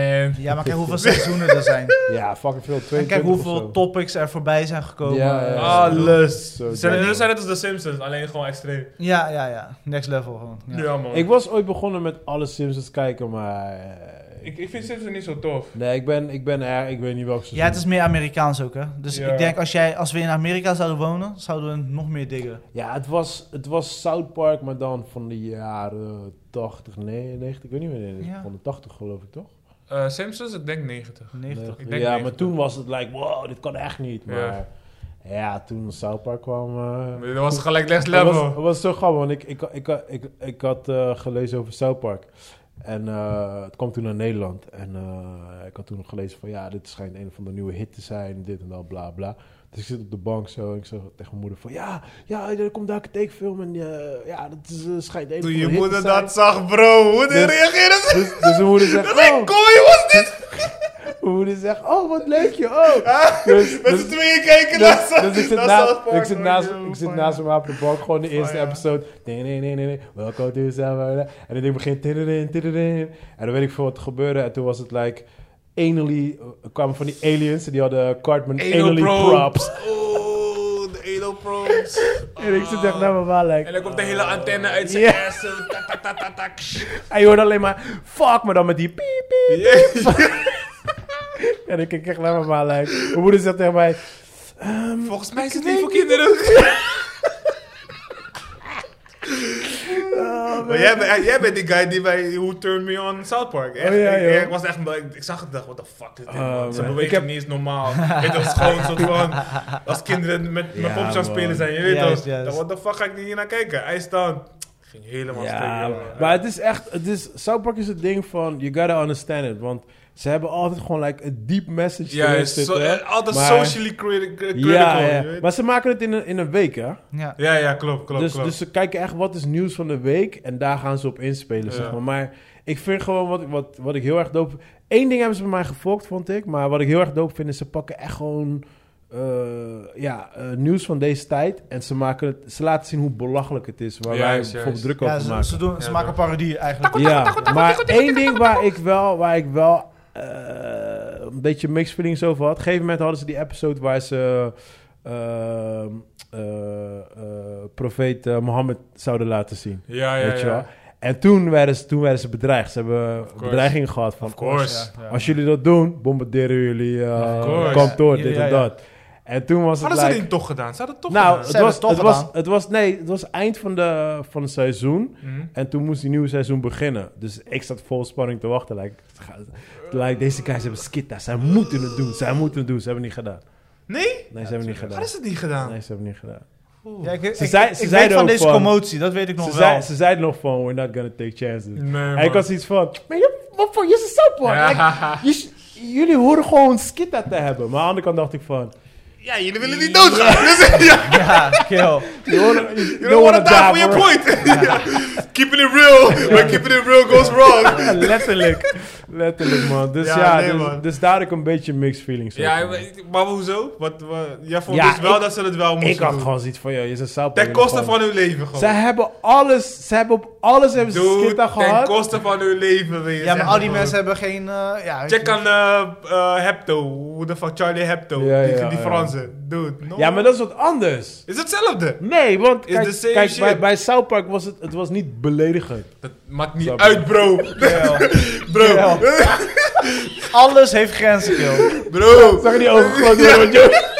S3: Ja, maar kijk hoeveel seizoenen er zijn.
S1: Ja, fucking veel.
S3: En
S1: 22
S3: kijk
S1: of
S3: hoeveel
S1: zo.
S3: topics er voorbij zijn gekomen. Ah,
S1: Ja, ja.
S3: ja,
S4: Alles.
S1: Zo
S4: Zijn
S1: dom.
S4: dat zijn net als The Simpsons, alleen gewoon extreem.
S3: ja, ja, ja. Next level gewoon. Ja.
S4: Ja, man.
S1: Ik
S4: Ik,
S1: was ooit begonnen met alle Simpsons kijken, maar... eh,
S4: ik, vind Simpsons niet zo tof.
S1: Nee, ik ben, ik ben er, ik weet niet welke seizoen.
S3: Ja, het is meer Amerikaans ook, hè? Dus
S4: Ja.
S3: ik denk, als, jij, als we in Amerika zouden wonen, zouden we nog meer diggen.
S1: Ja, het was, het was South Park, maar dan van de jaren 80, nee, 90, ik weet niet meer,
S3: Ja.
S1: van de 80 geloof ik toch?
S4: Eh, Simpsons, ik denk 90.
S3: 90.
S1: Nee,
S4: Ik denk
S1: ja,
S4: 90.
S1: maar toen was het like, wow, dit kan echt niet.
S4: Ja.
S1: Maar ja, toen South Park kwam... eh,
S4: Dat was gelijk next
S1: Het was, Oh,
S4: level.
S1: het was zo grappig, want ik, ik, ik, ik, ik, had eh, gelezen over South Park. En eh, het kwam toen naar Nederland. En eh, ik had toen gelezen van ja, dit schijnt een van de nieuwe hit te zijn, dit en dat, bla bla. Dus ik zit op de bank zo en ik zeg tegen mijn moeder van ja, ja, er komt daar een tekenfilm en eh, ja, dat is, eh, schijnt een van
S2: Toen
S1: de
S2: je
S1: hit
S2: moeder
S1: te zijn.
S2: dat zag, bro, hoe
S1: Dus-
S2: die reageerde ze?
S1: Dus, dus mijn moeder zegt,
S2: Dat is
S1: oh,
S2: een kooi was dit!
S1: mijn moeder zegt, oh wat leuk je, oh. Dus,
S2: Met z'n tweeën kijken
S1: Dus,
S2: naar
S1: dus ik zit,
S2: naar
S1: naast,
S2: South Park,
S1: ik zit
S2: hoor.
S1: naast,
S2: Yo,
S1: ik zit
S2: fire.
S1: naast hem op de bank, gewoon de eerste
S2: ja.
S1: episode. Nee, nee, nee, nee, nee. Welcome to summer. En dan begint. tidirin, tidirin. En dan weet ik veel wat er gebeurde. En toen was het like. Anally, er kwamen van die aliens en die hadden Cartman
S4: Anal
S1: anally
S4: probe.
S1: props.
S4: Oeh, de Edo Pros.
S1: En ik zit echt naar mijn waar, like,
S4: En dan komt de hele antenne uit zijn
S1: Ja.
S4: ass. zo, tak, tak, tak, tak, tak.
S1: En je hoorde alleen maar, fuck me dan met die piep, piep. En ik kijk echt naar mijn waar, like. Mijn moeder zegt tegen mij,
S4: Volgens mij is het niet voor kinderen.
S1: Oh,
S2: Maar jij bent, jij bent die guy die bij Who Turned Me On South Park. Echt,
S1: Oh, ja,
S2: ik-
S1: joh.
S2: ik, was echt, ik, ik zag het en dacht, what the fuck is dit?
S1: Oh,
S2: man? Ze
S1: man.
S2: bewegen
S1: Ik heb-
S2: niet eens normaal. Weet je, dat is gewoon een soort van, als kinderen met, met
S1: Ja,
S2: popjes aan het spelen
S1: man.
S2: zijn, je weet
S3: Juist,
S2: toch?
S3: juist.
S2: Dan what the fuck ga ik hier naar kijken? IJs down. Ging helemaal
S1: Ja,
S2: stuk, joh.
S1: maar het is echt, het is, South Park is het ding van, you gotta understand it. Want ze hebben altijd gewoon like een deep message
S4: Ja,
S1: erin
S4: is zo-
S1: zitten. hè.
S2: Altijd
S1: Maar-
S2: socially criti- critical.
S1: ja,
S2: je
S1: ja.
S2: weet.
S1: maar ze maken het in een, in een week, hè?
S3: Ja.
S2: ja, ja, klopt, klopt,
S1: dus,
S2: klopt.
S1: dus ze kijken echt wat is nieuws van de week en daar gaan ze op inspelen, zeg
S2: Ja.
S1: maar. Maar ik vind gewoon wat, wat, wat ik heel erg doop... Eén ding hebben ze bij mij gefokt, vond ik. Maar wat ik heel erg doop vind, is ze pakken echt gewoon... eh, ja, eh, nieuws van deze tijd. En ze, maken het, ze laten zien hoe belachelijk het is. Waar
S4: Juist,
S1: wij
S4: juist.
S1: bijvoorbeeld druk
S3: Ja,
S1: over
S3: ze,
S1: maken.
S3: ze, doen, ze
S4: Ja,
S3: maken
S4: toch.
S3: parodie eigenlijk.
S1: Ja, maar één ding waar ik wel, waar ik wel eh, een beetje mixed feelings over had. Op een gegeven moment hadden ze die episode waar ze eh, eh, eh, profeet eh, Mohammed zouden laten zien.
S4: Ja, ja,
S1: weet je wel?
S4: ja.
S1: En toen werden, ze, toen werden ze bedreigd. Ze hebben
S4: course.
S1: bedreigingen gehad van... "Oh,
S4: Of course.
S2: Ja, ja.
S1: Als jullie dat doen, bombarderen jullie eh,
S4: Of course.
S1: kantoor,
S3: Ja,
S1: dit
S3: ja,
S1: en
S3: ja.
S1: dat. En toen was het
S4: Hadden ze
S1: like-
S4: dit toch gedaan? Ze hadden het toch
S1: nou,
S4: gedaan.
S1: het
S3: Ze hebben
S1: was,
S3: het toch
S1: het, was,
S3: gedaan.
S1: het was... Nee, het was eind van, de, van het seizoen.
S4: Mhm.
S1: En toen moest die nieuwe seizoen beginnen. Dus ik zat vol spanning te wachten. Like, het gaat- like, deze guys hebben skitta. Zij moeten het doen. Zij moeten het doen. Ze hebben het niet gedaan.
S4: Nee?
S1: Nee, ze hebben het niet gedaan.
S4: Hadden ze het niet gedaan?
S1: Nee, ze hebben het niet gedaan.
S3: Ja, ik, ik,
S1: Ze zei-
S3: ik-
S1: ze
S3: ik weet
S1: zeiden
S3: van
S1: ook
S3: deze
S1: van-
S3: commotie, dat weet ik nog
S1: Ze,
S3: wel.
S1: zei, ze zeiden nog van, we're not gonna take chances.
S4: Nee,
S1: en ik
S4: man.
S1: had zoiets van, man, je- wat voor, je is een sapper.
S4: Ja.
S1: Like, je sh- jullie horen gewoon skitta te hebben. Maar aan de andere kant dacht ik van,
S2: Ja, jullie willen niet doodgaan. Dus, ja,
S3: Ja, kill.
S1: you wanna- you
S2: jullie
S1: don't
S2: worden
S1: wanna
S2: daar voor
S1: die,
S2: je
S1: bro.
S2: point. Ja. Keeping it real. When keeping it real goes wrong.
S1: Ja, letterlijk. Letterlijk, man. Dus ja,
S2: Ja, nee,
S1: dus,
S2: man.
S1: dus daar had ik een beetje mixed feelings over.
S4: Ja, maar- maar hoezo? Wat, wat, jij vond
S1: Ja,
S4: dus wel
S1: ik-
S4: dat ze het wel moesten
S1: Ik had
S4: doen.
S1: gewoon zoiets van, joh, je is een sapper.
S4: Ten koste van hun leven gewoon.
S1: Ze hebben alles, ze hebben op alles hebben ze
S4: Dude,
S1: skitter
S4: ten
S1: gehad.
S4: koste van hun leven. weet je.
S3: Ja, maar
S4: Zeg
S3: al die
S4: gewoon.
S3: mensen hebben geen... eh, ja, weet
S4: Check
S3: je.
S4: aan eh, eh, Hepto. Hoe de fuck Charlie Hepto.
S1: Ja,
S4: die,
S1: ja,
S4: die
S1: ja.
S4: Franse. Dude, no.
S1: Ja, maar dat is wat anders.
S4: Is hetzelfde.
S1: Nee, want
S4: Is the
S1: kijk,
S4: same
S1: kijk
S4: shit.
S1: bij, bij South Park was het, het was niet beledigend.
S4: Dat maakt niet
S1: Snap je.
S4: uit, bro. bro.
S3: Ja. Alles heeft grenzen, kill.
S2: Bro,
S1: Zag je die ogen gewoon door wat je-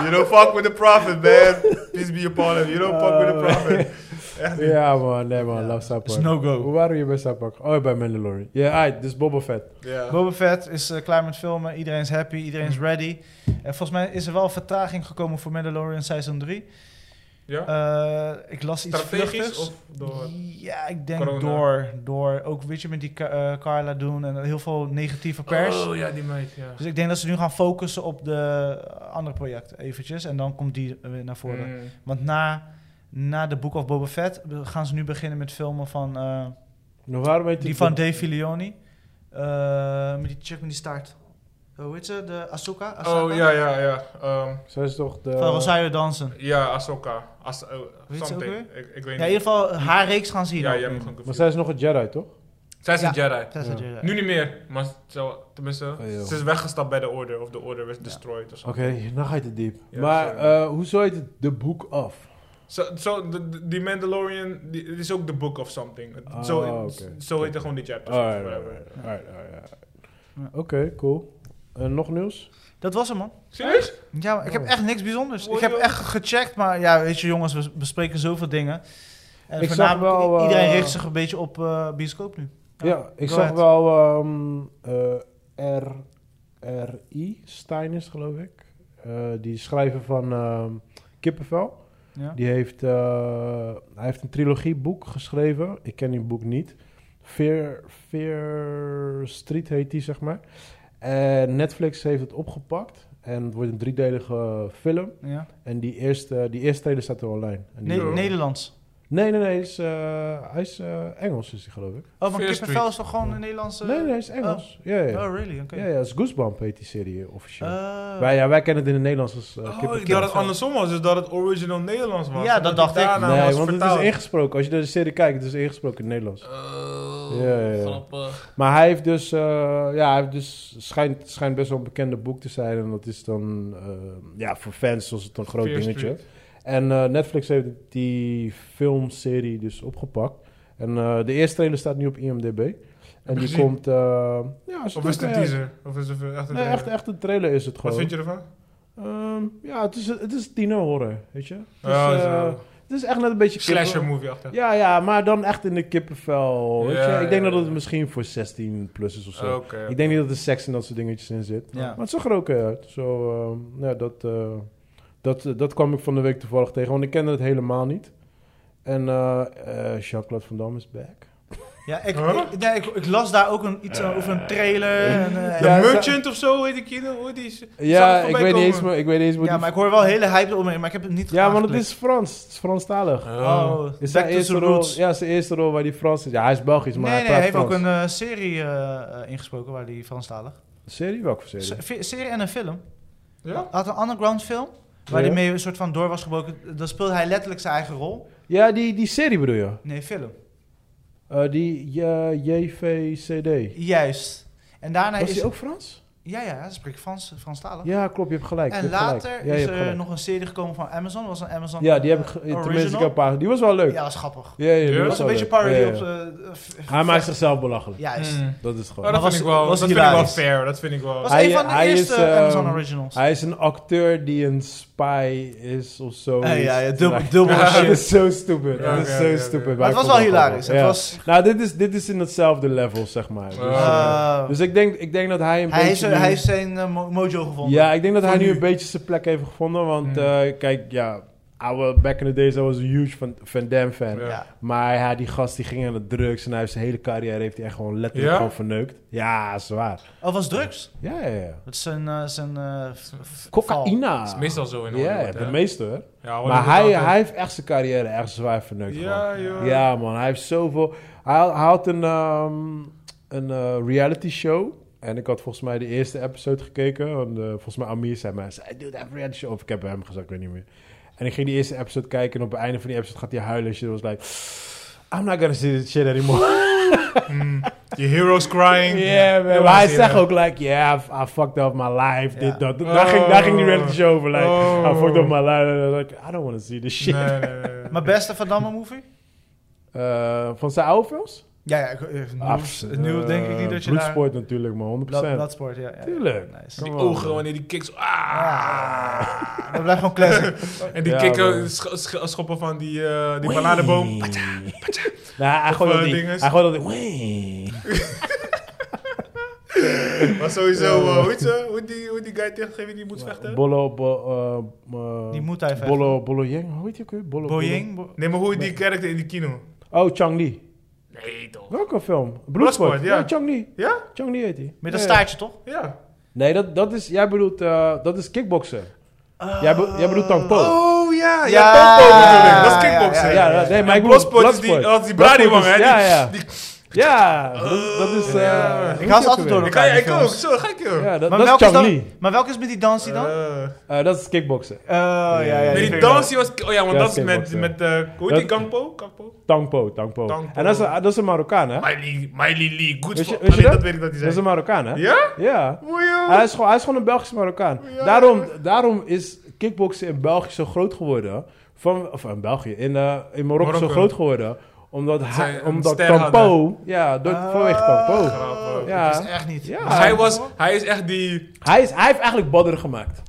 S2: you don't fuck with the prophet, man. Peace be upon him. You don't fuck with the prophet.
S1: Ja man, nee man, love South
S3: Is
S1: Park.
S3: no go.
S1: Hoe waren je bij South Park? Oh, bij Mandalorian. Ja, aight, dus Boba Fett.
S2: Ja.
S3: Boba Fett is eh, klaar met filmen, iedereen is
S4: Mm.
S3: happy, iedereen is ready. En volgens mij is er wel vertraging gekomen voor Mandalorian Season 3.
S4: Ja?
S3: Eh, ik las iets
S4: Strategisch
S3: vluchtigs.
S4: of door...
S3: Ja, ik denk
S4: corona?
S3: door. Door ook, weet je, met die Ka- eh, Carla doen en heel veel negatieve pers.
S4: Oh ja, die meid, ja.
S3: Dus ik denk dat ze nu gaan focussen op de andere projecten eventjes. En dan komt die weer naar voren.
S4: Mm.
S3: Want na, na de Book of Boba Fett eh, gaan ze nu beginnen met filmen van... eh,
S1: Nou, waarom weet je
S3: die van Dave Filoni. Eh, met die chick met die staart. Hoe heet ze? De Asuka? Asaka?
S4: Oh ja, ja, ja. Ehm,
S1: Zij is toch de...
S3: Van Rosario Dansen.
S4: ja, Ahsoka. As eh,
S3: Weet ze ook
S4: something.
S3: weer?
S4: Ik, ik weet
S3: Ja, in
S4: niet.
S3: ieder geval haar reeks gaan zien.
S4: Ja, jij hebt me gewoon
S1: Maar
S4: confused.
S1: zij is nog een Jedi, toch?
S4: Zij is een
S3: Ja.
S4: Jedi.
S3: Dat is
S1: Ja.
S3: natuurlijk-
S4: Nu niet meer, maar zo, tenminste,
S1: joh.
S4: ze is weggestapt bij de Order. Of de Order werd
S3: Ja.
S4: destroyed of zo.
S1: Oké, nou ga je te diep.
S4: Ja,
S1: maar
S4: sorry.
S1: eh, hoezo heet het de boek af?
S4: Zo, zo, de- de- die Mandalorian die, het is ook the book of something. Het-
S1: Ah,
S4: zo,
S1: oké.
S4: zo heet er gewoon die chapters. of
S1: Alright,
S4: whatever.
S1: alright, alright, alright.
S3: Ja.
S1: Oké, cool. Eh, nog nieuws?
S3: Dat was hem, man.
S4: Serieus?
S3: Ja, maar ik heb
S1: Oh.
S3: echt niks bijzonders.
S4: Mooi,
S3: Ik heb
S4: joh.
S3: echt gecheckt, maar ja, weet je jongens, we bespreken zoveel dingen. En
S1: Ik zag
S3: voornamelijk,
S1: wel, eh,
S3: iedereen richt zich een beetje op eh, bioscoop nu.
S1: Ja, ik
S3: go
S1: zag
S3: ahead.
S1: wel ehm, eh, R, R.I. Stein is het, geloof ik. Eh, die schrijver van ehm, Kippenvel.
S3: Ja.
S1: Die heeft, eh, hij heeft een trilogieboek geschreven. Ik ken die boek niet. Fear, Fear Street heet die, zeg maar. En Netflix heeft het opgepakt. En het wordt een driedelige film.
S3: Ja.
S1: En die eerste, die eerste trailer staat er online. En die-
S3: Ne- Nederlands.
S1: nee, nee, nee. hij is, eh, hij is eh, Engels, is hij, geloof ik.
S3: Oh, van
S4: Fear
S3: Kippenvel is toch gewoon een Nederlandse...
S1: Nee, nee, hij is Engels. Ja, ja.
S3: Oh, really? Oké.
S1: Ja, ja, het is Goosebump heet die serie officieel.
S3: Oh.
S1: wij, ja, wij kennen het in het Nederlands als eh,
S4: Oh, ik
S1: Kippenvel.
S4: dacht dat het andersom was, dus dat het original Nederlands was.
S3: Ja, dat
S4: het
S3: dacht ik.
S4: daarna
S1: Nee,
S4: was
S1: want
S4: vertaald.
S1: het is ingesproken. Als je deze serie kijkt, het is ingesproken in het Nederlands.
S2: Oh,
S1: Ja, ja, ja.
S2: grappig.
S1: Maar hij heeft dus, eh, ja, hij heeft dus schijnt, schijnt best wel een bekende boek te zijn. En dat is dan, eh, ja, voor fans was het een groot
S4: Fear
S1: dingetje.
S4: Street.
S1: En eh, Netflix heeft die filmserie dus opgepakt. En eh, de eerste trailer staat nu op IMDb. En die
S4: gezien?
S1: komt, eh, ja,
S4: Of is het een
S1: oké.
S4: teaser? Of is het echt een
S1: eh, Nee,
S4: trailer?
S1: echt, echt een trailer is het
S4: Wat
S1: gewoon.
S4: vind je ervan?
S1: Ehm, ja, het is, het is tienerhorror, weet je. Het is,
S4: Ja, het is
S1: eh,
S4: wel-
S1: het is echt net een beetje... kippen-
S4: Oh, Slasher movie achter.
S1: Ja, ja, maar dan echt in de kippenvel, weet
S4: Ja,
S1: je. Ik denk
S4: ja,
S1: dat het
S4: ja. Oh,
S1: misschien voor 16 plus is of zo.
S4: Oké.
S1: Ik denk niet dat er seks en dat soort dingetjes in zit.
S3: Eh, Ja.
S1: Maar het zag er ook eh, uit. Zo, ehm, ja, dat, eh, dat, eh, dat kwam ik van de week toevallig tegen, want ik kende het helemaal niet. En eh eh Jean-Claude Van Damme is back.
S3: Ja, ik,
S4: Huh?
S3: ik, nee, ik, ik las daar ook een, iets over een trailer. En, eh,
S4: The
S1: Ja,
S4: Merchant of zo, weet ik niet. Hoe die is. Zal
S1: Ja,
S4: het
S1: ik
S4: voorbij
S1: weet, niet eens,
S4: komen?
S1: meer- ik weet niet eens hoe
S3: ja,
S1: die-
S3: maar ik hoor wel hele hype eromheen, maar ik heb het niet
S1: Ja, want het
S3: aangeklikt.
S1: is Frans. Het is Franstalig.
S3: Oh,
S1: Is
S3: Back
S1: zijn
S3: to
S1: eerste
S3: the
S1: rol,
S3: Roots.
S1: ja, zijn eerste rol waar die Frans is. Ja, hij is Belgisch, maar
S3: nee,
S1: hij
S3: nee, hij
S1: praat
S3: heeft ook
S1: Frans.
S3: een eh, serie eh, eh, ingesproken waar die Franstalig.
S1: Serie? Welke serie?
S3: Se- fi- serie en een film.
S4: Ja?
S3: Hij had een underground film waar
S1: Ja.
S3: hij mee een soort van door was gebroken. Dan speelde hij letterlijk zijn eigen rol.
S1: Ja, die, die serie bedoel je?
S3: Nee, film.
S1: Eh, die ja, JVCD.
S3: Juist. En daarna
S1: Was
S3: is.
S1: die ook Frans?
S3: Ja, ja, hij spreekt Frans, Franstalig.
S1: Ja, klopt, je hebt gelijk. je
S3: en
S1: hebt
S3: later
S1: gelijk. Ja, je
S3: is
S1: hebt
S3: er
S1: gelijk.
S3: nog een serie gekomen van Amazon. Was een Amazon.
S1: Ja, die heb ik...
S3: eh,
S1: ge-
S3: original.
S1: Tenminste, ik heb een paar... Die was wel leuk.
S3: Ja,
S1: Ja,
S3: dat is grappig.
S1: ja, ja, die
S4: Ja,
S1: was
S3: Dat was een
S1: wel
S3: beetje
S1: leuk.
S3: parodie
S1: Ja, ja.
S3: op. eh, v-
S1: Hij maakt zichzelf belachelijk.
S3: Juist.
S4: Mm.
S1: Dat is het
S4: Oh,
S1: gewoon.
S4: dat
S3: Maar was-
S4: vind ik wel,
S3: was
S4: dat
S3: hij
S4: vind ik wel
S3: hilarisch?
S4: fair. Dat vind ik wel.
S3: Was
S1: Hij-
S3: een van de
S1: hij is,
S3: eerste
S1: ehm,
S3: Amazon Originals.
S1: Hij is een acteur die een spy is of zo.
S3: Eh, ja, ja, dubbel,
S1: Dat
S3: dubbel shit.
S1: is zo stupid.
S4: Ja,
S1: dat is
S4: oké,
S1: zo
S4: oké, oké.
S1: stupid.
S3: Maar het was wel hilarisch. Het
S1: Ja.
S3: was,
S1: Nou, dit is, dit is in hetzelfde level, zeg maar. Dus,
S3: eh,
S1: dus ik, denk, ik denk dat hij een
S3: hij, heeft,
S1: beetje... nu-
S3: hij heeft zijn eh, mo- mojo gevonden.
S1: Ja, ik denk dat hij nu
S4: nu.
S1: een beetje zijn plek heeft gevonden. Want
S4: Mm.
S1: eh, kijk, ja, oude, back in the days, I was een huge Van, Van Damme fan.
S4: Ja.
S3: Ja.
S1: Maar ja, die gast die ging aan de drugs en hij heeft zijn hele carrière heeft hij echt gewoon letterlijk
S4: Ja?
S1: gewoon verneukt. Ja, zwaar.
S3: Oh, was drugs?
S1: Ja, ja, ja.
S3: Dat is zijn... eh, zijn eh, v- v-
S1: Cocaïna.
S4: Dat is meestal zo in
S1: Ja,
S4: Hollywood,
S1: de
S4: hè?
S1: meeste hoor.
S4: Ja, Hollywood
S1: Maar hij,
S4: altijd.
S1: hij heeft echt zijn carrière echt zwaar verneukt. gewoon.
S4: Ja, joh.
S1: Ja, man, hij heeft zoveel. Hij, hij had een, ehm, een eh, reality show. En ik had volgens mij de eerste episode gekeken. Want, eh, volgens mij Amir zei mij, hij doet een reality show. Of ik heb bij hem gezegd, ik weet niet meer. En ik ging die eerste episode kijken. En op het einde van die episode gaat hij huilen. En shit, was like, I'm not gonna see this shit anymore.
S4: Mm. Die heroes crying.
S1: yeah, man.
S4: Ja,
S1: Maar hij
S4: ja.
S1: zegt ook like, yeah, I've- I fucked up my life.
S3: Ja.
S1: Dit, dat. Daar, ging, daar ging die reality show over. Like,
S4: Oh.
S1: I fucked up my life. En dan Like, I don't want to see this shit.
S4: Nee, nee, nee, nee.
S3: Maar beste Van Damme movie?
S1: Eh, van zijn oude films?
S3: Ja, ja. ik- eh, nieuw- nieuw
S1: eh,
S3: denk ik niet dat je daar...
S1: bloedsport natuurlijk, maar 100%.
S3: Blood- Bloodsport, ja. ja, ja.
S1: Tuurlijk.
S3: Nice.
S1: Kom
S4: Die
S1: op,
S4: ogen
S1: man.
S4: wanneer die kicks.
S3: Ah.
S4: Ah.
S3: Dat blijft gewoon classic.
S4: en die
S1: Ja,
S4: kikken,
S1: man.
S4: sch- sch- schoppen van die, eh die bananenboom.
S1: Wee. Nou, hij gooit
S4: eh,
S1: dat ding.
S4: dinges.
S1: Hij gooit dat ding. Wee.
S2: Maar sowieso, eh, hoe heet ze? Hoe heet die, hoe heet die guy tegen wie die moet vechten?
S1: Bollo, bo, eh, eh,
S3: Die moet hij vechten.
S1: Bollo, Bollo Yang, hoe heet je ook weer? Bollo,
S3: Boeing? Bo-
S2: Nee, maar hoe heet die karakter in de kino?
S1: Bollo- Oh, Chang Li.
S2: Nee, toch?
S1: Welke film?
S2: Bloodsport,
S1: Bloedsport.
S2: ja.
S1: Ja, Chang Li.
S2: Ja?
S1: Chang Li heet hij.
S3: Met een staartje, toch?
S2: Ja.
S1: Nee, dat, dat is, jij bedoelt, eh, dat is kickboksen. jij, be- jij
S3: Ah.
S1: bedoelt Tang Po.
S2: Oh ja, ja,
S3: Ja,
S2: Tangpo bedoel ik. Dat
S3: ja,
S2: is kickboksen.
S1: ja,
S3: ja,
S1: ja, nee, maar
S2: En
S1: ik bedoel
S2: Bloodsport is die- als die Brady
S1: Bloodsport
S2: man,
S1: is-
S2: hè,
S1: Ja,
S2: die-
S1: ja. Ja, dat, dat is... eh, hoe heet
S3: Ik
S1: die
S3: haal ze
S1: ook
S3: altijd
S1: weer?
S3: door
S2: Ik, kan,
S3: elkaar.
S2: ik
S3: die
S2: ook,
S3: films.
S2: zo gek joh.
S1: Ja, dat,
S3: Maar
S1: dat is
S3: welke is
S1: Chang
S3: dan-
S1: Li.
S3: Maar welke is met die dansie dan?
S2: Eh,
S1: Eh, dat is kickboksen.
S3: Oh, ja, ja.
S2: nee,
S3: die
S2: die
S3: vind ik
S2: dansie was... Oh ja, want
S1: Ja,
S2: dat is met...
S1: skateboarden.
S2: met eh hoe heet die?
S1: Dat-
S2: Kampo? Kampo?
S1: Tangpo, Tangpo.
S2: Tangpo.
S1: En dat is, een- dat is een Marokkaan, hè?
S2: Miley, Miley Lee, good
S1: Weet je-
S2: for...
S1: weet je
S2: Alleen
S1: dat?
S2: dat weet ik dat hij
S1: Dat is een Ah,
S2: zei.
S1: Marokkaan, hè?
S2: Ja?
S1: Ja.
S2: Mooi joh.
S1: Hij is, gewoon, hij is gewoon een Belgische Marokkaan.
S2: Ja.
S1: Daarom, daarom is kickboksen in België zo groot geworden. Van, of in België, in, eh, in Marokko,
S4: Marokko.
S1: zo groot geworden. Omdat,
S4: zij
S1: hij,
S4: een
S1: omdat
S4: ster
S1: Tampo... Ja, door, vanwege
S3: Ah.
S1: Tampo.
S2: Grappig.
S3: Oh, Dat
S1: Ja.
S3: is echt niet.
S1: Ja.
S2: Dus hij, was, hij is echt die...
S1: Hij, is, hij heeft eigenlijk Badr gemaakt.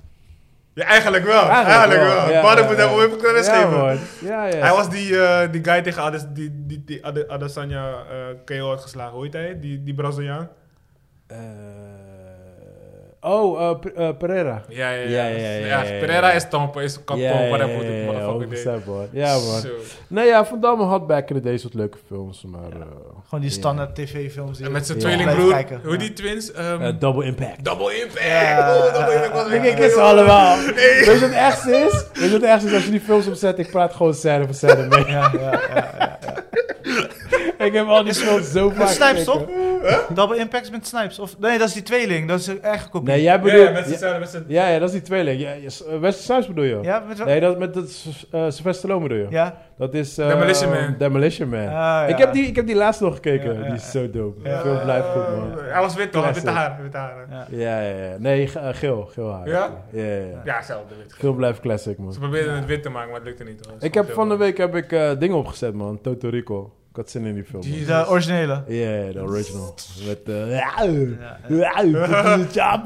S2: Ja, eigenlijk wel. Eigenlijk, wel.
S1: Ja,
S2: Barre
S1: ja,
S2: moet
S1: ja.
S2: hem even kunnen
S1: Ja,
S2: geven.
S1: man. Ja, ja.
S2: Hij was die, eh, die guy tegen Ades, die, die, die Ade- Adesanya eh, KO had geslagen. Hoe heet hij? Die, die Braziliaan?
S1: Eh, oh, eh, P- eh, Pereira.
S4: Ja, ja,
S1: Ja,
S4: ja.
S1: ja, ja, ja, ja.
S4: Pereira is tampo, is kapot, whatever
S1: ja,
S4: dit
S1: ja,
S4: motherfucker deed.
S1: 100% man. Ja, man.
S4: Zo.
S1: Nee, ja, Van Damme had back in the days wat leuke films, maar... eh,
S3: Gewoon die standaard tv-films. die
S4: En
S3: we
S4: met zijn
S1: Ja.
S3: blijven
S4: tweelingbroer,
S3: kijken.
S4: hoe
S3: Ja.
S4: die twins? ehm,
S1: eh, Double Impact.
S4: Double Impact!
S3: Ja.
S4: Oh, Double Impact was weer
S1: Ik ken ze allemaal. Weet je wat het ergste is? Weet je wat het ergste is? Als je die films opzet, ik praat gewoon scène voor scène mee.
S3: Ja, ja, ja.
S1: Ik heb al die films zo vaak
S3: Met Snipes,
S1: gekeken.
S3: toch? Double Impacts met Snipes. Of, nee, dat is die tweeling. Dat is een eigen kopie.
S1: Nee, jij
S4: Ja,
S1: bedoelt...
S4: ja,
S1: Ja,
S4: met z'n zelf, met z'n...
S1: ja, dat is die tweeling. Ja, ja, eh, Wesley Snipes bedoel je?
S3: Ja, met wel-
S1: Nee, dat met dat S- eh, Sylvester Stallone bedoel je?
S3: Ja.
S1: Dat is... eh,
S4: Demolition Man.
S1: Demolition Man.
S3: Ah,
S1: ik,
S3: ja.
S1: heb die, ik heb die laatst nog gekeken.
S3: Ja, ja,
S1: Die is zo dope.
S3: Ja.
S1: De film blijft goed, man.
S2: Eh, hij was wit toch? Witte
S1: Classic.
S2: haar. Witte haar. hè?
S3: Ja.
S1: Ja, ja, ja. Nee, ge- eh, geel. Geel haar.
S4: Ja?
S1: Ja, ja, ja.
S2: Ja, zelfde wit.
S1: Film blijft classic, man.
S4: Ze probeerden het wit te maken, maar het lukte niet. hoor.
S1: Ik heb van de week heb ik eh, dingen opgezet, man. Toto Rico. Ik had zin in die film. man.
S4: Die-
S3: De originele.
S1: Ja, yeah, de original. Met eh, de...
S3: Ja,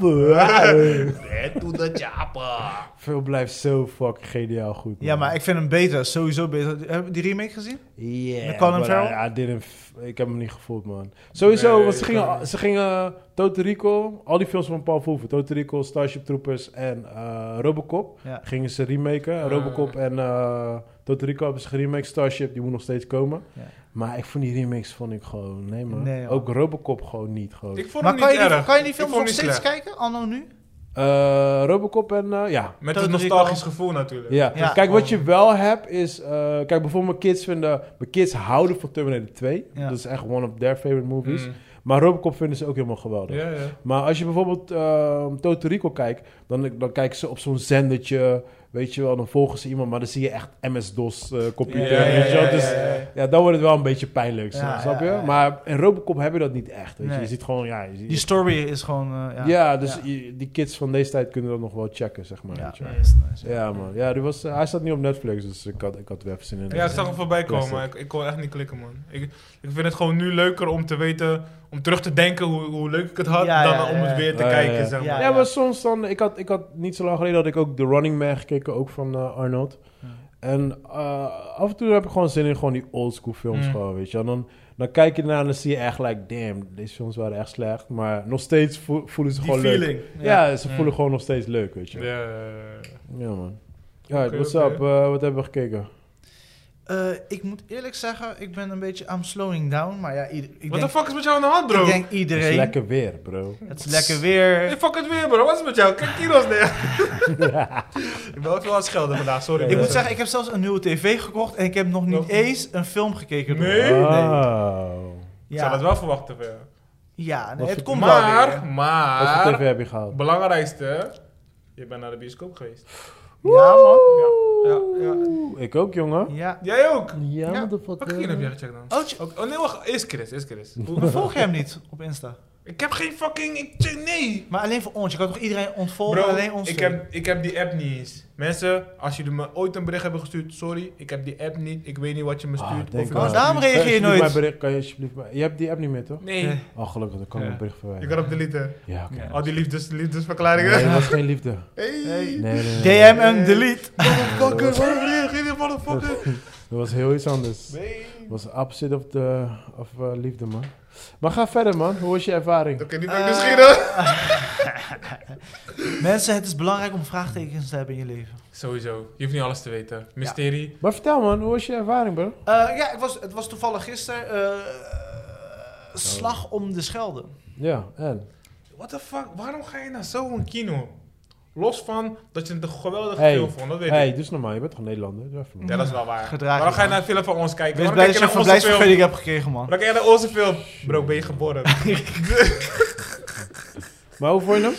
S2: Doe dat japa.
S1: Veel blijft zo fucking geniaal goed.
S3: Ja, maar ik vind hem beter. Sowieso beter. Heb je die remake gezien?
S1: Yeah,
S3: Met Colin
S1: but
S3: Farrell?
S1: I- I didn't f- ik heb hem niet gevoeld, man. Sowieso,
S4: Nee,
S1: want ze
S4: ik
S1: gingen, ze gingen Toto Rico... Al die films van Paul Verhoeven. Toto Rico, Starship Troopers en eh, Robocop.
S3: Ja.
S1: Gingen ze remaken. Robocop en eh Toto Rico hebben ze geremaked. Starship, die moet nog steeds komen.
S3: Ja.
S1: Maar ik vond die remakes vond ik gewoon... Nee, man.
S3: Nee, joh.
S1: Ook Robocop gewoon niet. Gewoon.
S4: Ik vond
S3: Maar
S4: het
S3: kan je,
S4: niet
S3: die,
S4: erg.
S3: kan je die
S4: Ik
S3: films
S4: vond
S3: nog
S4: het
S3: steeds
S4: niet slecht.
S3: kijken? Anno nu?
S1: Eh, Robocop en... eh, ja,
S4: Met het
S3: Totally
S4: nostalgisch
S3: Recall.
S4: gevoel natuurlijk.
S1: Ja.
S3: Ja.
S1: kijk, wat je wel hebt is... eh, kijk, bijvoorbeeld mijn kids vinden... Mijn kids houden van Terminator 2.
S3: Ja.
S1: Dat is echt one of their favorite movies.
S4: Mm.
S1: Maar Robocop vinden ze ook helemaal geweldig.
S4: Ja, ja.
S1: Maar als je bijvoorbeeld ehm Totorico Rico kijkt... Dan, dan kijken ze op zo'n zendertje... Weet je wel, dan volgen ze iemand... Maar dan zie je echt MS-DOS eh, computer.
S4: Ja, ja,
S1: weet je wel.
S4: ja, ja,
S1: Dus
S4: ja, ja.
S1: ja, dan wordt het wel een beetje pijnlijk.
S3: Ja,
S1: snap je?
S3: ja, ja.
S1: Maar in Robocop heb je dat niet echt. Weet je?
S3: Nee.
S1: je ziet gewoon... Ja, je ziet-
S3: Die story is gewoon... eh, ja.
S1: ja, dus
S3: Ja.
S1: je- die kids van deze tijd kunnen dat nog wel checken, zeg maar.
S3: Ja,
S1: weet je wel.
S3: nee, is nice.
S1: Ja, man. Ja, die was, eh, hij staat niet op Netflix, dus ik had, ik had er even zin in.
S4: Ja, het zag hem voorbij komen,
S1: Classic.
S4: maar ik, ik kon echt niet klikken, man. Ik, ik vind het gewoon nu leuker om te weten, om terug te denken hoe, hoe leuk ik het had,
S3: Ja,
S4: dan
S3: ja,
S4: om
S3: ja,
S4: het
S3: ja.
S4: weer te
S1: Ja,
S4: kijken,
S1: ja, ja.
S4: zeg maar.
S1: ja,
S3: ja.
S1: maar soms dan... Ik had, ik had niet zo lang geleden had ik ook The Running Man gekeken, ook van eh, Arnold.
S3: Ja.
S1: En eh, af en toe heb ik gewoon zin in gewoon die oldschool films,
S4: Mm.
S1: gewoon, weet je. En dan, dan kijk je ernaar en dan zie je echt, like, damn, deze films waren echt slecht. Maar nog steeds vo- voelen ze
S4: Die
S1: gewoon leuk.
S4: feeling.
S1: Ja, ze
S4: Mm.
S1: voelen gewoon nog steeds leuk, weet je.
S4: Ja,
S1: Ja,
S4: ja, ja.
S1: man. Ja,
S4: Oké,
S1: what's
S4: oké.
S1: up? Eh, wat hebben we gekeken?
S3: Eh, ik moet eerlijk zeggen, ik ben een beetje... I'm slowing down, maar ja, ieder- ik,
S4: What
S3: denk,
S4: the fuck is met jou aan de hand, bro?
S3: ik denk
S1: Het
S3: iedereen...
S1: is lekker weer, bro.
S3: Het is lekker weer.
S4: Hey, fuck het weer, bro. Wat is met jou? Kijk kilo's neer. ik ben ook wel aan het schelden vandaag, sorry.
S1: Ja,
S3: Ik
S1: ja.
S3: moet zeggen, ik heb zelfs een nieuwe tv gekocht en ik heb nog niet
S4: Nog-
S3: eens een film gekeken.
S4: Nee? Nee.
S1: Ah. Wow.
S4: Ik zou dat
S3: Ja,
S4: wel verwachten van jou.
S3: ja nee,
S1: Wat
S3: het
S1: voor-
S3: komt wel weer.
S4: Maar,
S1: Wat voor tv
S4: maar,
S1: heb je gehaald?
S4: het belangrijkste, je bent naar de bioscoop geweest.
S3: Ja, man.
S4: Ja, ja,
S1: Ik ook, jongen.
S3: Ja.
S4: Jij ook?
S1: Ja,
S4: Ja. Welke
S1: motherfucker.
S4: keer heb jij gecheckt dan?
S3: Oh, tje-
S4: Ook- Oh nee, wacht. Eerst Chris, eerst Chris. Hoe-
S3: maar volg je hem niet op Insta?
S4: Ik heb geen fucking... Ik check, nee.
S3: Maar alleen voor ons. Je kan toch iedereen ontvolgen,
S4: Bro,
S3: alleen ons.
S4: ik
S3: doen?
S4: heb, ik heb die app niet eens. Mensen, als jullie me ooit een bericht hebben gestuurd, sorry, ik heb die app niet. Ik weet niet wat je me
S1: Ah,
S4: stuurt. of
S1: denk
S4: je
S1: wel.
S4: me
S3: Daarom
S4: stuurt.
S3: reageer je
S1: Alsjeblieft,
S3: nooit.
S1: mijn bericht, kan je alsjeblieft... mijn- Je hebt die app niet meer, toch?
S4: Nee,
S3: Nee.
S1: Oh, gelukkig, dan kan ik
S4: Ja.
S1: mijn bericht
S4: je
S1: verwijderen.
S4: kan hem deleten.
S1: Ja, oké.
S3: Ja.
S4: Al die liefdes, liefdesverklaringen.
S1: Nee, dat was geen liefde.
S4: Hey.
S1: Nee, nee, nee.
S3: DM en delete.
S4: Motherfucker, waarom reageer je
S2: motherfucker.
S1: Dat was heel iets anders. Dat
S2: Nee.
S1: was opposite of, the, of eh, liefde, man. Maar ga verder, man. Hoe was je ervaring?
S2: Oké, nu
S4: Eh.
S2: ben ik nieuwsgierig.
S3: Mensen, het is belangrijk om vraagtekens te hebben in je leven.
S4: Sowieso. Je hoeft niet alles te weten. Mysterie.
S1: Maar vertel, man. Hoe was je ervaring, bro?
S3: Eh, ja, het was, het was toevallig gisteren. eh,
S1: Oh.
S3: slag om de Schelde.
S1: Ja, en?
S4: What the fuck? Waarom ga je naar zo'n kino? Los van dat je het een geweldige
S1: Hey.
S4: film vond, dat weet
S1: hey,
S4: ik.
S1: doe eens normaal. Je bent toch Nederlander? Doe even normaal.
S4: Ja, dat is wel waar.
S3: Gedraag je
S4: Waarom ga je
S3: dan.
S4: naar een film van ons kijken?
S3: Wees
S4: Waarom
S3: blij
S4: kijk
S3: dat
S4: je
S3: je een
S4: naar onze film?
S3: verblijfsvergunning hebt gekregen, man.
S4: Waarom kijk je naar onze film? Bro, ben je geboren?
S1: Maar hoe vond je hem?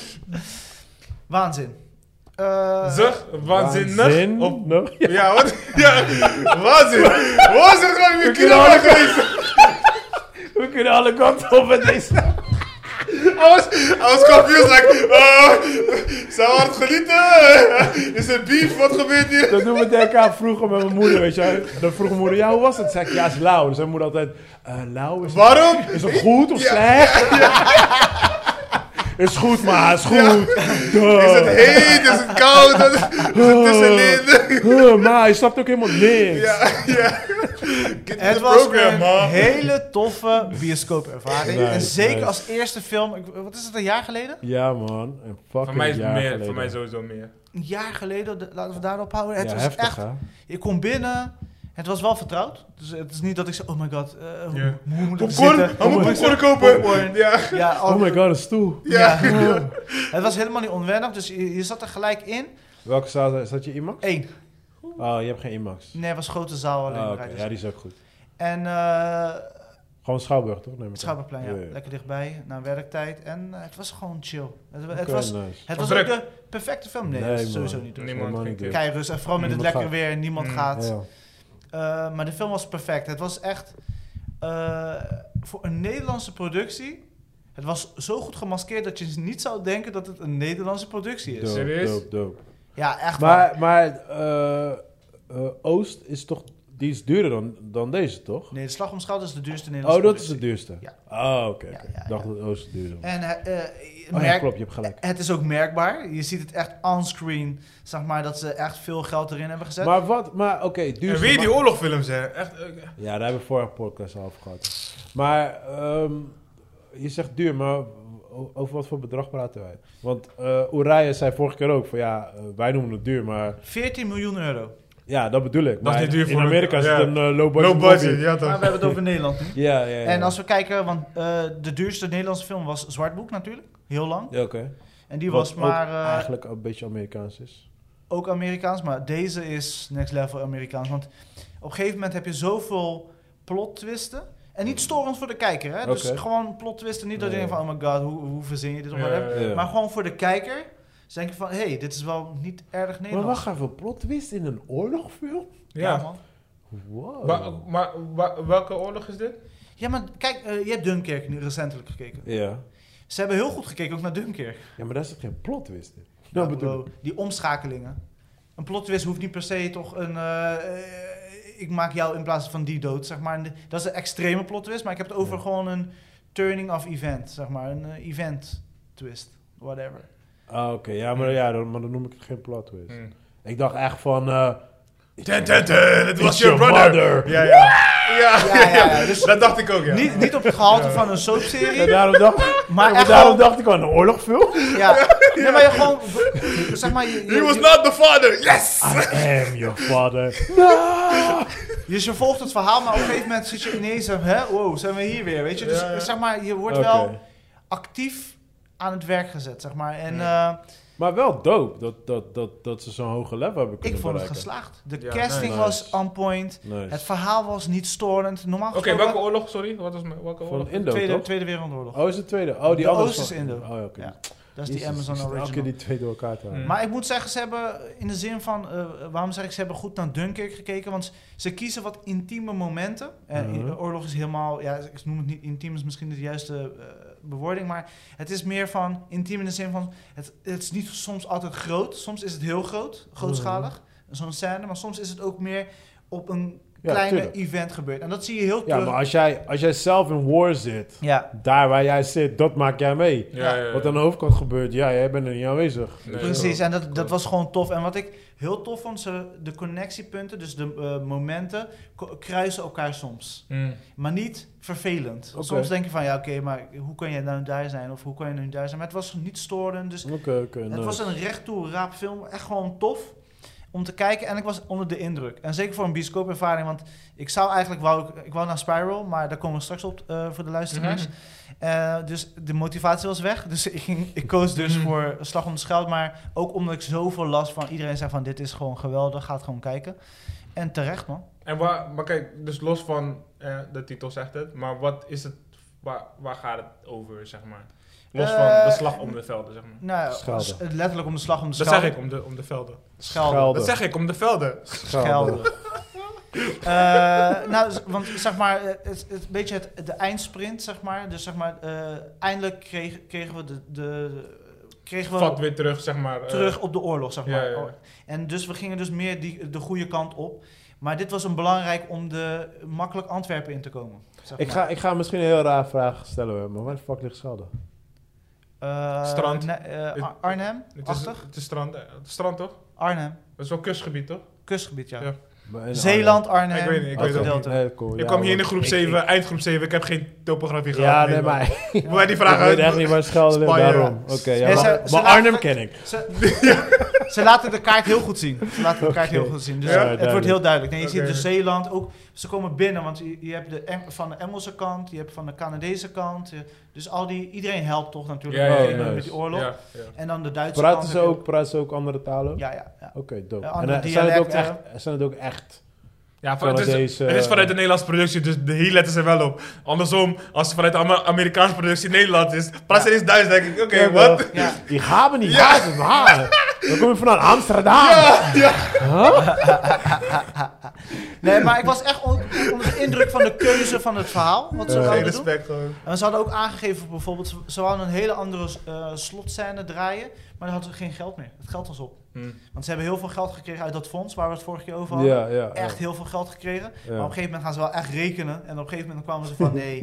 S3: Waanzin. Eh,
S4: Zeg, waanzinnig. Op,
S1: No.
S4: ja, wat? Ja, waanzin. Waanzin gewoon weer kino worden geweest.
S1: We kunnen alle kanten op met deze.
S4: I was confused, like, oh, zou hard genieten? Is er beef? Wat gebeurt hier?
S1: Dat doen we denken aan vroeger met mijn moeder, weet je. Dan vroeg mijn moeder, ja, hoe was het? Zeg ik, ja, is lauw. Dan zei mijn moeder altijd, eh lauw is...
S4: Waarom?
S1: Is het goed of slecht? Is goed, maar is goed.
S4: Is het heet? Is het koud? Wat is het
S1: Oh.
S4: tussenin?
S1: maar je snapt ook helemaal niks.
S4: Ja, ja.
S3: Het was
S4: program,
S3: een
S4: man.
S3: hele toffe bioscoopervaring.
S1: Nice,
S3: en zeker
S1: nice.
S3: als eerste film. ik- wat is het, een jaar geleden?
S1: Ja, man. Een fucking
S4: Voor mij is het
S1: jaar
S4: meer,
S1: geleden.
S4: voor mij sowieso meer.
S3: Een jaar geleden, de- laten we daarop houden. Het
S1: ja,
S3: was
S1: heftig,
S3: echt.
S1: hè?
S3: Je komt binnen. Het was wel vertrouwd. Dus het is niet dat ik zei: oh my god, eh, hoe,
S4: Ja.
S3: hoe moet ik
S4: Popcorn?
S3: zitten?
S4: Hij moet
S3: Hoe moet ik
S4: popcorn
S3: zitten?
S4: kopen.
S3: Popcorn.
S4: Ja.
S3: Ja, al-
S1: Oh my god, een stoel.
S3: Ja. het was helemaal niet onwennig, dus je, je zat er gelijk in.
S1: Welke zaal zat je IMAX?
S3: Eén.
S1: Oh, je hebt geen IMAX.
S3: Nee, het was grote zaal alleen.
S1: Ah,
S3: maar
S1: oké.
S3: uit.
S1: Ja, die is ook goed.
S3: En eh
S1: Gewoon Schouwburg, toch? Neem ik aan.
S3: het Schouwburgplein, ja.
S1: Ja, ja.
S3: Lekker dichtbij, na werktijd. En eh, het was gewoon chill. Het, het
S1: Oké,
S3: was,
S1: nice.
S3: het
S4: Was
S3: was ook
S4: druk?
S3: de perfecte film. Nee,
S1: Nee,
S3: dat is
S1: man.
S3: sowieso niet druk.
S4: Niemand
S1: Helemaal
S4: ging
S1: niet
S3: Kijk, dus, en vooral met het
S1: Niemand
S3: lekker
S1: gaat.
S3: weer, niemand
S4: Mm,
S1: druk.
S3: gaat.
S1: Ja.
S3: Eh, maar de film was perfect. Het was echt eh, voor een Nederlandse productie. Het was zo goed gemaskeerd dat je niet zou denken dat het een Nederlandse productie is.
S1: Dope,
S4: Serieus?
S1: dope, dope.
S3: Ja, echt
S1: Maar,
S3: waar.
S1: maar eh, eh, Oost is toch... Die is duurder dan, dan deze, toch?
S3: Nee, de Slag om Schelde is de duurste Nederlandse
S1: Oh, dat is
S3: productie.
S1: het duurste?
S3: Ja.
S1: Oh, oké. oké.
S3: Ja,
S1: Ik
S3: ja,
S1: dacht
S3: ja.
S1: dat Oost het duurste was.
S3: En eh, eh, je
S1: Oh ja,
S3: merkt-
S1: klopt, je hebt gelijk.
S3: het is ook merkbaar. Je ziet het echt onscreen, zeg maar, dat ze echt veel geld erin hebben gezet.
S1: Maar wat, maar oké, duurste.
S4: En weer die
S1: maar-
S4: oorlogfilms, hè. Echt, eh,
S1: Ja, daar hebben we vorige podcast al over gehad. Maar ehm, je zegt duur, maar o- over wat voor bedrag praten wij? Want eh Oranje zei vorige keer ook van ja, eh, wij noemen het duur, maar
S3: 14 miljoen euro.
S1: ja, dat bedoel ik.
S4: Dat is
S1: Maar
S4: niet duur voor
S1: In
S4: een-
S1: Amerika is het
S4: ja.
S1: een eh, low budget.
S4: low budget,
S1: movie.
S4: ja
S3: Maar
S4: toch.
S3: we hebben het over Nederland nu.
S1: Ja, ja, ja.
S3: En als we kijken, want eh, de duurste Nederlandse film was Zwartboek natuurlijk. Heel lang.
S1: Ja, Oké.
S3: En die
S1: Wat
S3: was
S1: ook
S3: maar eh,
S1: Eigenlijk een beetje Amerikaans is.
S3: ook Amerikaans, maar deze is next level Amerikaans. Want op een gegeven moment heb je zoveel plot twisten. En niet storend voor de kijker, hè?
S1: Oké.
S3: Dus gewoon plot twisten. Niet dat je
S1: Ja,
S3: denkt van, oh my god, hoe, hoe verzin je dit? Of
S4: Ja,
S3: whatever.
S4: ja, ja.
S3: Maar gewoon voor de kijker. Dus denk je van, hé, hey, dit is wel niet erg
S1: Maar
S3: Nederlands.
S1: wacht even, plot twist in een oorlogfilm?
S3: ja.
S4: Ja.
S3: man.
S1: Wow.
S4: Maar, maar wa- welke oorlog is dit?
S3: Ja, maar kijk, eh, je hebt Dunkirk nu recentelijk gekeken.
S1: ja.
S3: Ze hebben heel goed gekeken, ook naar Dunkirk.
S1: ja, maar daar zit geen plot twist in.
S3: Ja,
S1: Dat bedoel ik.
S3: bro, Die omschakelingen. Een plot twist hoeft niet per se toch een... eh, eh, ik maak jou in plaats van die dood, zeg maar. En de- Dat is een extreme plot twist, maar ik heb het over
S1: Ja.
S3: gewoon een turning of event, zeg maar. Een eh, event twist, whatever.
S1: Ah, oké. Ja,
S3: Hmm.
S1: maar, ja dan, maar dan noem ik het geen plot twist.
S4: Hmm.
S1: Ik dacht echt van... eh,
S4: Ten, ten, ten, het was
S1: It's
S4: your
S1: your
S4: brother.
S1: mother.
S4: Ja, ja. Ja,
S3: Ja, ja, ja, dus-
S4: dat dacht ik ook, ja.
S3: Niet, niet op het gehalte van een soapserie,
S1: ja, daarom dacht,
S3: maar
S1: ja,
S3: echt
S1: maar daarom
S3: gewoon...
S1: dacht ik aan een oorlogfilm.
S3: Ja. Nee, maar je gewoon... Zeg maar, je,
S4: He was
S3: je,
S4: not the father, yes!
S1: I am your father.
S3: je, je volgt het verhaal, maar op een gegeven moment zit je ineens... eh, Hè, wow, zijn we hier weer, weet je? Dus
S4: Ja, ja.
S3: zeg maar, je wordt
S1: Oké.
S3: wel actief aan het werk gezet, zeg maar. En... eh,
S1: Maar wel dope dat, dat, dat, dat ze zo'n hoge level hebben
S3: Ik
S1: kunnen
S3: vond het
S1: bereiken.
S3: geslaagd. De
S4: Ja,
S3: casting
S1: nice.
S3: was on point.
S1: Nice.
S3: Het verhaal was niet storend. Normaal
S4: Oké,
S3: gesproken...
S4: welke oorlog, sorry? Wat was mijn- welke
S1: Van
S4: oorlog?
S1: Indo,
S3: tweede,
S1: toch?
S3: tweede Wereldoorlog.
S1: Oh, is het tweede? Oh, die
S3: De
S1: andere
S3: Oost is Indo.
S1: Oh, ja, oké.
S3: Ja, dat is die
S1: Jezus,
S3: Amazon
S1: ik zit elke
S3: original.
S1: keer die twee door elkaar te halen.
S4: Hmm.
S3: Maar ik moet zeggen, ze hebben in de zin van... eh, waarom zeg ik, ze hebben goed naar Dunkirk gekeken. Want ze kiezen wat intieme momenten. En
S1: Mhm.
S3: de oorlog is helemaal... Ja, ik noem het niet intiem, is misschien de juiste eh, bewoording. Maar het is meer van intiem in de zin van... Het, het is niet soms altijd groot. Soms is het heel groot, grootschalig. Zo'n scène. Maar soms is het ook meer op een
S1: Mm-hmm. Ja,
S3: kleine
S1: tuurlijk.
S3: event gebeurt. En dat zie je heel
S1: Ja,
S3: terug.
S1: maar als jij, als jij zelf in war zit,
S3: Ja,
S1: daar waar jij zit, dat maak jij mee.
S4: Ja, ja, ja.
S1: Wat aan de hoofdkant gebeurt, ja, jij bent er niet aanwezig.
S4: Nee,
S3: precies. En dat, dat was gewoon tof. En wat ik heel tof vond, ze, de connectiepunten, dus de eh, momenten, ko- kruisen elkaar soms.
S4: Mm.
S3: Maar niet vervelend.
S1: Oké.
S3: Soms denk je van, ja oké, maar hoe kan jij nou daar zijn? Of hoe kan je nou daar zijn? Maar het was niet storend. Dus
S1: Oké, oké. nou,
S3: Het
S1: nice.
S3: was een recht toe raap film. Echt gewoon tof om te kijken. En ik was onder de indruk. En zeker voor een bioscoopervaring. Want ik zou eigenlijk... Wou, ik- ik wou naar Spiral, maar daar komen we straks op eh, voor de luisteraars. Eh, dus de motivatie was weg. Dus ik, ging, ik koos dus voor Slag om de Scheld. Maar ook omdat ik zoveel last van iedereen zei van... Dit is gewoon geweldig, ga het gewoon kijken. En terecht, man.
S4: En waar, maar kijk, dus los van eh, de titel zegt het, maar wat is het, waar, waar gaat het over, zeg maar? Los van de
S3: Eh,
S4: slag om de velden, zeg maar.
S3: Nou,
S1: Schelden.
S3: s- letterlijk om de slag om de
S4: Dat
S3: scheld.
S4: zeg ik, om de, om de velden.
S3: Schelden.
S1: Schelden.
S4: Dat zeg ik, om de velden.
S1: Schelden.
S3: Eh, nou, z- want zeg maar, eh, het, het, een beetje het, de eindsprint, zeg maar. Dus zeg maar, eh, eindelijk kreeg, kregen we, de, de, kregen we
S4: Vat weer terug, zeg maar. eh,
S3: terug op de oorlog, zeg
S4: ja,
S3: maar.
S4: ja, ja.
S3: En dus we gingen dus meer die, de goede kant op. Maar dit was een belangrijk om de, makkelijk Antwerpen in te komen. zeg
S1: Ik
S3: maar.
S1: ga, ik ga misschien een heel raar vraag stellen, maar waar de fuck ligt Schelden?
S3: Eh,
S4: Strand.
S3: na- eh,
S4: Het-
S3: Ar- Arnhem,
S4: het, is,
S3: achtig.
S4: het is strand, eh, het is strand, toch?
S3: Arnhem,
S4: Dat is wel kustgebied, toch?
S1: Oh
S3: kustgebied, ja.
S4: Ja,
S1: Maar in
S3: Zeeland, Arnhem,
S4: Ik weet niet,
S1: Arnhem.
S4: ik weet het
S1: Oké.
S3: gedeelte.
S1: Nee, cool.
S4: Ik
S1: Ja,
S4: kwam hier in de
S1: want-
S4: groep
S3: ik-
S4: 7, eindgroep 7, ik heb geen topografie gehad.
S1: Ja, nee, maar
S4: Waar die vraag
S1: ik
S4: uit.
S1: weet echt niet waar Schelden ligt,
S4: Spanje.
S1: daarom. Oké, ja,
S3: Nee,
S1: maar,
S3: ze- ze
S1: maar
S3: laten-
S1: Arnhem ken ik.
S3: Ze, ze laten de kaart heel goed zien. Ze laten de kaart heel goed zien. Dus
S1: Ja,
S3: het
S1: duidelijk.
S3: wordt heel duidelijk. Nee, je ziet
S4: Oké.
S3: dus Zeeland ook. Ze komen binnen, want je, je hebt de Eng- van de Engelse kant, je hebt van de Canadese kant. je- Dus al die, iedereen helpt toch natuurlijk
S1: Ja, ja,
S3: met-
S1: ja,
S3: met
S1: nice.
S3: die oorlog.
S4: Ja, ja.
S3: En dan de Duitse
S1: Praten
S3: kant
S1: ze
S3: heb je
S1: ook, praten ze ook andere talen?
S3: Ja, ja, ja.
S1: Oké, dope.
S3: Eh,
S1: en
S3: andere
S1: eh, zijn, het ook
S3: dialecten.
S1: echt, zijn het ook echt?
S4: Ja, van- het, is,
S1: Canadese-
S4: het is vanuit de Nederlandse productie, dus de hier letten ze wel op. Andersom, als het vanuit de Amer- Amerikaanse productie in Nederland is, praat ze
S3: Ja.
S4: eens Duits, denk ik. Oké,
S1: Ja,
S4: wat?
S1: wel.
S3: Ja.
S1: Die gaan we niet hazen, maar. Dan kom je vanuit Amsterdam.
S3: Nee, maar ik was echt on- onder de indruk van de keuze van het verhaal. Wat ze
S4: Geen
S3: wilden doen.
S4: respect gewoon.
S3: En ze hadden ook aangegeven bijvoorbeeld, ze- ze hadden een hele andere eh slotscène draaien, maar dan hadden ze geen geld meer. Het geld was op. Want ze hebben heel veel geld gekregen uit dat fonds waar we het vorige keer over hadden.
S1: Ja, ja.
S3: Echt heel veel geld gekregen.
S1: Ja.
S3: Maar op een gegeven moment gaan ze wel echt rekenen. En op een gegeven moment kwamen ze van nee.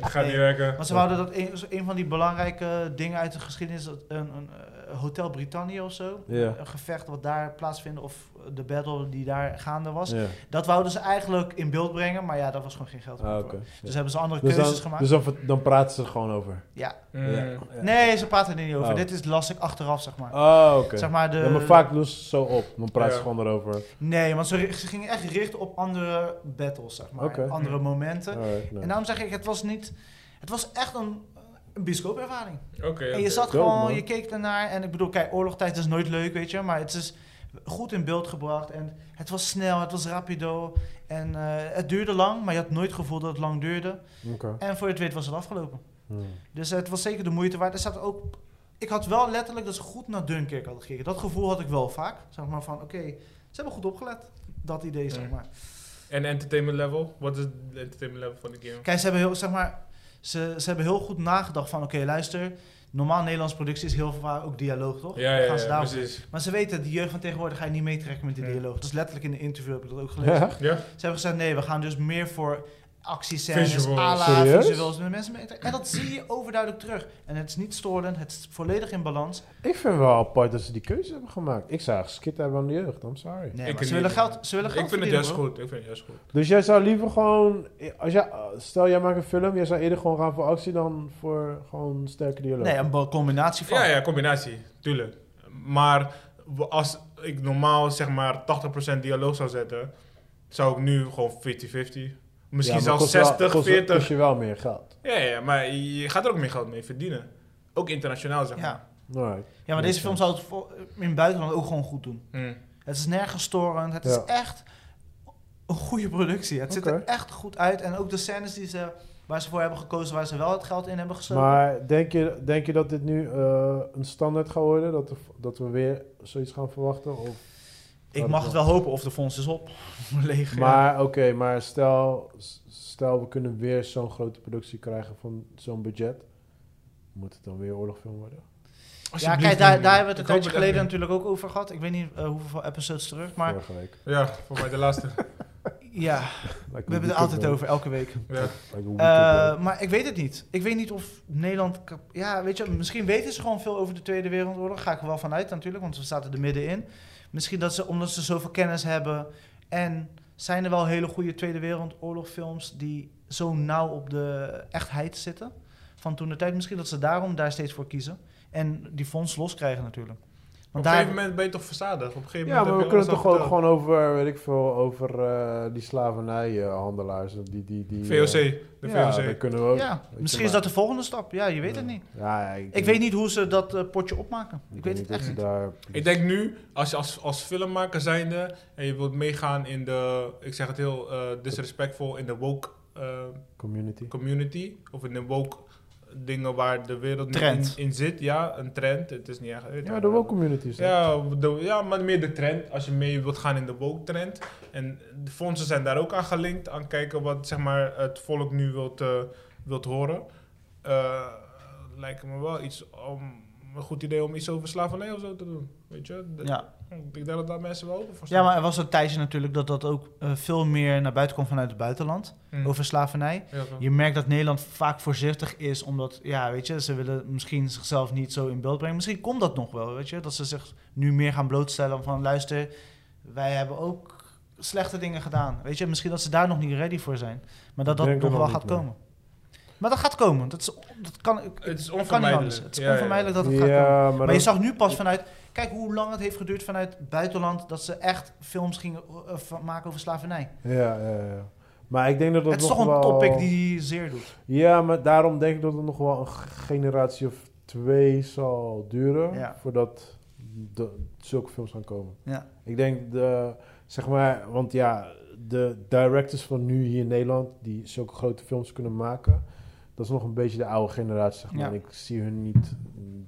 S4: Gaat niet
S3: Nee.
S4: werken.
S3: Want ze wouden dat een, een van die belangrijke dingen uit de geschiedenis. dat Een, een eh, Hotel Britannia of zo.
S1: Ja.
S3: Een gevecht wat daar plaatsvindde. Of de battle die daar gaande was.
S1: Ja.
S3: Dat wouden ze eigenlijk in beeld brengen. Maar ja, daar was gewoon geen geld
S1: Ah,
S3: voor.
S1: oké.
S3: Dus hebben ze andere
S1: Dus,
S3: keuzes
S1: dan,
S3: gemaakt.
S1: dus dan, ver- dan praten ze er gewoon over.
S3: ja.
S4: Mm.
S1: Ja.
S3: Nee, ze praten er niet over.
S1: Oh.
S3: Dit is lastig achteraf, zeg maar.
S1: Oh, oké.
S3: Zeg maar eh, de...
S1: Ja, maar vaak doen ze zo op. Dan praten ze
S4: Ja.
S1: gewoon erover.
S3: Nee, want ze, ri- ze gingen echt richten op andere battles, zeg maar.
S1: Oké.
S3: Andere momenten.
S1: Alright, nou. nice.
S3: En daarom zeg ik, het was niet... Het was echt een, een bioscoopervaring.
S4: Oké.
S3: En je
S4: oké.
S3: zat
S1: Dope,
S3: gewoon,
S1: man.
S3: je keek ernaar. En ik bedoel, kijk, oorlogstijd is nooit leuk, weet je. Maar het is goed in beeld gebracht. En het was snel, het was rapido. En eh, het duurde lang, maar je had nooit het gevoel dat het lang duurde.
S1: Oké.
S3: En voor je het weet was het afgelopen.
S1: Hmm.
S3: Dus het was zeker de moeite waard. Er zat ook... Ik had wel letterlijk dat ze goed naar Dunkirk hadden gekeken. Dat gevoel had ik wel vaak. Zeg maar van, oké, ze hebben goed opgelet. Dat idee, zeg
S4: Mm.
S3: maar.
S4: En entertainment level? Wat is het entertainment level van de game?
S3: Kijk, ze hebben heel, zeg maar, ze, ze hebben heel goed nagedacht van... Oké, luister, normaal Nederlandse productie is heel vaak ook dialoog, toch?
S4: Ja,
S3: Dan
S4: ja,
S3: gaan ze
S4: ja,
S3: daarop-
S4: precies.
S3: Maar ze weten, de jeugd van tegenwoordig ga je niet meetrekken met die
S4: Ja.
S3: dialoog. Dat is letterlijk in de interview, heb ik dat ook gelezen.
S4: Ja?
S3: Ze hebben gezegd, nee, we gaan dus meer voor actiescènes,
S4: Visuals.
S3: à la
S1: Serieus?
S3: visuals met mensen meetrekken. En dat zie je overduidelijk terug. En het is niet storend, het is volledig in balans.
S1: Ik vind wel apart dat ze die keuze hebben gemaakt. Ik zou geskit hebben aan de jeugd, I'm sorry.
S3: Nee,
S4: Ik
S3: maar ze
S4: niet.
S3: willen geld, ze willen
S4: Ik
S3: geld
S4: vind het
S3: verdienen,
S4: juist
S3: bro.
S4: goed. Ik vind het juist goed.
S1: Dus jij zou liever gewoon... Als jij, stel, jij maakt een film. Jij zou eerder gewoon gaan voor actie dan voor gewoon sterke dialoog.
S3: Nee, een combinatie van.
S4: Ja, ja, combinatie. Tuurlijk. Maar w- als ik normaal zeg maar 80% dialoog zou zetten, zou ik nu gewoon 50-50. Misschien
S1: Ja, maar
S4: zelfs
S1: kost wel-
S4: 60,
S1: kost-
S4: 40.
S1: kost je wel meer geld.
S4: Ja, ja, maar je gaat er ook meer geld mee verdienen. Ook internationaal, zeg maar.
S3: Ja.
S1: Alright.
S3: Ja, maar deze film zou het voor- in het buitenland ook gewoon goed doen.
S4: Hm.
S3: Het is nergens storend. Het
S1: Ja.
S3: is echt een goede productie. Het ziet
S1: Oké.
S3: er echt goed uit. En ook de scènes die ze, waar ze voor hebben gekozen, waar ze wel het geld in hebben gestoken.
S1: Maar denk je, denk je dat dit nu eh, een standaard gaat worden? Dat, er- dat we weer zoiets gaan verwachten? Of,
S3: ik mag het wel hopen of de fonds is op. Leeg. ja.
S1: Maar oké, maar stel, s- stel we kunnen weer zo'n grote productie krijgen van zo'n budget. Moet het dan weer oorlogfilm worden?
S3: ja,
S4: Alsjeblieft,
S3: kijk, daar,
S4: man.
S3: daar hebben we het
S4: Ik
S3: een
S4: hoop
S3: tijdje geleden
S4: echt
S3: natuurlijk ook over gehad. Ik weet niet eh, hoeveel episodes terug, maar
S1: Vorige week.
S4: niet. Ja, voor mij de laatste.
S3: ja, we hebben het altijd over, elke week.
S4: Ja.
S3: Eh, maar ik weet het niet. Ik weet niet of Nederland... kap- Ja, weet je, misschien weten ze gewoon veel over de Tweede Wereldoorlog. Ga ik er wel van uit natuurlijk, want we zaten er middenin. Misschien dat ze, omdat ze zoveel kennis hebben... En zijn er wel hele goede Tweede Wereldoorlogfilms... die zo nauw op de echtheid zitten van toen de tijd. Misschien dat ze daarom daar steeds voor kiezen. En die fonds loskrijgen natuurlijk.
S4: Op een
S3: Want daar...
S4: gegeven moment ben je toch verzadigd? Op een gegeven
S1: Ja, maar
S4: moment
S1: we
S4: heb je
S1: kunnen
S4: alles
S1: toch
S4: al
S1: ook
S4: verteld.
S1: gewoon over, weet ik veel, over eh, die slavernijhandelaars. die, die, die, eh,
S4: VOC, de
S1: ja,
S4: VOC.
S1: daar kunnen we ook.
S3: Ja,
S1: Weet je
S3: misschien
S1: Oh, maar.
S3: is dat de volgende stap. Ja, je weet het
S1: Ja.
S3: niet.
S1: Ja, ja, ik,
S3: Ik weet niet hoe ze dat eh, potje opmaken. Ik weet het echt
S1: of
S3: niet.
S1: ze Daar...
S4: Ik denk nu, als je als, als filmmaker zijnde en je wilt meegaan in de, ik zeg het heel eh, disrespectful, in de woke eh,
S1: Community.
S4: community, of in de woke dingen waar de wereld nu
S3: Trend.
S4: In, in zit, ja, een trend, het is niet echt...
S1: Ja, de woke community is dat.
S4: Ja, de- ja, maar meer de trend. Als je mee wilt gaan in de woke trend. En de fondsen zijn daar ook aan gelinkt. Aan kijken wat zeg maar, het volk nu wilt, eh, wilt horen. Eh, lijkt me wel iets om, een goed idee om iets over slavernij of zo te doen. Weet je? De-
S3: Ja.
S4: Ik denk dat daar mensen wel open voor
S3: Ja, maar er was een tijdje natuurlijk dat dat ook eh, veel meer naar buiten komt vanuit het buitenland.
S4: Hmm.
S3: Over slavernij.
S4: Ja, zo.
S3: Je merkt dat Nederland vaak voorzichtig is, omdat, ja, weet je, ze willen misschien zichzelf niet zo in beeld brengen. Misschien komt dat nog wel, weet je, dat ze zich nu meer gaan blootstellen van, luister, wij hebben ook slechte dingen gedaan. Weet je, misschien dat ze daar nog niet ready voor zijn. Maar dat dat
S1: Denk er
S3: nog wel
S1: nog
S3: gaat
S1: niet, nee.
S3: komen. Maar dat gaat komen. Dat, is, dat kan, ik-
S4: Het is
S3: ik kan niet anders.
S4: onvermijdelijk.
S3: Het is
S4: Ja, ja, ja.
S3: onvermijdelijk dat het gaat komen.
S1: Ja, maar
S3: Maar je
S1: dat-
S3: zag nu pas vanuit. Kijk hoe lang het heeft geduurd vanuit het buitenland. dat ze echt films gingen eh, van- maken over slavernij.
S1: ja, ja, ja. Maar ik denk dat dat
S3: het is
S1: nog
S3: toch een
S1: wel...
S3: topic die zeer doet.
S1: Ja, maar daarom denk ik dat het nog wel een g- generatie of twee zal duren
S3: Ja.
S1: voordat de, zulke films gaan komen.
S3: Ja.
S1: Ik denk, de, zeg maar, want ja, de directors van nu hier in Nederland die zulke grote films kunnen maken, dat is nog een beetje de oude generatie. Zeg maar.
S3: Ja.
S1: En ik zie hun niet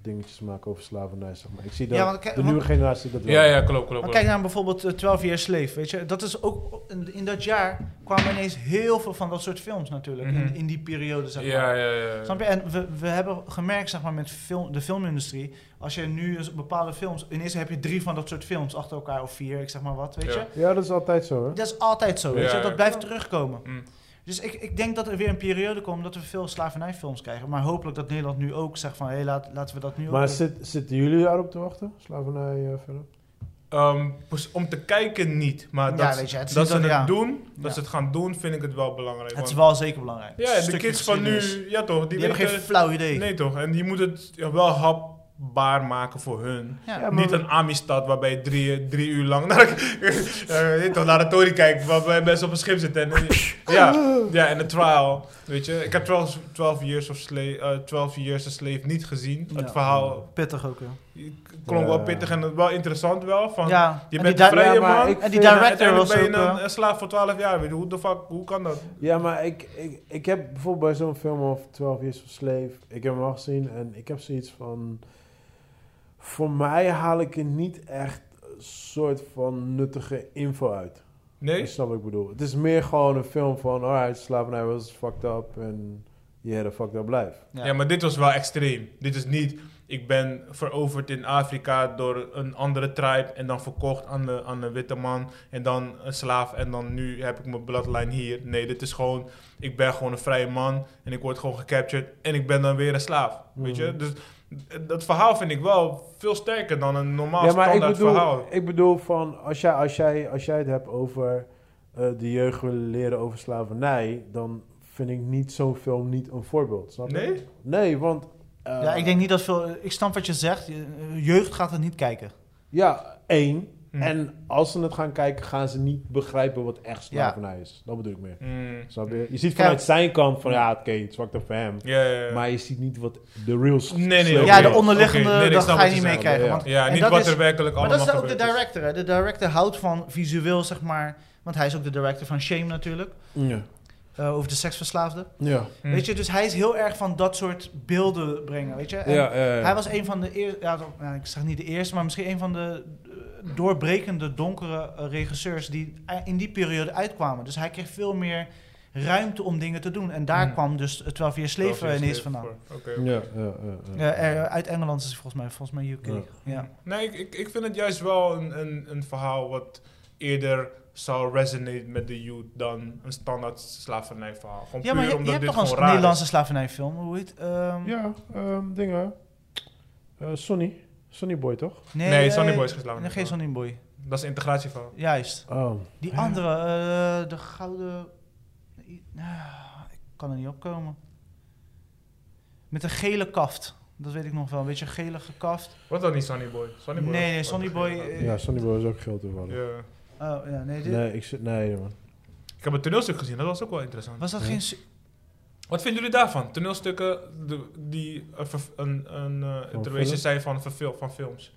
S1: dingetjes maken over slavernij. Zeg maar. Ik zie dat
S3: Ja, want ik-
S1: de
S3: want-
S1: nieuwe generatie dat wel.
S4: Ja, ja, klopt, klopt.
S3: Maar
S4: klopt.
S3: kijk naar bijvoorbeeld eh, 12 Year Slave. Weet je, dat is ook. In, in dat jaar kwamen ineens heel veel van dat soort films natuurlijk.
S4: Mhm.
S3: in, in die periode, zeg maar.
S4: ja, ja, ja. ja.
S3: Snap je? En we, we hebben gemerkt, zeg maar, met film, de filmindustrie. Als je nu eens bepaalde films. Ineens heb je drie van dat soort films achter elkaar, of vier, ik zeg maar wat, weet
S4: Ja.
S3: je.
S1: Ja, dat is altijd zo, hè?
S3: Dat is altijd zo, weet
S4: Ja,
S3: je?
S4: ja.
S3: Dat blijft terugkomen.
S4: Mm.
S3: Dus ik, ik denk dat er weer een periode komt dat we veel slavernijfilms krijgen. Maar hopelijk dat Nederland nu ook zegt van... hé, laat, laten we dat nu
S1: Maar
S3: ook...
S1: zit, zitten jullie daarop te wachten? Slavernij, eh film?
S4: Ehm, pers- om te kijken niet, maar
S3: Ja,
S4: dat,
S3: weet je, het is
S4: dat
S3: niet
S4: ze het
S3: dat- ja.
S4: doen, dat
S3: Ja.
S4: ze het gaan doen, vind ik het wel belangrijk.
S3: het is
S4: want-
S3: wel zeker belangrijk.
S4: ja, de
S3: Stukje
S4: kids van
S3: geschiedenis.
S4: nu, ja toch, die,
S3: Die hebben
S4: weten-
S3: geen flauw idee.
S4: Nee toch, en je moet het ja, wel hapbaar maken voor hun.
S3: Ja.
S1: Ja, maar-
S4: Niet een Amistad waarbij je drie, drie uur lang naar, eh, weet toch, naar de tory kijkt, waarbij mensen op een schip zitten. En, ja, ja, en een trial, weet je. Ik heb 12, 12 Years of Slave, eh, 12 Years a Slave niet gezien. Het
S3: Ja.
S4: verhaal
S3: Pittig ook, ja.
S4: klonk wel
S1: Ja.
S4: pittig en wel interessant wel. Van,
S3: ja,
S4: Je
S3: en
S4: bent
S3: die di-
S4: vrije
S1: Ja, maar
S4: man.
S1: ik
S3: en die
S1: vind-
S3: director
S4: Uiteindelijk
S3: was
S4: ben
S3: ook...
S4: je een,
S3: eh,
S4: een slaaf voor 12 jaar. Weet je, hoe de fuck, hoe kan dat?
S1: Ja, maar ik, ik, ik heb bijvoorbeeld bij zo'n film of 12 Years of Slave, ik heb hem al gezien en ik heb zoiets van... Voor mij haal ik er niet echt een soort van nuttige info uit.
S4: Nee?
S1: Ik
S3: Dus,
S1: snap wat ik bedoel. Het is meer gewoon een film van, oh, alright, slavernij was fucked up en je had a fucked up life.
S4: Ja. maar dit was wel extreem. Dit is niet, ik ben veroverd in Afrika door een andere tribe en dan verkocht aan de, aan een witte man en dan een slaaf en dan nu heb ik mijn bloodline hier. Nee, dit is gewoon, ik ben gewoon een vrije man en ik word gewoon gecaptured en ik ben dan weer een slaaf. Weet je?
S3: Hmm.
S1: Mhm.
S4: Dus d- dat verhaal vind ik wel veel sterker dan een normaal
S1: Ja, maar ik
S4: standaard
S1: bedoel,
S4: verhaal.
S1: ik bedoel van, als jij, als, jij, als jij het hebt over eh, de jeugd willen leren over slavernij, dan vind ik niet zo'n film niet een voorbeeld, snap je?
S4: Nee?
S1: Nee, want... eh,
S3: ja, ik denk niet dat veel... Ik snap wat je zegt. Je- eh, Jeugd gaat het niet kijken.
S1: Ja, één.
S4: Hm.
S1: En als ze het gaan kijken, gaan ze niet begrijpen wat echt slavernij is. Dat bedoel ik meer.
S4: Mm.
S1: Snap je? Je ziet vanuit zijn kant van, ja, oké, het is fucked up voor hem.
S4: Ja, ja, ja.
S1: Maar je ziet niet wat de real s-
S4: Nee, nee,
S1: slave
S4: Oké,
S3: Ja, de
S1: is.
S3: onderliggende,
S4: oké, nee, ik
S3: dat
S4: snap
S3: ga je
S4: wat
S3: niet
S4: je zegt,
S3: meekrijgen.
S1: ja.
S3: want-
S4: Ja,
S3: en
S4: niet
S3: dat
S4: wat
S3: is-
S4: er werkelijk
S3: Maar
S4: allemaal dus.
S3: dat is ook de
S4: gebeurd is.
S3: director, hè. De director houdt van visueel, zeg maar... Want hij is ook de director van Shame natuurlijk.
S1: Ja.
S3: eh, over de seksverslaafde.
S1: Ja.
S4: Hm.
S3: Weet je, dus hij is heel erg van dat soort beelden brengen, weet je. En Hij was een van de eerste, ja, dat- nou, ik zeg niet de eerste, maar misschien een van de eh, doorbrekende donkere eh, regisseurs die eh, in die periode uitkwamen. Dus hij kreeg veel meer ruimte om dingen te doen. En daar
S4: Mhm.
S3: kwam dus eh, 12 Years Slave eh, ineens vandaan.
S4: Oké.
S1: Ja, ja, ja, ja.
S3: Ja, eh, er- uit Engeland is hij volgens mij, volgens mij UK. Ja.
S4: Nee, ik, ik, ik vind het juist wel een, een, een verhaal wat eerder zou resonate met de youth dan een standaard slavernijverhaal. Gewoon
S3: Ja,
S4: puur
S3: maar je, je
S4: omdat
S3: hebt
S4: dit
S3: toch een
S4: gewoon raar
S3: Nederlandse
S4: is.
S3: slavernijfilm? Hoe heet ehm,
S1: Ja, ehm, dingen. Eh Sonny. Sonny Boy, toch?
S4: Nee, Sonny Boy is geen
S3: Nee,
S4: slavernij.
S3: geen Sonny Boy.
S4: Dat is een integratie van.
S3: Juist.
S1: Oh.
S3: Die
S1: Ja.
S3: andere, eh, de gouden... Ah, ik kan er niet opkomen. Met een gele kaft. Dat weet ik nog wel. Een beetje gele gekaft.
S4: Wat dan niet Sonny Boy? Sonny Boy
S3: Nee,
S4: was-
S3: nee,
S4: was
S3: Sonny
S4: geen
S3: Boy,
S4: raar.
S3: eh,
S1: Ja, Sonny Boy is ook geld toevallig.
S4: Ja.
S3: Oh, ja, nee. Dit,
S1: Nee, ik zit... Nee, man.
S4: Ik heb een toneelstuk gezien, dat was ook wel interessant.
S3: Was dat
S1: Ja.
S3: geen... su-
S4: Wat vinden jullie daarvan? Toneelstukken de- die een, verf- een, een eh, interpretation
S1: film?
S4: zijn van, verfil- van films.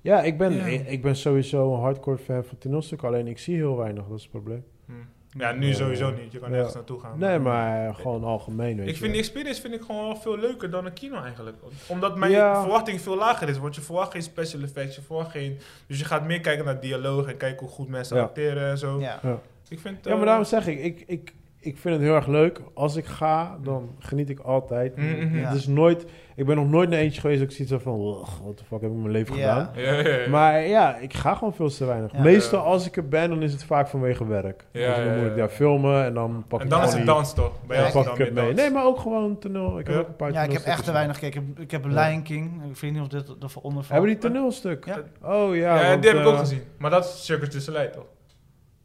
S1: Ja, ik ben,
S4: Ja.
S1: Ik, ik ben sowieso een hardcore fan van toneelstukken. Alleen ik zie heel weinig, dat is het probleem.
S4: Hm. Ja, nu
S1: Ja.
S4: sowieso niet. Je kan
S1: Ja.
S4: nergens naartoe gaan.
S1: Nee, maar gewoon algemeen, weet
S4: eh, Ik
S1: je
S4: vind die
S1: wel.
S4: experience vind ik gewoon wel veel leuker dan een kino eigenlijk. Omdat mijn
S1: Ja.
S4: verwachting veel lager is. Want je verwacht geen special effects, je verwacht geen... Dus je gaat meer kijken naar dialoog en kijken hoe goed mensen
S1: Ja.
S4: acteren en zo.
S3: Ja.
S4: Ik vind...
S1: Ja,
S4: eh,
S1: maar daarom zeg ik, ik, ik, ik vind het heel erg leuk. Als ik ga, dan geniet ik altijd.
S4: Mm, mm, mm.
S3: Ja.
S1: Het is nooit... Ik ben nog nooit naar eentje geweest dat ik zoiets had van... Wat de fuck heb ik met mijn leven
S3: Ja.
S1: gedaan?
S4: eh, Ja, ja, ja.
S1: Maar ja, ik ga gewoon veel te weinig.
S3: Ja.
S1: Meestal als ik er ben, dan is het vaak vanwege werk.
S4: Ja,
S1: dus dan
S4: ja,
S1: moet
S4: ja.
S1: ik daar filmen en dan pak
S4: en
S1: ik
S4: dan is
S1: al
S4: het
S1: die-
S4: dans toch? Bij jou
S3: Ja,
S1: dan
S4: is het
S3: ik-
S1: pak ik
S4: dan
S1: het
S4: weer
S1: mee.
S4: dans.
S1: Nee, maar ook gewoon toneel. Ik heb
S4: Ja.
S1: ook een paar
S3: Ja, ik heb echt te
S1: toneelstukken
S3: weinig gekeken. Ik heb, ik heb
S1: Ja.
S3: Lion King. Ik weet niet of dit ervoor onder
S1: gezien.
S3: valt.
S1: Hebben die toneelstuk?
S3: Ja.
S1: Oh ja.
S4: Ja,
S1: want,
S4: die heb ik ook
S1: eh,
S4: gezien. Maar dat is Circus de Soleil toch?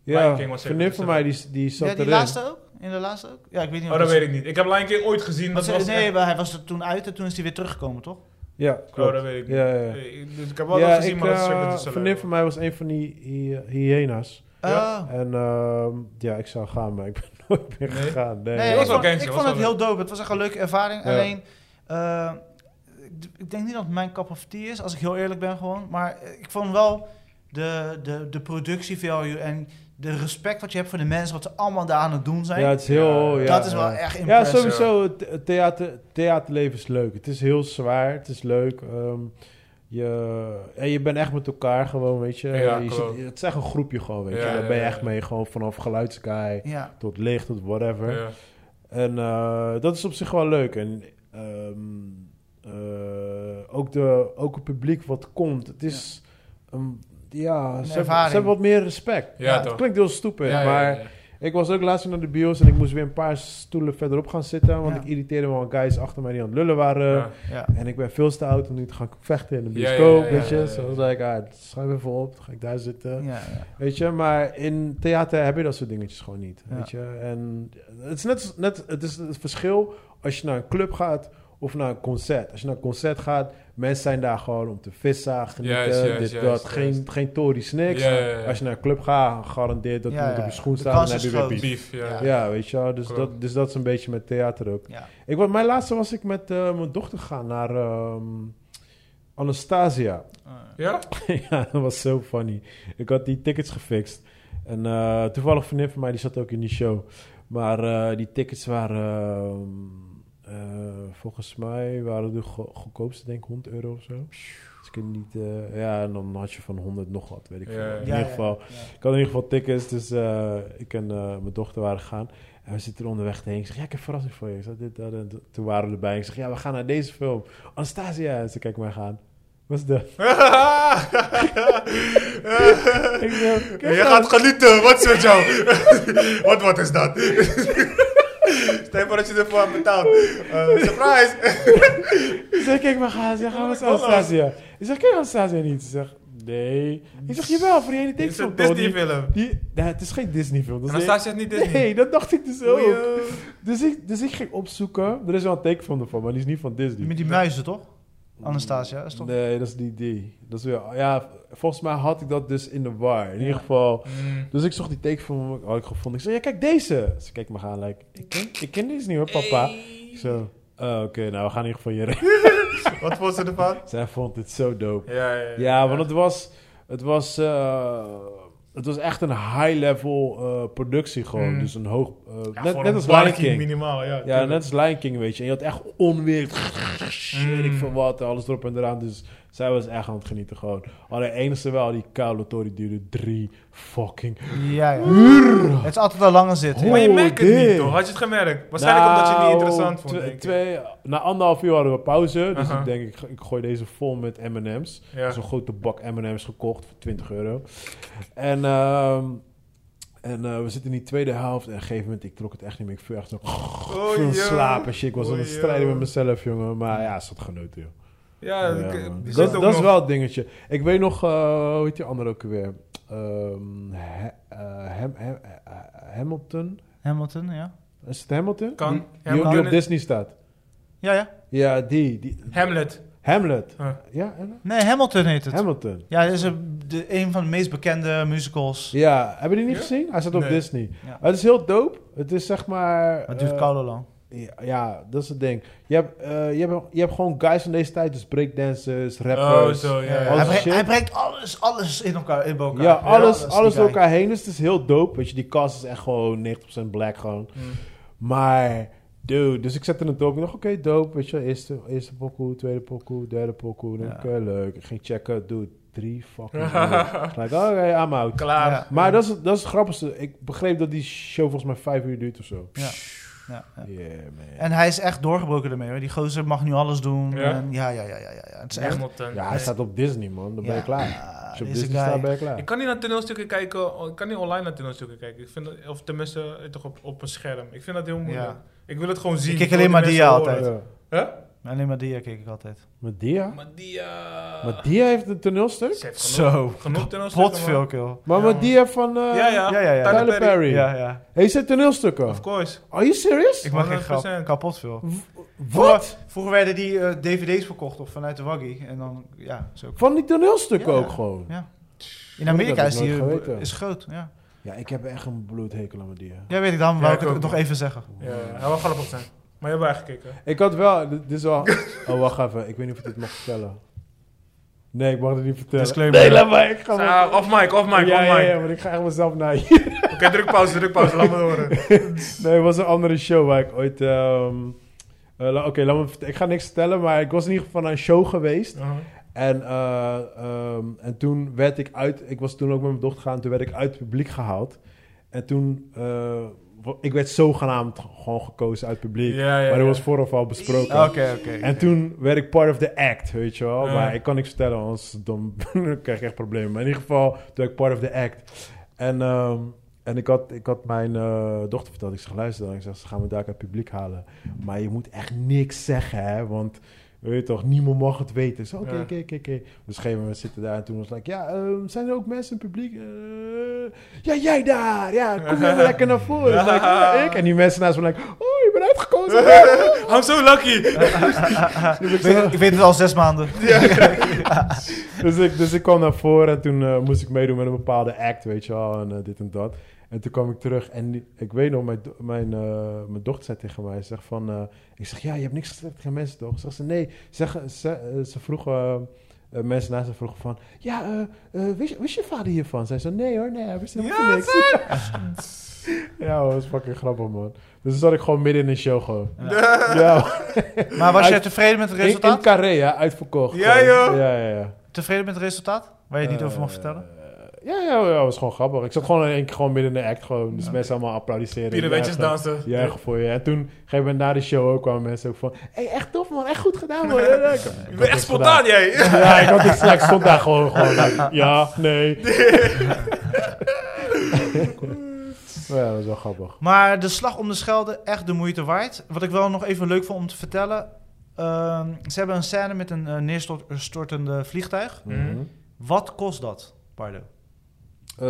S1: Ja,
S4: Lion King was
S1: vriendin van
S4: zeker
S1: mij die, die zat
S3: Ja, die
S1: erin.
S3: laatste ook? In de laatste ook? Ja, ik weet niet
S4: Oh,
S3: of
S4: dat weet ik niet. Ik heb Lion King ooit gezien.
S3: Want
S4: Dat
S3: ze-
S4: was
S3: nee,
S4: echt-
S3: maar hij was er toen uit en toen is hij weer teruggekomen, toch?
S1: Ja, klopt.
S4: Oh, dat weet ik niet.
S1: Ja, ja, ja.
S4: Eh, ik- Dus ik heb wel
S1: ja,
S4: dat gezien,
S1: ik,
S4: maar dat is Circus
S1: eh,
S4: de Soleil.
S1: vriendin van mij was een van die hy- hyena's.
S4: Ja.
S3: Oh.
S1: En ehm, ja, ik zou gaan, maar ik ben nooit meer
S4: Nee?
S1: gegaan. Nee,
S3: Nee,
S4: was
S3: ik
S4: wel
S3: vond,
S4: gangster,
S3: ik
S4: was
S3: vond het
S4: wel
S3: heel dope. Het was echt een leuke ervaring.
S1: Ja.
S3: Alleen, eh, ik, ik denk niet dat het mijn cup of tea is, als ik heel eerlijk ben gewoon. Maar eh, ik vond wel de, de, de productie value en de respect wat je hebt voor de mensen, wat ze allemaal daar aan het doen zijn.
S1: ja, het is heel...
S4: Ja,
S1: ja,
S3: dat is wel
S1: ja.
S3: echt
S1: Ja,
S3: impressive.
S1: sowieso. Het het theater, theaterleven is leuk. Het is heel zwaar. Het is leuk. ehm, je, en je bent echt met elkaar gewoon, weet je.
S4: Ja,
S1: je
S4: klopt.
S1: zit- het is echt een groepje gewoon, weet je.
S4: Ja,
S1: Daar
S4: ja,
S1: ben je
S4: ja,
S1: echt
S4: ja.
S1: mee. Gewoon vanaf geluidskaai
S3: Ja.
S1: tot licht tot whatever.
S4: Ja.
S1: En eh, dat is op zich wel leuk. En ehm, eh, ook, de, ook het publiek wat komt. Het is... een- ja, ze, hebben,
S3: ervaring.
S1: ze hebben wat meer respect.
S4: Ja,
S1: het
S4: toch.
S1: klinkt heel stupid,
S4: Ja, ja,
S1: maar...
S4: ja, ja.
S1: Ik was ook laatst weer naar de bios en ik moest weer een paar stoelen verderop gaan zitten. Want
S3: Ja.
S1: ik irriteerde me aan guys achter mij die aan het lullen waren.
S4: Ja.
S3: Ja.
S1: En ik ben veel te oud om nu te gaan vechten in de
S4: Ja, ja,
S1: bioscoop,
S4: ja, ja,
S1: weet je.
S4: ja, ja.
S1: Zo zei ik, ah, schrijf even op, dan ga ik daar
S3: Ja,
S1: zitten.
S3: ja.
S1: Weet je, maar in theater heb je dat soort dingetjes gewoon niet,
S3: Ja.
S1: weet je. En het is net, net het, is het verschil als je naar een club gaat of naar een concert. Als je naar een concert gaat, mensen zijn daar gewoon om te vissen, genieten,
S4: Juist, juist,
S1: dit,
S4: juist,
S1: dat.
S4: juist.
S1: Geen, geen tories, niks.
S4: Ja, ja, ja.
S1: Als je naar een club gaat, garandeert dat
S3: Ja,
S1: iemand
S3: ja.
S1: op je schoen
S3: De
S1: staat en
S3: kans
S1: dan heb je
S3: is
S1: weer beef.
S3: groot.
S4: Beef, ja.
S3: Ja.
S1: Ja, weet je wel. Dus
S4: Klopt.
S1: dat, dus dat is een beetje met theater ook.
S3: Ja.
S1: Ik, was- mijn laatste was ik met eh, mijn dochter gegaan naar ehm, Anastasia.
S3: Eh,
S4: Ja?
S1: ja, dat was zo funny. Ik had die tickets gefixt. En eh toevallig vriendin van mij, die zat ook in die show. Maar eh, die tickets waren... ehm, eh, volgens mij waren de go- goedkoopste, denk ik, 100 euro of zo. Dus ik weet niet... eh, ja, en dan had je van 100 nog wat, weet ik
S4: Ja,
S1: veel.
S4: ja.
S1: In
S3: ja,
S1: ieder geval,
S3: ja, ja.
S1: ik had in ieder geval tickets, dus eh, ik en eh, mijn dochter waren gegaan. En we zitten er onderweg heen. Ik zeg, ja, ik heb een verrassing voor je. Ik zeg, dit, dat, en dat. Toen waren we erbij. Ik zeg, ja, we gaan naar deze film. Anastasia. En ze kijkt mij aan. Was de... Ik zeg,
S4: Je gaat genieten, wat is met jou? wat, wat is dat? Stel je voor dat je ervoor hebt betaald. Eh, surprise!
S1: Ze kijkt me aan. Ze zegt,
S4: Oh,
S1: wat is Anastasia? Ik zeg, ken je Anastasia niet? Ze zegt, nee. Ik zeg, jawel, voor die ene
S4: Dit is
S1: tekenfilm. toch?
S4: een Disney film.
S1: Die, die, nee, het is geen Disney film. Dat is
S4: Anastasia is niet Disney.
S1: Nee, dat dacht ik dus
S4: Oei,
S1: ook.
S4: eh.
S1: Dus ik, dus ik ging opzoeken. Er is wel een tekenfilm ervan, maar die is niet van Disney.
S3: Met die muizen, toch? Anastasia, is toch?
S1: Nee, dat is niet die. Dat is weer, ja, volgens mij had ik dat dus in de war. In ieder geval.
S4: Mm.
S1: Dus ik zocht die teken van had ik gevonden. Ik zei, ja, kijk deze. Ze kijkt me aan, like, ik ken, ik ken deze niet hoor, papa. Ik zo, oh, oké, nou, we gaan in ieder geval hier.
S4: Wat vond ze ervan?
S1: Zij vond het zo dope.
S4: Ja, ja, ja.
S1: Ja, want het was, het was, eh, het was echt een high-level eh, productie gewoon.
S4: Mm.
S1: Dus een hoog, eh,
S4: Ja,
S1: net,
S4: voor
S1: net
S4: een
S1: als Lion
S4: barkie
S1: King.
S4: Minimaal, ja.
S1: Ja,
S4: tuurlijk.
S1: net als Lion King, weet je. En je had echt onweer, weet ik
S4: Mm.
S1: veel wat, alles erop en eraan. Dus Zij was echt aan het genieten gewoon. Alleen enige wel, die koude tory duurde drie fucking...
S3: Ja, ja. Het is altijd een lange zit. hè?
S1: Hoe-
S4: Maar je
S1: Oh,
S4: merkt het niet
S1: dit.
S4: toch? Had je het gemerkt? Waarschijnlijk omdat je het niet
S1: Nou,
S4: interessant vond,
S1: twe-
S4: denk ik.
S1: Twee, na anderhalf uur hadden we pauze. Dus
S4: Aha.
S1: ik denk, ik, ik gooi deze vol met M&M's.
S4: Ja.
S1: Zo'n grote bak M&M's gekocht voor 20 euro. En, ehm, en eh, we zitten in die tweede helft. En op een gegeven moment, ik trok het echt niet meer. Ik viel echt zo
S4: Oh,
S1: veel
S4: joh.
S1: slapen. Shit, ik was aan het
S4: Oh,
S1: strijden
S4: joh.
S1: met mezelf, jongen. Maar ja, zat genoten, joh.
S4: Ja,
S1: Ja,
S4: ik-
S1: man.
S4: die
S1: dat
S4: zit ook
S1: dat is
S4: nog-
S1: wel het dingetje. Ik weet nog, eh, hoe heet die andere ook weer? Ehm, He- eh, Ham- Ham- eh, Hamilton?
S3: Hamilton, ja.
S1: Is het Hamilton?
S4: Kan.
S1: Die, die
S4: Hamilton.
S1: op Disney staat.
S3: Ja, ja.
S1: Ja, die. die.
S4: Hamlet.
S1: Hamlet.
S4: Huh.
S1: Ja, Hamlet?
S3: Nee, Hamilton heet het.
S1: Hamilton.
S3: Ja, dat is een, de, een van de meest bekende musicals.
S1: Ja, hebben jullie niet
S4: Ja?
S1: gezien? Hij staat op
S4: Nee.
S1: Disney.
S3: Ja.
S1: Het is heel dope. Het is zeg maar...
S3: Maar het duurt
S1: eh,
S3: koude lang.
S1: Ja, ja, dat is het ding. Je hebt, eh, je, hebt, je hebt gewoon guys van deze tijd, dus breakdancers,
S4: Oh,
S1: rappers.
S4: zo, ja.
S1: Als
S4: ja.
S3: hij,
S1: het
S3: brengt,
S1: shit.
S3: hij brengt alles, alles in elkaar. In elkaar.
S1: Ja, alles,
S3: die
S1: alles door
S3: guy.
S1: elkaar heen. Dus het is heel dope. Weet je, die cast is echt gewoon 90% black gewoon.
S4: Hmm.
S1: Maar, dude, dus ik zette het op. Ik dacht, oké, dope. Weet je, eerste, eerste pokoe, tweede pokoe, derde pokoe. Dan
S3: Ja.
S1: Oké, leuk. Ik ging checken, dude, drie fucking uur. Gelijk, oké, I'm out.
S4: Klaar.
S3: Ja.
S1: Maar dat is, dat is het grappigste. Ik begreep dat die show volgens mij vijf uur duurt of zo.
S3: Ja. Ja, ja.
S1: Yeah, man.
S3: En hij is echt doorgebroken ermee. Hoor. Die gozer mag nu alles doen.
S4: Ja?
S3: En ja, ja, ja, ja, ja, ja. Het is echt...
S4: Hamilton.
S1: Ja, hij staat op Disney, man. Dan ben je
S3: Ja, Ah,
S1: klaar. Als je op
S3: deze
S1: Disney
S3: guy.
S1: staat, ben je klaar.
S4: Ik kan niet naar toneelstukken kijken, oh, ik kan niet online naar toneelstukken kijken. Ik vind dat, of tenminste, eh, toch op, op een scherm. Ik vind dat heel moeilijk.
S3: Ja.
S4: Ik wil het gewoon zien.
S3: Ik kijk
S4: wil
S3: alleen
S4: die
S3: maar
S4: mensen
S3: die
S4: horen.
S3: altijd.
S1: Ja.
S4: Huh?
S3: Alleen maar die keek ik altijd.
S1: Maar Dia?
S4: Maar die... eh,
S1: Maar Dia heeft een toneelstuk?
S4: ze heeft genoeg,
S3: Zo.
S4: genoeg toneelstukken.
S3: Pot
S4: man.
S3: veel kill.
S1: Maar
S4: Ja,
S1: maar
S4: man.
S1: Dia van... eh,
S4: Ja, ja.
S3: Ja, ja, ja.
S1: Tyler Perry.
S3: Ja, ja.
S1: Heeft zij toneelstukken?
S4: Of course.
S1: Are you serious?
S3: Ik mag geen grap.
S4: 100%.
S3: Kapot veel.
S1: Wat?
S3: Vroeger werden die eh, dvd's verkocht of vanuit de Waggy. En dan, ja, zo.
S1: Van die toneelstukken
S3: Ja.
S1: ook gewoon.
S3: Ja. In Amerika
S1: heb
S3: is
S1: ik
S3: die
S1: nooit geweten.
S3: eh, is groot, ja.
S1: Ja, ik heb echt een bloedhekel aan Dia.
S3: Ja, weet ik dan.
S4: Ja, ik
S3: Wou ik het
S4: ook.
S3: nog even zeggen.
S4: Ja, hij wil grappig zijn. Maar je hebt wel gekeken.
S1: Ik had wel... Dit dit is wel... Oh, wacht even. Ik weet niet of ik dit mag vertellen. Nee, ik mag het niet vertellen.
S3: Disclaimer.
S1: Nee, laat maar. Ik ga maar-
S4: Ah, off mic, off mic, off mic.
S1: ja, ja, ja, maar ik ga echt mezelf naar hier.
S4: Oké, druk pauze, druk pauze. Laat me horen. Uh-huh.
S1: Nee, het was een andere show waar ik ooit... ehm, eh, la- Oké, laat me vert- ik ga niks vertellen, maar ik was in ieder geval naar een show geweest.
S4: Uh-huh.
S1: En, eh, ehm, en toen werd ik uit... Ik was toen ook met mijn dochter gegaan. Toen werd ik uit het publiek gehaald. En toen... eh, wa- ik werd zogenaamd gewoon gekozen uit het publiek.
S4: Ja, ja,
S1: maar dat
S4: ja.
S1: was vooraf al besproken.
S3: Oké, oké.
S1: En toen werd ik part of the act, weet je wel.
S4: Ja.
S1: Maar ik kan niks vertellen, anders dan krijg ik echt problemen. Maar in ieder geval, toen werd ik part of the act. En, ehm, en ik, had, ik had mijn eh, dochter verteld, ik zeg, luister dan. Ik zeg, ze gaan me daar uit het publiek halen. Maar je moet echt niks zeggen, hè. Want, weet je toch, niemand mag het weten. Ik zeg, oké,
S4: Ja.
S1: oké, oké, oké. Dus op een gegeven moment zitten daar en toen was ik, ja, ehm, zijn er ook mensen in het publiek? Eh, ja, jij daar! Ja, kom jij maar lekker naar voren. Ik zeg, "Ja, ik. En die mensen naast me, like, oh, je bent uitgekozen.
S4: I'm so lucky.
S3: Ik weet- Ik weet het al zes maanden.
S1: dus, ik, dus ik kwam naar voren en toen eh, moest ik meedoen met een bepaalde act, weet je wel, en eh, dit en dat. En toen kwam ik terug en die- ik weet nog, mijn, do- mijn, eh, mijn dochter zei tegen mij, zeg van, eh, ik zeg, ja, je hebt niks gezegd tegen mensen toch? Zeg ze, nee, zeg, ze, eh, ze vroeg, eh, eh, mensen naast haar vroegen van, ja, eh, eh, wist, wist je vader hiervan? Zij zei, nee hoor, nee, hij wist helemaal
S4: Ja,
S1: niks. ja, hoor, dat is fucking grappig, man. Dus toen zat ik gewoon midden in een show gewoon. Ja,
S3: Maar was
S1: Uit-
S3: jij tevreden met het
S1: in, in
S3: resultaat?
S1: Carré, ja, uitverkocht.
S4: Ja,
S1: gewoon.
S4: joh.
S1: Ja, ja, ja.
S3: Tevreden met het resultaat? Waar je niet over mag
S1: Eh,
S3: vertellen?
S1: Ja, ja, ja, was gewoon grappig. Ik zat gewoon in één keer gewoon midden in de act. Gewoon, dus mensen allemaal applaudisseren.
S4: Pirouetjes
S1: Juichen.
S4: dansen.
S1: Juichen voor je. En toen, op een gegeven moment na de show ook, kwamen mensen ook van... hey, echt tof man, echt goed gedaan man. Ja, ja, ik- ik
S4: Je
S1: had
S4: bent echt
S1: niks
S4: spontaan, jij.
S1: gedaan. Ja, ik, had niks gedaan. Ik stond daar gewoon, gewoon like, ja, nee. Maar ja, dat was wel grappig.
S3: Maar de slag om de Schelde, echt de moeite waard. Wat ik wel nog even leuk vond om te vertellen. ehm, ze hebben een scène met een eh, neerstortende vliegtuig.
S1: Mhm.
S3: Wat kost dat? Pardon.
S1: Eh,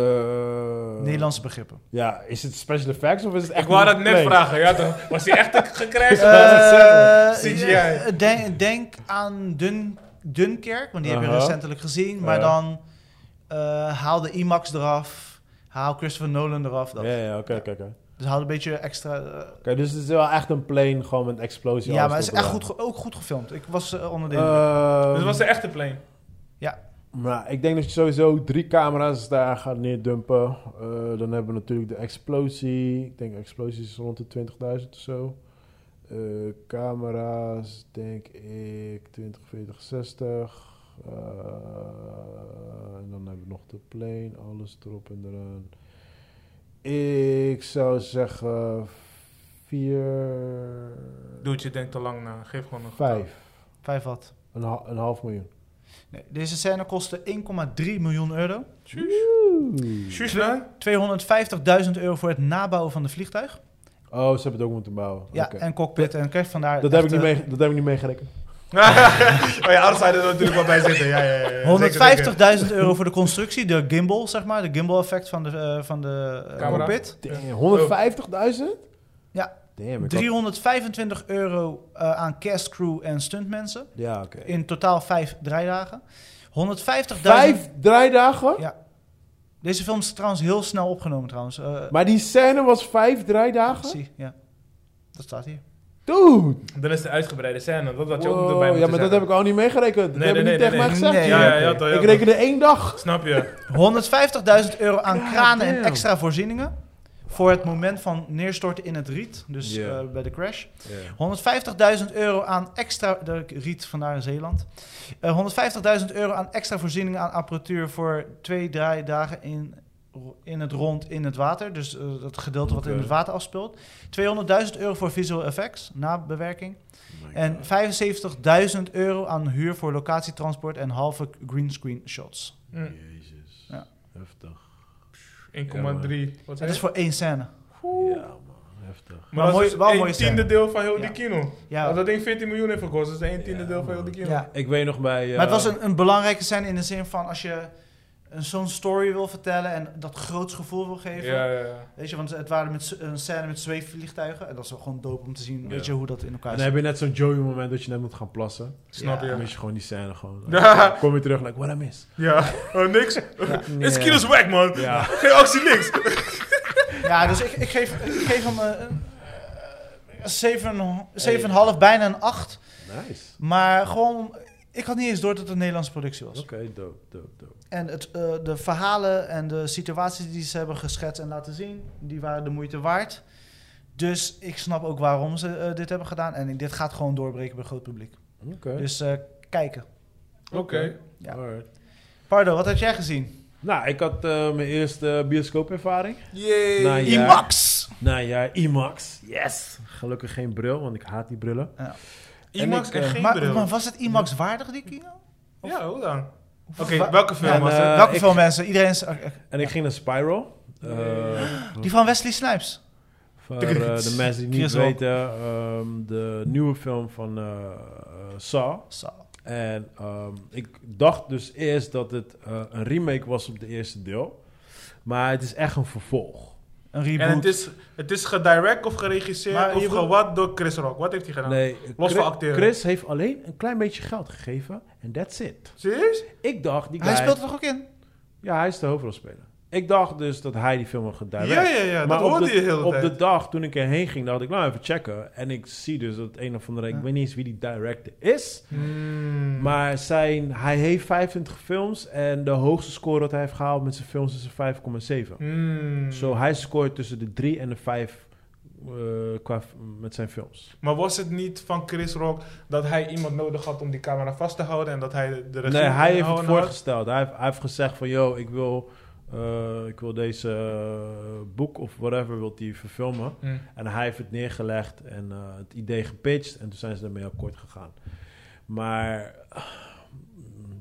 S3: Nederlandse begrippen.
S1: Ja, is het special effects of is het echt...
S4: Ik wou dat net
S1: Nee.
S4: vragen. Ja, toch? Was hij echt gekrijsd?
S3: Eh,
S4: CGI.
S3: eh, Denk, denk aan Dun, Dunkerk, want die heb
S1: Aha.
S3: je recentelijk gezien. Maar
S1: Uh-huh. Ja.
S3: dan eh, haal de IMAX eraf. Haal Christopher Nolan eraf. Dat.
S1: Ja, ja, oké, oké, oké.
S3: Dus haal een beetje extra... eh,
S1: Oké, Dus het is wel echt een plane, gewoon met explosie.
S3: ja,
S1: Dus alles
S3: maar het is
S1: erop en
S3: echt goed, ge- ook goed gefilmd. Ik was eh, onder de indruk.
S1: eraan.
S4: Dus
S1: Ehm,
S4: was de echte plane.
S1: Maar ik denk dat je sowieso drie camera's daar gaat neerdumpen. Eh, dan hebben we natuurlijk de explosie. Ik denk explosies rond de 20.000 of zo. Eh, camera's, denk ik, 20, 40, 60. Eh, en dan hebben we nog de plane, alles erop en eraan. Ik zou zeggen vier,
S4: Dude, je denkt te lang na. Geef gewoon een getal.
S1: vijf.
S3: Vijf wat.
S1: Een, ha- een half miljoen.
S3: Nee, deze scène kostte 1,3 miljoen euro.
S4: Sjoerd, hè?
S3: 250.000 euro voor het nabouwen van de vliegtuig.
S1: Oh, ze hebben het ook moeten bouwen.
S3: Ja,
S1: Oké.
S3: en cockpit en kerst. Vandaar
S1: Dat, heb ik
S3: echt,
S1: niet
S3: eh,
S1: mee, dat heb ik niet meegerekend.
S2: oh ja, anders zou je er natuurlijk wel bij zitten. Ja, ja, ja, ja.
S3: 150.000 euro voor de constructie, de gimbal, zeg maar. De gimbal effect van de, eh, van de eh,
S4: Camera.
S3: cockpit.
S1: Damn, 150.000?
S3: Ja.
S1: Damn, ik had-
S3: 325 euro eh, aan castcrew en stuntmensen.
S1: Ja, oké.
S3: In totaal vijf draaidagen. 150.000...
S1: Vijf draaidagen?
S3: Ja. Deze film is trouwens heel snel opgenomen trouwens. Eh,
S1: Maar die scène was vijf draaidagen?
S3: zie, ja. Dat staat hier.
S1: Dude!
S4: Dan is de uitgebreide scène. Dat had je ook
S1: Wow,
S4: erbij moeten
S1: ja, maar dat
S4: zeggen.
S1: heb ik al niet meegerekend.
S4: Nee,
S1: dat heb
S4: nee,
S1: ik
S4: nee,
S1: niet tegen mij
S4: nee.
S1: gezegd.
S3: Nee.
S1: joh.
S4: Ja, ja, ja, dat-
S1: ik
S4: ja, dat-
S1: rekende één dag.
S4: Snap je?
S3: 150.000 euro aan kranen en
S1: damn.
S3: extra voorzieningen. Voor het moment van neerstorten in het riet. Dus
S1: Ja.
S3: eh, bij de crash. 150.000 euro aan extra... De riet vandaar in Zeeland. Eh, 150.000 euro aan extra voorzieningen aan apparatuur... voor twee draaidagen in, in het rond in het water. Dus eh, dat gedeelte wat in
S1: Oké.
S3: het water afspeelt. 200.000 euro voor visual effects, nabewerking.
S1: Oh
S3: En 75.000 euro aan huur voor locatietransport... en halve greenscreen shots.
S1: Mm.
S4: Hm,
S1: Jezus.
S3: Mm. Ja.
S1: Heftig.
S4: 1,3. Wat
S3: Dat
S4: zei
S3: is
S4: je?
S3: voor één scène.
S1: Ja, man. Heftig.
S4: Maar
S3: Maar
S4: dat
S3: mooi-
S4: is
S3: wel
S4: een
S3: mooie
S4: tiende
S3: scène.
S4: deel van heel die
S3: Ja.
S4: kino.
S3: Ja.
S4: Als dat ding 14 miljoen heeft gekost, dat is een tiende deel van heel die kino.
S3: Ja.
S1: Ik weet nog bij... eh,
S3: Maar het was een, een belangrijke scène in de zin van als je een- zo'n story wil vertellen en dat groots gevoel wil geven.
S4: Ja, ja, ja.
S3: Weet je, want het waren met, z- een scène met zweefvliegtuigen. En dat is wel gewoon dope om te zien, weet je, hoe dat in elkaar
S1: En dan
S3: zit.
S1: heb je net zo'n Joey moment dat je net moet gaan plassen.
S4: Snap
S3: Ja.
S1: Dan
S4: je?
S1: mis je gewoon die scène gewoon.
S4: Ja.
S1: Kom je terug, like, what I miss.
S4: Ja, Oh, niks. Is
S1: Ja.
S4: kino's wack, man.
S1: Ja.
S4: Geen actie, niks.
S3: Ja, dus ik, ik, geef, ik geef hem eh, een eh, zeven- 7,5, bijna een 8.
S1: Nice.
S3: Maar gewoon, ik had niet eens door dat het een Nederlandse productie was.
S1: Oké, dope, dope, dope.
S3: En het, eh, de verhalen en de situaties die ze hebben geschetst en laten zien, die waren de moeite waard. Dus ik snap ook waarom ze eh, dit hebben gedaan. En dit gaat gewoon doorbreken bij groot publiek.
S1: Oké.
S3: Dus eh, kijken.
S4: Oké.
S3: Ja.
S1: Alright.
S3: Pardo, wat had jij gezien?
S1: Nou, ik had eh, mijn eerste bioscoopervaring.
S4: Yay.
S1: Nou, ja.
S3: IMAX!
S1: Nou ja, IMAX. Yes. Gelukkig geen bril, want ik haat die brillen.
S4: IMAX
S1: En
S4: en,
S1: ik, eh,
S4: geen
S3: Maar,
S4: bril.
S3: maar was het IMAX waardig, die kino?
S4: ja, hoe dan? Oké,
S3: Wa-
S4: welke film
S3: Ja,
S4: was het?
S1: eh,
S3: Welke
S1: ik-
S3: veel mensen? Iedereen is... eh, eh,
S1: En ik ging naar Spiral. Eh,
S3: Die van Wesley Snipes.
S1: Voor eh, de mensen die niet
S3: Chris Rock.
S1: weten, ehm, de nieuwe film van eh eh, Saw.
S3: Zo.
S1: En ehm, ik dacht dus eerst dat het eh, een remake was op de eerste deel. Maar het is echt een vervolg.
S3: Een
S4: en
S3: reboot.
S4: het is, het is gedirect of geregisseerd
S3: Maar je
S4: of
S3: wil-
S4: gewat door Chris Rock. Wat heeft hij gedaan?
S1: Nee,
S4: Los
S1: Chris,
S4: van acteren.
S1: Chris heeft alleen een klein beetje geld gegeven. En that's it.
S4: Serieus?
S1: Ik dacht... Die
S3: Hij
S1: guy-
S3: speelt er toch ook in?
S1: Ja, hij is de hoofdrolspeler. Ik dacht dus dat hij die film had gedirect.
S4: Ja, ja, ja. Dat
S1: op
S4: hoorde
S1: de,
S4: je heel de
S1: op
S4: tijd.
S1: de dag toen ik erheen ging, dacht ik, nou even checken. En ik zie dus dat een of andere, ik
S3: Ja.
S1: weet niet eens wie die director is.
S4: Hmm.
S1: Maar zijn, hij heeft 25 films en de hoogste score dat hij heeft gehaald met zijn films is een 5,7.
S4: Hmm.
S1: Zo, hij scoort tussen de 3 en de 5 eh, qua, met zijn films.
S4: Maar was het niet van Chris Rock dat hij iemand nodig had om die camera vast te houden en dat hij de regie
S1: Nee, hij
S4: in
S1: heeft het
S4: handen had?
S1: voorgesteld. Hij heeft, hij heeft gezegd van, yo, ik wil, eh, ik wil deze eh, boek of whatever, wilt hij verfilmen.
S4: Hmm.
S1: En hij heeft het neergelegd en eh, het idee gepitcht. En toen zijn ze daarmee akkoord gegaan. Maar ah,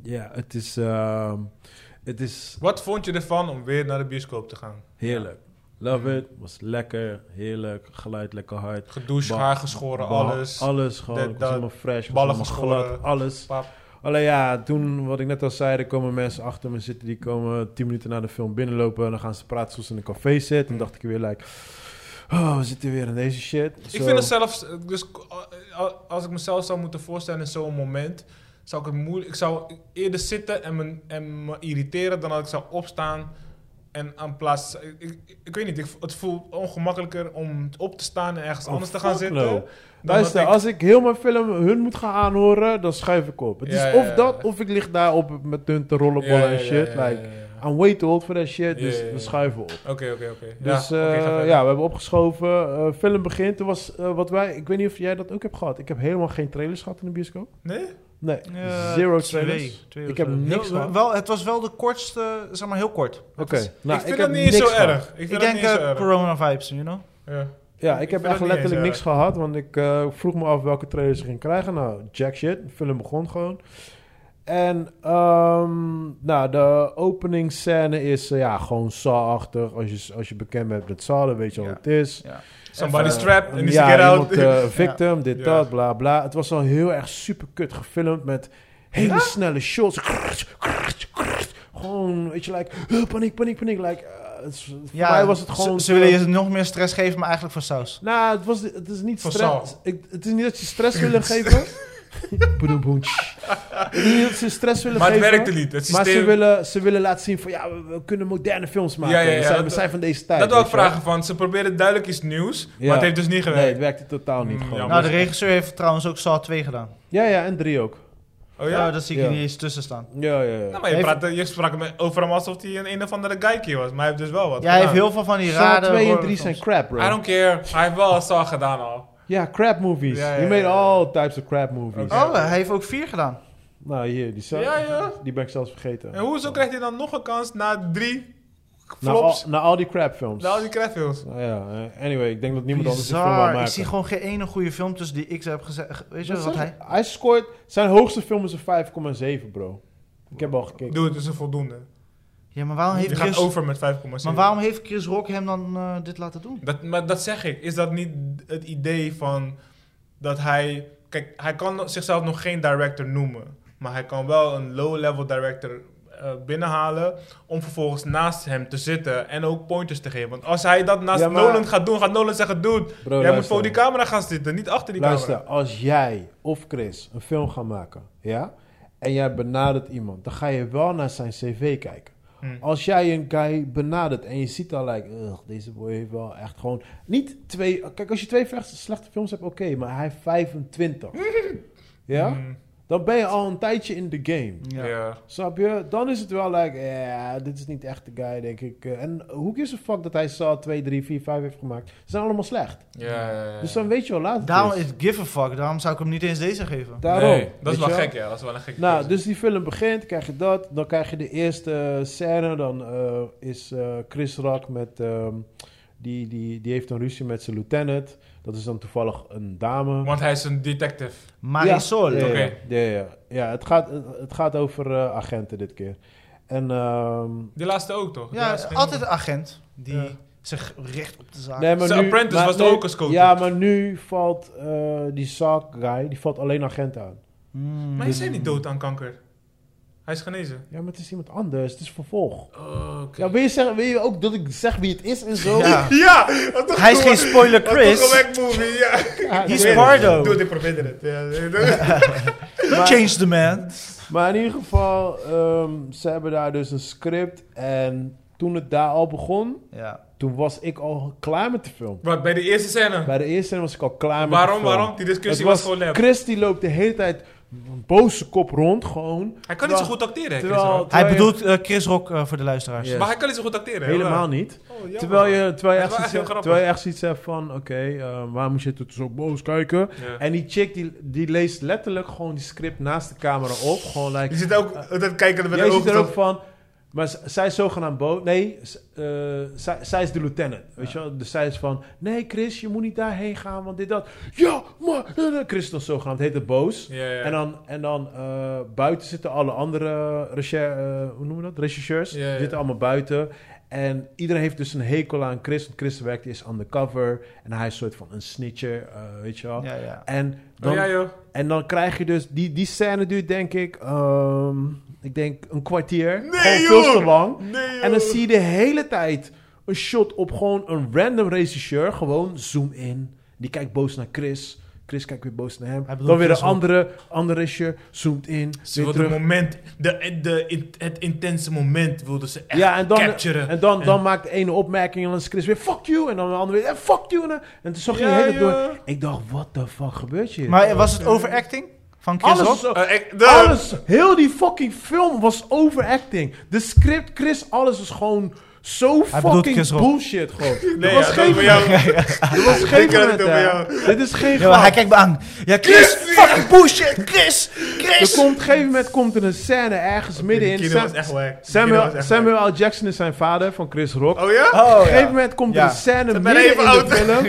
S1: ja, het is, ehm, het is
S4: Wat vond je ervan om weer naar de bioscoop te gaan?
S1: heerlijk. Love it. Was lekker, heerlijk. Geluid lekker hard.
S4: Gedoucht,
S1: Ba-
S4: haar geschoren,
S1: Ba-
S4: alles.
S1: Alles gewoon.
S4: Dit,
S1: Ik was
S4: dat.
S1: helemaal fresh. ik was
S4: Ballen
S1: helemaal
S4: geschoren.
S1: glad. Alles.
S4: Pap.
S1: Alleen ja, toen, wat ik net al zei, er komen mensen achter me zitten. Die komen tien minuten na de film binnenlopen. En dan gaan ze praten zoals ze in een café zitten.
S4: Hmm.
S1: En dacht ik weer, like, oh, we zitten weer in deze shit.
S4: Ik vind het zelfs, dus eh, als ik mezelf zou moeten voorstellen in zo'n moment, zou ik het moeilijk, ik zou eerder zitten en me, en me irriteren dan dat ik zou opstaan en aan plaats, ik, ik, ik weet niet, ik, het voelt ongemakkelijker om op te staan en ergens
S1: Oh,
S4: anders te gaan
S1: fuck
S4: zitten.
S1: no.
S4: dan
S1: Luister,
S4: dat ik-
S1: als ik heel mijn film hun moet gaan aanhoren, dan schuif ik op. Het
S4: Ja,
S1: is
S4: ja,
S1: of
S4: ja.
S1: dat, of ik lig daar op met hun te rollenballen
S4: Ja,
S1: en
S4: ja, ja,
S1: shit.
S4: ja, ja,
S1: like,
S4: ja, ja.
S1: I'm way too old for that shit,
S4: Ja,
S1: dus
S4: ja, ja.
S1: we schuiven op.
S4: Oké, oké, oké.
S1: Dus
S4: Ja, oké, ga
S1: eh,
S4: verder.
S1: ja, we hebben opgeschoven. Eh, film begint. Er was eh, wat wij. Ik weet niet of jij dat ook hebt gehad. Ik heb helemaal geen trailers gehad in de bioscoop.
S4: Nee?
S1: Nee,
S3: Eh,
S1: zero
S3: twee,
S1: trailers.
S3: twee
S1: Ik
S3: of
S1: heb
S3: zo.
S1: niks
S3: Heel-
S1: van.
S3: Wel, het was wel de kortste, zeg maar heel kort.
S1: Oké, nou,
S4: ik
S1: heb
S4: vind dat niet eens zo
S1: niks gehad.
S4: erg. Ik vind
S3: Ik
S4: dat
S3: denk
S4: niet eens zo
S3: eh,
S4: erg.
S3: corona vibes, you know?
S4: Ja.
S1: Ja, ik,
S4: Ik
S1: heb
S4: vind
S1: echt
S4: dat niet
S1: letterlijk
S4: eens
S1: niks gehad, want ik eh, vroeg me af welke trailers ik ging krijgen. Nou, jack shit, de film begon gewoon. En ehm, nou, de openingsscène is eh, ja, gewoon Saw-achtig. Als je, als je bekend bent met Saw, dan weet je al
S3: Ja.
S1: wat het is.
S4: Somebody's
S1: Eh,
S4: trapped and he's
S1: ja,
S4: get out.
S1: iemand, eh, victim, dit,
S4: Ja.
S1: dat, bla, bla. Het was al heel erg super kut gefilmd met hele snelle shots. Krrrt, krrrt, krrrt. Gewoon, weet je, like, eh, paniek, paniek, paniek. Like, eh, het is- voor mij was het
S3: ze-
S1: gewoon...
S3: Ze, willen je nog meer stress geven, maar eigenlijk voor saus.
S1: Nou, het, was, het is niet
S4: Van
S1: stress.
S4: Saal.
S1: Ik, het is niet dat ze stress willen geven. Boedoemboem, tsch. Het is niet dat ze stress willen
S4: Maar het
S1: geven.
S4: werkte niet. Het
S1: Maar ze
S4: systeem...
S1: willen, ze willen laten zien van ja, we, we kunnen moderne films maken.
S4: Ja, ja, ja,
S1: we, zijn, we
S4: dat-
S1: zijn van deze tijd.
S4: dat wil ik
S1: weet je wel.
S4: vragen van. Ze probeerden duidelijk iets nieuws,
S1: Ja.
S4: maar het heeft dus niet
S1: Nee, het
S4: gewerkt.
S1: werkte totaal niet.
S4: Mm,
S1: gewoon.
S4: jammer.
S3: Nou, de regisseur heeft trouwens ook Saw 2 gedaan.
S1: Ja, ja, en drie ook.
S4: Oh ja?
S3: dat zie ik
S1: Ja.
S3: er niet eens tussen staan.
S1: Ja, ja, ja.
S4: Nou, maar je,
S3: Even-
S4: praat, je sprak me over hem alsof hij een een of andere geikie was. Maar hij heeft dus wel wat
S3: Ja, hij heeft
S4: gedaan.
S3: heel veel van die
S1: Saw
S3: rare...
S1: 2 en
S3: horror
S1: 3 zijn
S3: films.
S1: crap,
S4: I
S1: bro.
S4: don't care. Hij heeft wel een Saw gedaan al.
S1: Ja, crap movies.
S4: Ja, ja,
S1: you made
S4: ja, ja.
S1: all types of crap movies.
S4: crap.
S3: Oh, hij heeft ook 4 gedaan.
S1: Nou, hier, die,
S4: Ja, ja.
S1: die ben ik zelfs vergeten.
S4: En hoezo krijgt hij dan nog een kans na drie
S1: na, Nou, al,
S4: flops?
S1: na al die crap films.
S4: Na al die crapfilms.
S1: Nou ja, eh, anyway, ik denk dat niemand anders een film wil
S3: Bizar.
S1: maken.
S3: Ik zie gewoon geen ene goede film tussen die ik heb gezegd. Weet je
S1: Dat
S3: wat
S1: zeg
S3: hij...
S1: ik. Hij scoort... Zijn hoogste film is een 5,7, bro. Ik heb al gekeken.
S4: Doe het is een voldoende.
S3: Ja, maar waarom
S4: Je
S3: heeft
S4: gaat
S3: Chris...
S4: over met 5,7.
S3: Maar waarom heeft Chris Rock hem dan eh, dit laten doen?
S4: Dat, maar dat zeg ik. Is dat niet het idee van dat hij. Kijk, hij kan zichzelf nog geen director noemen. Maar hij kan wel een low-level director eh, binnenhalen. Om vervolgens naast hem te zitten en ook pointers te geven. Want als hij dat naast
S1: Ja, maar-
S4: Nolan gaat doen, gaat Nolan zeggen: Dude,
S1: Bro,
S4: jij moet
S1: luister.
S4: voor die camera gaan zitten, niet achter die
S1: Luister,
S4: camera.
S1: als jij of Chris een film gaan maken, ja? En jij benadert iemand, dan ga je wel naar zijn cv kijken.
S4: Hmm.
S1: Als jij een guy benadert en je ziet al, like, ugh, deze boy heeft wel echt gewoon... Niet twee... Kijk, als je twee slechte- slechte films hebt, oké, maar hij heeft 25. ja?
S4: Mm,
S1: Dan ben je al een tijdje in de game.
S4: ja.
S1: Snap je? Dan is het wel like, ja, dit is niet echt de guy, denk ik. Eh, En hoe is de fuck dat hij Saw 2, 3, 4, 5 heeft gemaakt? Ze zijn allemaal slecht.
S4: Ja, ja, ja, ja.
S1: Dus dan weet je wel later.
S3: Daarom is give a fuck. Daarom zou ik hem niet eens deze geven.
S1: Daarom.
S4: Nee, dat
S1: weet
S4: is wel
S1: je
S4: gek, ja. Dat is wel een gek.
S1: Nou, dus die film begint, krijg je dat. Dan krijg je de eerste scène. Dan eh, is eh, Chris Rock met... ehm, die, die, die heeft een ruzie met zijn lieutenant. Dat is dan toevallig een dame.
S4: Want hij is een detective.
S3: Marisol.
S1: Ja, ja,
S4: oké.
S1: ja, ja, ja. Ja, het gaat, het gaat over eh, agenten dit keer. En ehm,
S4: Die laatste ook, toch?
S3: Ja,
S4: is
S3: altijd een agent die
S4: Ja.
S3: zich richt op de zaak.
S1: Nee, maar
S4: Zijn
S1: nu,
S4: apprentice
S1: maar
S4: was
S1: nu-
S4: er ook een scout.
S1: Ja, maar nu valt eh, die Sark guy, die valt alleen agenten aan.
S3: Hmm.
S1: Dus-
S4: Maar hij is niet dood aan kanker. Hij is genezen.
S1: Ja, maar het is iemand anders. Het is vervolg.
S4: Oh, oké.
S1: Ja, wil je, zeggen, wil je ook dat ik zeg wie het is en zo?
S3: Ja.
S4: Ja, dat toch
S3: Hij is geen spoiler
S4: Toch een
S3: Chris.
S4: wack movie, ja.
S1: Ja,
S3: He's
S1: nee.
S3: Pardo.
S4: Doe dit, probeer het. Ja, ja,
S3: Don't change the man.
S1: Maar in ieder geval, ehm, ze hebben daar dus een script. En toen het daar al begon,
S3: Ja.
S1: toen was ik al klaar met de film.
S4: Wat, bij de eerste scène?
S1: Bij de eerste was ik al klaar met de
S4: Waarom,
S1: film.
S4: waarom? Die
S1: Het
S4: discussie was,
S1: was
S4: gewoon lep.
S1: Chris die loopt de hele tijd een boze kop rond, gewoon.
S4: Hij kan niet zo
S1: Terwijl-
S4: goed acteren, hè, Chris
S1: terwijl-
S4: Rock.
S3: Hij
S1: Terwijl je-
S3: bedoelt eh, Chris Rock eh, voor de luisteraars.
S1: Ja.
S4: Maar hij kan niet zo goed acteren, hè,
S1: Helemaal
S4: waar?
S1: niet.
S4: Oh, jammer.
S1: Terwijl je, terwijl, je echt
S4: Het is wel echt
S1: zoiets,
S4: heel grappig.
S1: terwijl je echt zoiets hebt van... Oké, eh, waarom moet je het zo boos kijken?
S4: Ja.
S1: En die chick die, die leest letterlijk gewoon die script naast de camera op. Gewoon
S4: Je
S1: like...
S4: zit ook altijd kijken met
S1: Ah. jij
S4: de
S1: ziet
S4: ogen.
S1: er ook
S4: zo-
S1: van... Maar z- zij is zogenaamd boos. Nee, z- eh, zij, zij is de lieutenant. Weet je wel? Dus zij is van... Nee, Chris, je moet niet daarheen gaan, want dit, dat. Ja, maar... eh, eh." Chris is dan zogenaamd heet het boos.
S4: Ja, ja.
S1: En dan, en dan eh, buiten zitten alle andere recher, eh, hoe noemen we dat? rechercheurs.
S4: Ja, ja.
S1: Die zitten allemaal buiten. En iedereen heeft dus een hekel aan Chris. Want Chris werkt is undercover. En hij is een soort van een snitcher, eh, weet je wel.
S3: Ja, ja.
S1: En, dan,
S4: Oh, ja, joh.
S1: en dan krijg je dus... Die, die scène duurt denk ik... ehm, ik denk een kwartier.
S4: Nee,
S1: Gewoon veel
S4: joh!
S1: te lang.
S4: Nee, joh.
S1: En dan zie je de hele tijd een shot op gewoon een random regisseur. Gewoon zoom in. Die kijkt boos naar Chris. Chris kijkt weer boos naar hem.
S3: Hij bedoelt
S1: Dan weer een
S3: Chris ook.
S1: andere, andere regisseur. Zoomt in.
S4: Ze
S1: weer
S4: wilde
S1: terug.
S4: het moment, de, de, in- het intense moment wilden ze echt
S1: Ja, en dan,
S4: capturen.
S1: en dan, dan maakt de ene opmerking en dan is Chris weer fuck you. En dan de andere weer eh, fuck you. En, dan- en toen zag je
S4: Ja,
S1: de hele
S4: joh.
S1: door. Ik dacht, wat de fuck gebeurt hier?
S3: Maar was het overacting van Chris
S1: alles,
S3: Rock?
S1: was o-
S4: Eh, ik- de-
S1: alles, heel die fucking film was overacting. De script, Chris, alles is gewoon Zo
S3: bedoelt
S1: fucking
S3: Chris Rock.
S1: bullshit, gewoon.
S2: Nee,
S1: er was
S2: ja,
S1: geen
S2: dat voor jou.
S1: Er was geen
S2: Ik had het
S1: moment,
S2: over
S1: hè. Dit is geen
S3: Ja, maar hij
S1: grap.
S3: kijkt me aan. Ja, Chris, fucking bullshit. Chris, Chris.
S1: Er komt op een gegeven moment komt er een scène ergens midden
S2: Die
S1: in.
S2: kilo
S1: Sam-
S2: was echt wack. Die kilo was
S1: Samuel,
S2: echt
S1: Samuel L. Jackson is zijn vader van Chris Rock.
S2: wack. Oh ja?
S1: Op
S3: Oh,
S1: een gegeven
S3: ja.
S1: moment komt
S3: Ja.
S1: er een scène
S2: ben
S1: midden in
S2: even
S1: de
S2: oud.
S1: film.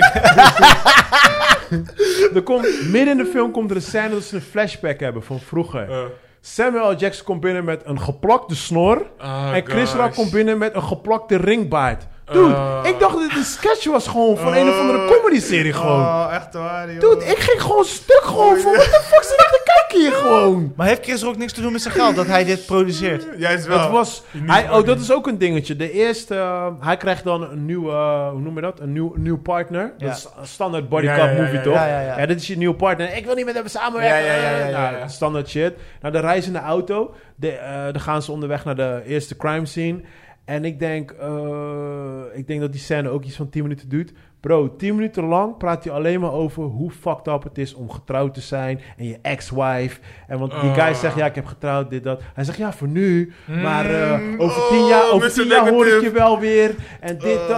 S1: er komt, midden in de film komt er een scène dat ze een flashback hebben van vroeger.
S4: Eh.
S1: Samuel L. Jackson komt binnen met een geplakte snor.
S4: Ah,
S1: en Chris
S4: gosh.
S1: Rock komt binnen met een geplakte ringbaard. Dude,
S4: Ah.
S1: ik dacht dat dit een sketch was gewoon van een of andere comedy serie gewoon.
S4: Ah.
S2: Oh, echt waar, joh.
S1: Dude, ik ging gewoon stuk gewoon van, what the fuck zit ik te kijken hier gewoon?
S3: Maar heeft Chris Rock niks te doen met zijn geld dat hij dit produceert?
S2: Juist wel.
S1: Het was, hij, oh, dat is ook een dingetje. De eerste, eh, hij krijgt dan een nieuwe, eh, hoe noem je dat? Een nieuw, nieuw partner.
S3: Ja.
S1: Dat is een standaard body
S4: Ja,
S1: cop
S4: ja, ja,
S1: movie,
S4: ja,
S1: toch?
S3: ja, ja, ja.
S1: dit is je nieuwe partner. Ik wil niet met hem samenwerken.
S4: Ja, ja, ja, ja, ja,
S1: Nou,
S4: ja.
S1: standaard shit. Nou, de reizende auto. De, eh, dan gaan ze onderweg naar de eerste crime scene. En ik denk, eh, ik denk dat die scène ook iets van 10 minuten duurt. Bro, 10 minuten lang praat hij alleen maar over hoe fucked up het is om getrouwd te zijn. En je ex-wife. En want die guy
S4: Ah.
S1: zegt, ja, ik heb getrouwd, dit, dat. Hij zegt, ja, voor nu. Maar eh,
S4: Mm,
S1: over
S2: oh,
S1: 10 jaar, over
S2: Mr.
S1: 10 jaar hoor ik
S2: Negative.
S1: je wel weer. En dit,
S2: Oh.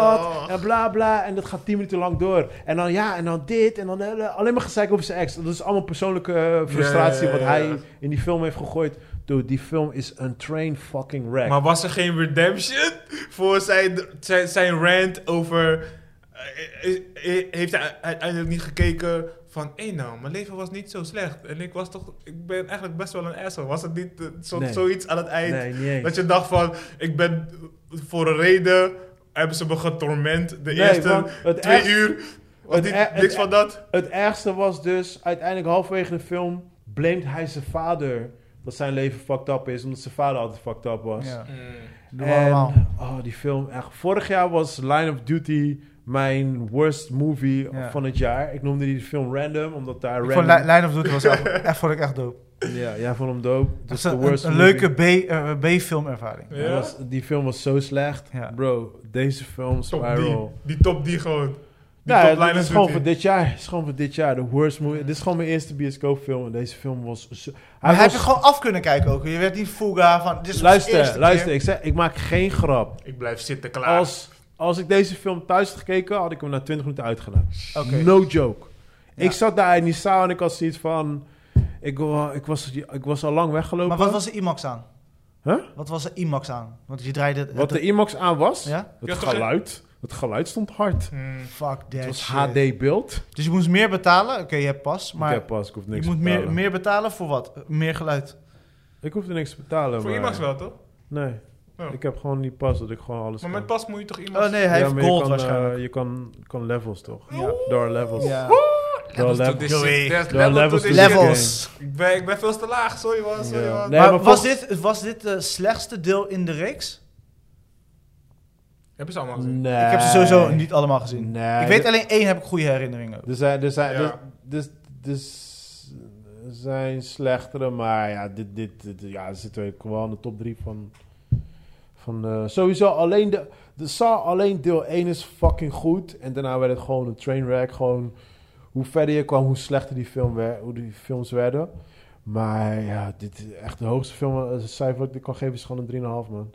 S1: dat. En bla, bla. En dat gaat 10 minuten lang door. En dan ja, en dan dit. En dan eh, alleen maar gezeik over zijn ex. Dat is allemaal persoonlijke eh, frustratie
S4: Ja, ja, ja,
S1: wat
S4: ja.
S1: hij in die film heeft gegooid. Dude, die film is een train fucking wreck.
S4: Maar
S2: Was er geen redemption voor zijn, zijn, zijn rant over... eh, eh, eh, Heeft hij uiteindelijk niet gekeken van... Hé nou, mijn leven was niet zo slecht. En ik was toch... Ik ben eigenlijk best wel een asshole. Was het niet eh, zo,
S1: Nee.
S2: zoiets aan het eind?
S1: nee, niet eens.
S2: Dat je dacht van... Ik ben voor een reden... Hebben ze me getorment. De
S1: Nee,
S2: eerste
S1: want het
S2: twee
S1: echt-
S2: uur. Was
S1: het
S2: niet,
S1: echt-
S2: niks
S1: het e-
S2: van dat.
S1: Het ergste was dus, uiteindelijk halverwege de film... blamed hij zijn vader dat zijn leven fucked up is... omdat zijn vader altijd fucked up was.
S3: Ja,
S4: Mm.
S3: doe maar normaal.
S1: oh, die film echt. Vorig jaar was Line of Duty mijn worst movie
S3: Ja.
S1: van het jaar. Ik noemde die film random, omdat daar
S3: Ik vond
S1: random...
S3: Li- Line of Duty was echt, echt, vond ik echt dope.
S1: Ja, jij vond hem dope.
S3: Dat is
S1: Dus
S3: een,
S1: de worst
S3: een
S1: movie.
S3: leuke B, eh, B-filmervaring.
S1: Ja, was- die film was zo slecht.
S3: Ja.
S1: Bro, deze film is
S2: Top
S1: viral.
S2: die. Die top die gewoon. Die
S1: Nou,
S2: top
S1: dit
S2: Line
S1: is
S2: of
S1: gewoon
S2: Duty.
S1: voor dit jaar. Het is gewoon voor dit jaar. De worst movie. Dit is gewoon mijn eerste bioscoopfilm. En deze film was... Zo...
S3: Maar
S1: was-
S3: heb je gewoon af kunnen kijken ook. Je werd niet fuga van... Dit is de eerste
S1: Luister,
S3: keer.
S1: luister. Ik, zeg, ik maak geen grap.
S2: Ik blijf zitten klaar.
S1: Als, als ik deze film thuis had gekeken, had ik hem na 20 minuten uitgedaan.
S3: Oké.
S1: No joke.
S3: Ja.
S1: Ik zat daar in die zaal en ik had zoiets van... Ik, wa- ik, was, ik was al lang weggelopen.
S3: Maar wat was de IMAX aan?
S1: Huh?
S3: Wat was de IMAX aan? Want je draaide... het-
S1: Wat de IMAX aan was?
S3: Ja?
S1: Het
S4: Ja, toch, hè?
S1: geluid. Het geluid stond hard.
S2: Hmm.
S3: Fuck that
S1: Het was
S3: shit.
S1: HD-beeld.
S3: Dus je moest meer betalen. Oké, je hebt pas.
S1: Ik
S3: Maar
S1: heb pas, ik hoef niks
S3: je moet
S1: te
S3: meer,
S1: betalen.
S3: meer betalen voor wat? Meer geluid.
S1: Ik hoefde niks te betalen.
S4: Voor
S1: maar-
S4: IMAX wel, toch?
S1: Nee.
S4: Oh.
S1: Ik heb gewoon die pas dat ik gewoon alles
S4: Maar
S1: kan.
S4: met pas moet je toch IMAX...
S3: Oh nee, hij
S1: Ja,
S3: heeft
S1: maar je
S3: gold
S1: kan,
S3: waarschijnlijk.
S1: eh, je kan, kan levels, toch?
S3: Ja.
S1: Daar are levels.
S3: Ja.
S1: There are
S4: Levels to
S1: levels.
S4: this
S3: Doei.
S4: shit. There's
S1: There are
S4: level to
S1: levels
S4: this
S1: to this
S4: shit.
S3: Levels.
S4: Ik ben, ik ben veel te laag, sorry man, sorry
S1: Ja.
S4: man.
S1: Nee,
S3: maar
S1: maar
S3: was,
S1: volgens-
S3: dit, was dit de slechtste deel in de reeks?
S4: Hebben ze allemaal gezien?
S1: Nee.
S3: Ik heb ze sowieso niet allemaal gezien.
S1: Nee.
S3: ik weet alleen één heb ik goede herinneringen. over.
S1: Er zijn, er zijn,
S4: Ja.
S1: er, er- er zijn slechtere, maar ja, dit, dit, dit- ja, er zitten we wel in de top 3 van. van eh, sowieso alleen de, de Saw, alleen deel 1 is fucking goed. En daarna werd het gewoon een trainwreck. Gewoon hoe verder je kwam, hoe slechter die, film werd, hoe die films werden. Maar ja, dit is echt de hoogste film, eh, cijfer wat ik dit kan geven, is gewoon een 3,5 man.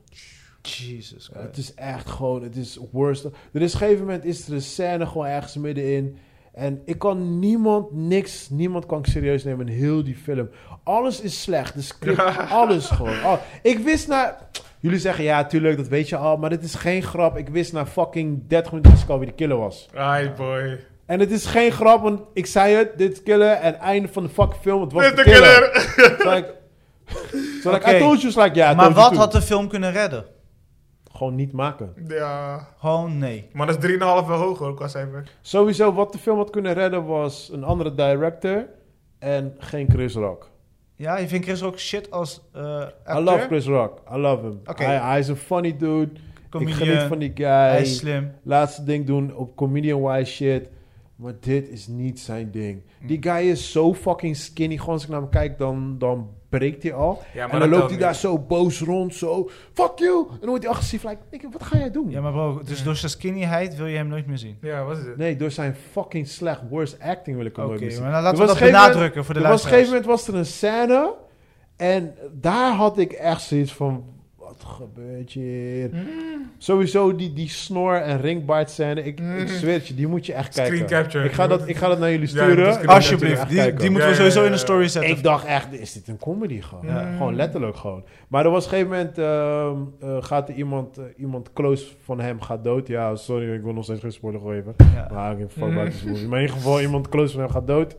S3: Jesus
S1: Ja, het
S3: Christ.
S1: is echt gewoon, het is worst. Er is op een gegeven moment is er een scène gewoon ergens middenin. En ik kan niemand niks, niemand kan ik serieus nemen in heel die film. Alles is slecht, de script, alles gewoon. Al- ik wist na, jullie zeggen ja tuurlijk, dat weet je al, maar dit is geen grap. Ik wist na fucking 30 minuten dat ik alweer de killer was.
S2: Ai boy.
S1: En het is geen grap, want ik zei het, dit is killer en einde van de fucking film, het was
S2: Dit
S1: de
S2: de
S1: killer.
S2: killer.
S1: Zo ik, zo ik,
S3: Oké.
S1: I told you, zo ik, ja, I
S3: maar
S1: told you
S3: wat
S1: too.
S3: had de film kunnen redden?
S1: Gewoon niet maken.
S2: Ja.
S3: Gewoon nee.
S2: Maar dat is 3,5 wel hoog hoor, qua cijfer.
S1: Sowieso, wat de film had kunnen redden was een andere director en geen Chris Rock.
S3: Ja, je vindt Chris ook shit als eh
S1: I
S3: acteur?
S1: love Chris Rock. I love him.
S3: Oké.
S1: Hij, hij is een funny dude.
S3: Comedian.
S1: Ik geniet van die guy.
S3: Hij is slim.
S1: Laatste ding doen op comedian-wise shit. Maar dit is niet zijn ding.
S3: Hmm.
S1: Die guy is zo fucking skinny. Gewoon als ik naar hem kijk, dan, dan breekt hij al.
S4: Ja, maar
S1: en dan
S4: dat
S1: loopt
S4: telt
S1: hij
S4: niet.
S1: daar zo boos rond. Zo, fuck you. En dan wordt hij agressief. Like, nigga, wat ga jij doen?
S3: Ja, maar bro, dus door zijn skinnyheid wil je hem nooit meer zien.
S4: Ja, wat is het?
S1: Nee, door zijn fucking slecht worst acting wil ik hem
S3: Oké,
S1: nooit meer zien.
S3: maar dan
S1: Er
S3: laten we
S1: was
S3: dat
S1: geen moment-
S3: benadrukken voor de
S1: Er was op een
S3: luisteraars.
S1: gegeven moment was er een scène. En daar had ik echt zoiets van. wat gebeurt hier?
S4: Hmm.
S1: Sowieso die, die snor en ringbaard scène. Ik, ik zweer het je, die moet je echt kijken.
S4: Screen capture.
S1: Ik ga dat, ik ga dat naar jullie
S4: Ja, dat
S1: sturen.
S4: is screen
S1: Echt
S3: Alsjeblieft, die,
S1: kijken.
S3: die moeten
S4: Ja,
S3: we
S4: ja,
S3: sowieso
S4: ja,
S3: in de
S4: ja.
S3: story zetten.
S1: Ik dacht echt, is dit een comedy gewoon?
S4: Ja.
S1: Gewoon letterlijk gewoon. Maar er was op een gegeven moment, ehm, eh, gaat er iemand, eh, iemand close van hem gaat dood. Ja, sorry, ik wil nog steeds geen spoiler geven.
S3: Ja.
S1: Maar ik fuck
S4: Mhm.
S1: about this movie. Maar in ieder geval, iemand close van hem gaat dood.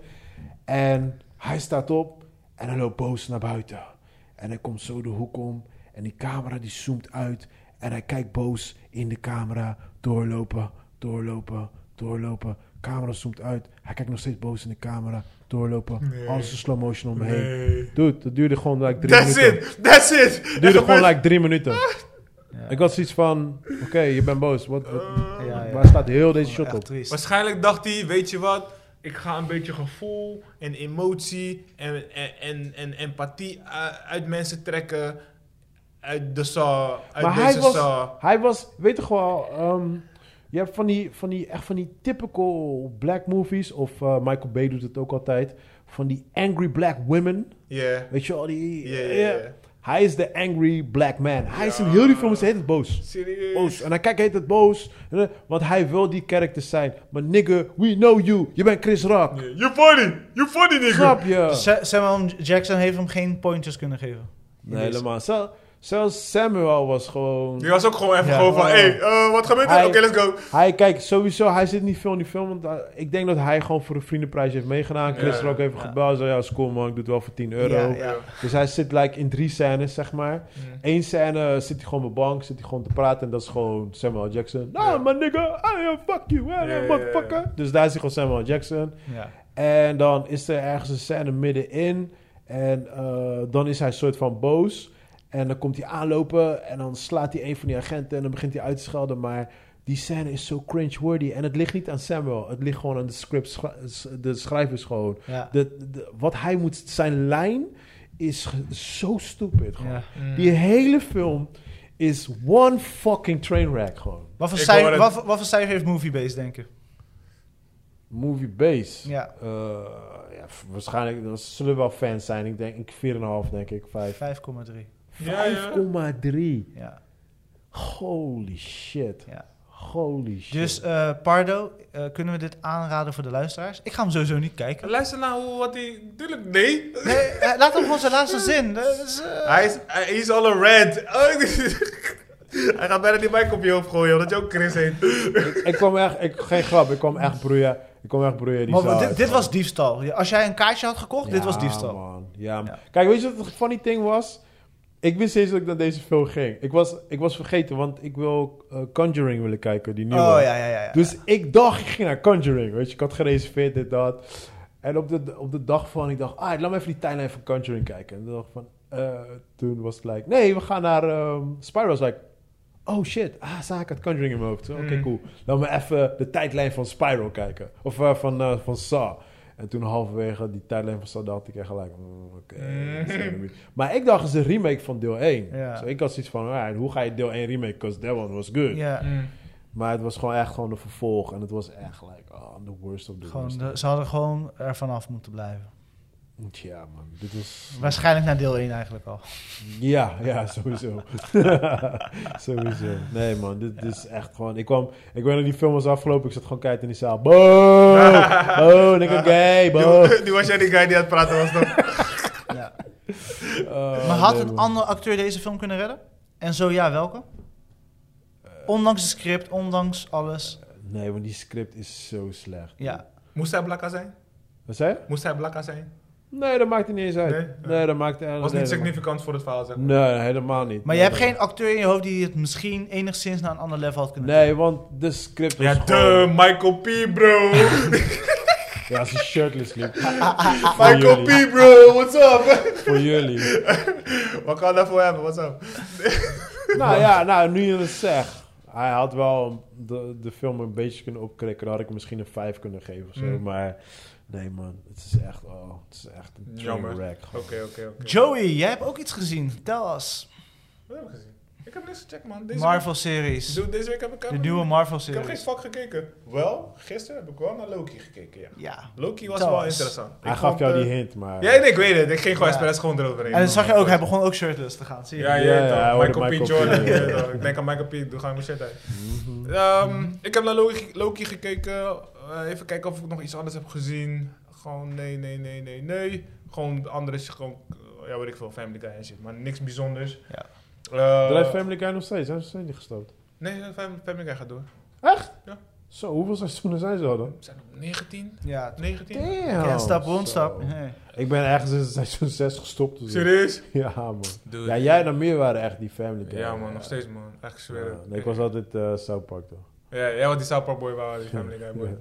S1: En hij staat op en hij loopt boos naar buiten. En hij komt zo de hoek om en die camera die zoomt uit. En hij kijkt boos in de camera. Doorlopen, doorlopen, doorlopen. Camera zoomt uit. Hij kijkt nog steeds boos in de camera. Doorlopen.
S4: Nee.
S1: Alles is slow motion om me heen.
S4: Nee.
S1: Dude, dat duurde gewoon like drie
S4: That's
S1: minuten.
S4: it, that's it.
S1: Het
S4: Er
S1: duurde gewoon
S4: gebeurt-
S1: like drie
S4: Ah.
S1: minuten.
S3: Ja.
S1: Ik had zoiets van, oké, je bent boos. Wat, wat-
S4: Eh,
S3: Ja, ja, ja.
S1: Waar staat heel deze shot
S3: Echt
S1: op?
S3: triest.
S4: Waarschijnlijk dacht hij, weet je wat, ik ga een beetje gevoel en emotie en, en, en, en empathie eh, uit mensen trekken. Uit de saw, uit
S1: Maar
S4: deze
S1: hij was-
S4: saw.
S1: Hij was, weet toch wel, ehm, je hebt van die, van die, echt van die typical black movies, of eh, Michael Bay doet het ook altijd, van die angry black women.
S4: Ja,
S1: Weet je al die...
S4: ja,
S1: ja.
S4: ja, ja.
S1: Hij is de angry black man. Hij is in heel die film, is de hele tijd boos.
S4: Serieus.
S1: Boos. En hij kijkt, heet het boos. eh, Want hij wil die character zijn. Maar nigga, we know you. Je bent Chris Rock.
S4: Nee, You funny, you funny nigga.
S1: Snap je?
S3: Sa- Samuel Jackson heeft hem geen pointers kunnen geven.
S1: Nee, helemaal. Zel- Zelfs Samuel was gewoon...
S4: Die was ook gewoon even
S3: Ja.
S4: gewoon van, hey, eh, wat gebeurt er?
S1: Hij-
S4: Oké, let's go.
S1: Hij, kijk, sowieso, hij zit niet veel in die film. Want eh, ik denk dat hij gewoon voor een vriendenprijs heeft meegedaan. Chris
S4: Ja.
S1: Rock heeft
S3: Ja.
S1: gebeld. Zo, ja, school man, ik doe het wel voor 10 euro.
S3: Ja, ja.
S1: Dus hij zit like, in drie scènes, zeg maar. Eén scène eh, zit hij gewoon op de bank, zit hij gewoon te praten. En dat is gewoon Samuel Jackson. Nou,
S4: Ja.
S1: man, nigga, I am fuck you, I am
S4: Ja, ja, ja.
S1: motherfucker. Dus daar is hij gewoon Samuel Jackson.
S3: Ja.
S1: En dan is er ergens een scène middenin. En eh, dan is hij een soort van boos. En dan komt hij aanlopen en dan slaat hij een van die agenten en dan begint hij uit te schelden. Maar die scène is zo cringe-worthy. En het ligt niet aan Samuel. Het ligt gewoon aan de script, schra- s- de schrijvers gewoon.
S3: Ja.
S1: De, de- wat hij moet, zijn lijn is ge- zo stupid gewoon.
S3: Ja. Mm.
S1: Die hele film is one fucking trainwreck gewoon.
S3: Wat voor
S4: Ik
S3: cijfer-
S4: hoor het.
S3: wat voor- wat voor cijfer heeft Moviebase, denk ik?
S1: Movie base.
S3: Ja,
S1: Eh, ja, f- waarschijnlijk er zullen wel fans zijn. Ik denk, ik 4,5 denk ik, 5.
S3: 5,3.
S4: Ja, ja.
S1: 5,3.
S3: Ja.
S1: Holy shit.
S3: Ja.
S1: Holy shit.
S3: Dus eh, Pardo, eh, kunnen we dit aanraden voor de luisteraars? Ik ga hem sowieso niet kijken.
S4: Luister naar hoe, wat hij... Tuurlijk, nee.
S3: Nee, eh, laat hem gewoon zijn laatste zin. Dat is, eh,
S4: Hij is, hij is al een red. Oh, hij gaat bijna die mic op je hoofd gooien, omdat je ook Chris heet.
S1: ik kwam echt, ik, geen grap, ik kwam echt broeien. Ik kwam echt broeien die
S3: maar
S1: zaal
S3: dit,
S1: uit,
S3: dit
S1: man.
S3: was diefstal. Ja, Als jij een kaartje had gekocht, dit was
S1: Ja,
S3: diefstal.
S1: man. Ja, man.
S3: Ja.
S1: Kijk, weet je wat het funny thing was? Ik wist eens dat ik naar deze film ging. Ik was, ik was vergeten, want ik wil eh, Conjuring willen kijken, die nieuwe.
S3: Oh ja, ja, ja. ja.
S1: Dus ik dacht, ik ging naar Conjuring, weet je. Ik had gereserveerd dit, dat. En op de, op de dag van, ik dacht, ah, laat me even die timeline van Conjuring kijken. En toen dacht ik van, eh, toen was het like, nee, we gaan naar ehm Spyro. was like, oh shit, ah, zaak had Conjuring in mijn hoofd. Oké,
S4: Mm.
S1: cool. Laat me even de tijdlijn van Spyro kijken. Of eh, van, eh, van Saw. En toen halverwege die tijdlijn van Saw dacht ik echt gelijk, mm, oké.
S4: Mm.
S1: it's gonna be- Maar ik dacht, het is een remake van deel 1.
S3: Ja.
S1: Dus ik had zoiets van, alright, hoe ga je deel 1 remake? Because that one was good.
S3: ja,
S1: Maar het was gewoon echt gewoon een vervolg. En het was echt like, oh, I'm the worst of the
S3: gewoon
S1: worst.
S3: de- ze hadden gewoon er vanaf moeten blijven.
S1: Ja, man. Dit was...
S3: Waarschijnlijk naar deel 1 eigenlijk al.
S1: Ja, ja, sowieso. sowieso. Nee, man. Dit, dit is echt gewoon... Ik kwam... Ik weet nog, die film was afgelopen. Ik zat gewoon kijken in die zaal. Bo! Oh, nigga gay, bo!
S4: Die, die was jij die guy die aan het praten was dan.
S3: Ja.
S1: Oh,
S3: Maar had
S1: nee,
S3: een
S1: man.
S3: andere acteur deze film kunnen redden? En zo ja, welke? Ondanks het script, ondanks alles.
S1: Nee, want die script is zo slecht.
S3: Ja.
S4: Moest hij blakka zijn?
S1: Wat zei je?
S4: Moest hij blakka zijn?
S1: Nee, dat maakt er niet eens uit. Nee,
S4: Nee?
S1: dat maakt... eh,
S4: Was
S1: nee,
S4: niet
S1: dat maakt-
S4: significant voor het verhaal, zeg maar.
S1: Nee, helemaal niet.
S3: Maar je
S1: Nee,
S3: hebt
S1: nee.
S3: geen acteur in je hoofd die het misschien enigszins naar een ander level had kunnen
S1: Nee, want de script was
S4: Ja,
S1: gewoon... Ah,
S4: de Michael P, bro.
S1: Ja, als hij shirtless liep. Voor
S4: Michael
S1: ah, jullie.
S4: P, bro. What's up?
S1: Voor jullie.
S4: Wakanda forever, what's up?
S1: Nou ja, nou, nu je het zegt. Hij had wel de, de film een beetje kunnen opkrikken. Dan had ik hem misschien een 5 kunnen geven of zo.
S4: Mm.
S1: Maar nee, man. Het is echt, oh, het is echt een
S4: Jammer.
S1: trainwreck.
S4: Oké, oké, oké.
S3: doen. Joey, jij hebt ook iets gezien. Tel us.
S4: Wat heb ik gezien? Ik heb niks gecheckt, man. Deze Week,
S3: Marvel-series.
S4: Dude, deze week heb ik...
S3: De nieuwe Marvel
S4: ik heb geen
S3: series.
S4: fuck gekeken. Wel, gisteren heb ik wel naar Loki gekeken, ja.
S3: Ja.
S4: Loki was
S3: Tel
S4: wel
S3: eens.
S4: interessant.
S1: Hij
S4: Ik
S1: gaf
S4: vond,
S1: jou
S4: eh,
S1: die hint, maar...
S4: Ja, nee, ik weet het. Ik ging gewoon
S3: Ja.
S4: expres gewoon eroverheen.
S3: En dan zag je ook, hij
S4: hebben
S3: begon ook shirtless te gaan, zie je?
S4: Ja, ja,
S1: Ja, ja,
S4: toch.
S1: hij hoorde
S4: Michael,
S1: Michael
S4: P. Jordan.
S1: P.
S4: ja,
S1: Ja.
S4: toch. Ik denk aan Michael P. Doe ga ik mijn shit uit.
S3: Mhm.
S4: Ehm, Ik heb naar Loki, Loki gekeken. Eh, even kijken of ik nog iets anders heb gezien. Gewoon nee, nee, nee, nee, nee. Gewoon de andere is gewoon, eh, ja weet ik veel, Family Guy en shit. Maar niks bijzonders.
S3: Ja.
S4: Eh,
S1: Drijft Family Guy nog steeds? Zijn ze zijn niet gestopt?
S4: Nee, eh, Fam- Family Guy gaat door.
S1: Zo, hoeveel seizoenen zijn ze al dan?
S4: Zijn er 19?
S3: Ja.
S4: 19?
S1: Damn!
S3: Can't stop, won't
S1: Zo.
S3: stop. Nee.
S1: Ik ben ergens in seizoen 6 gestopt. dus-
S4: Serieus?
S1: Ja, man.
S6: Dude.
S1: Ja, jij en meer waren echt die Family Guy.
S4: Ja man, nog steeds man. Echt ik zweer.
S1: Ja,
S4: het.
S1: nee, ik was altijd eh South Park toch.
S4: Ja, jij was die South Park boy, wij waren die Family Guy boy.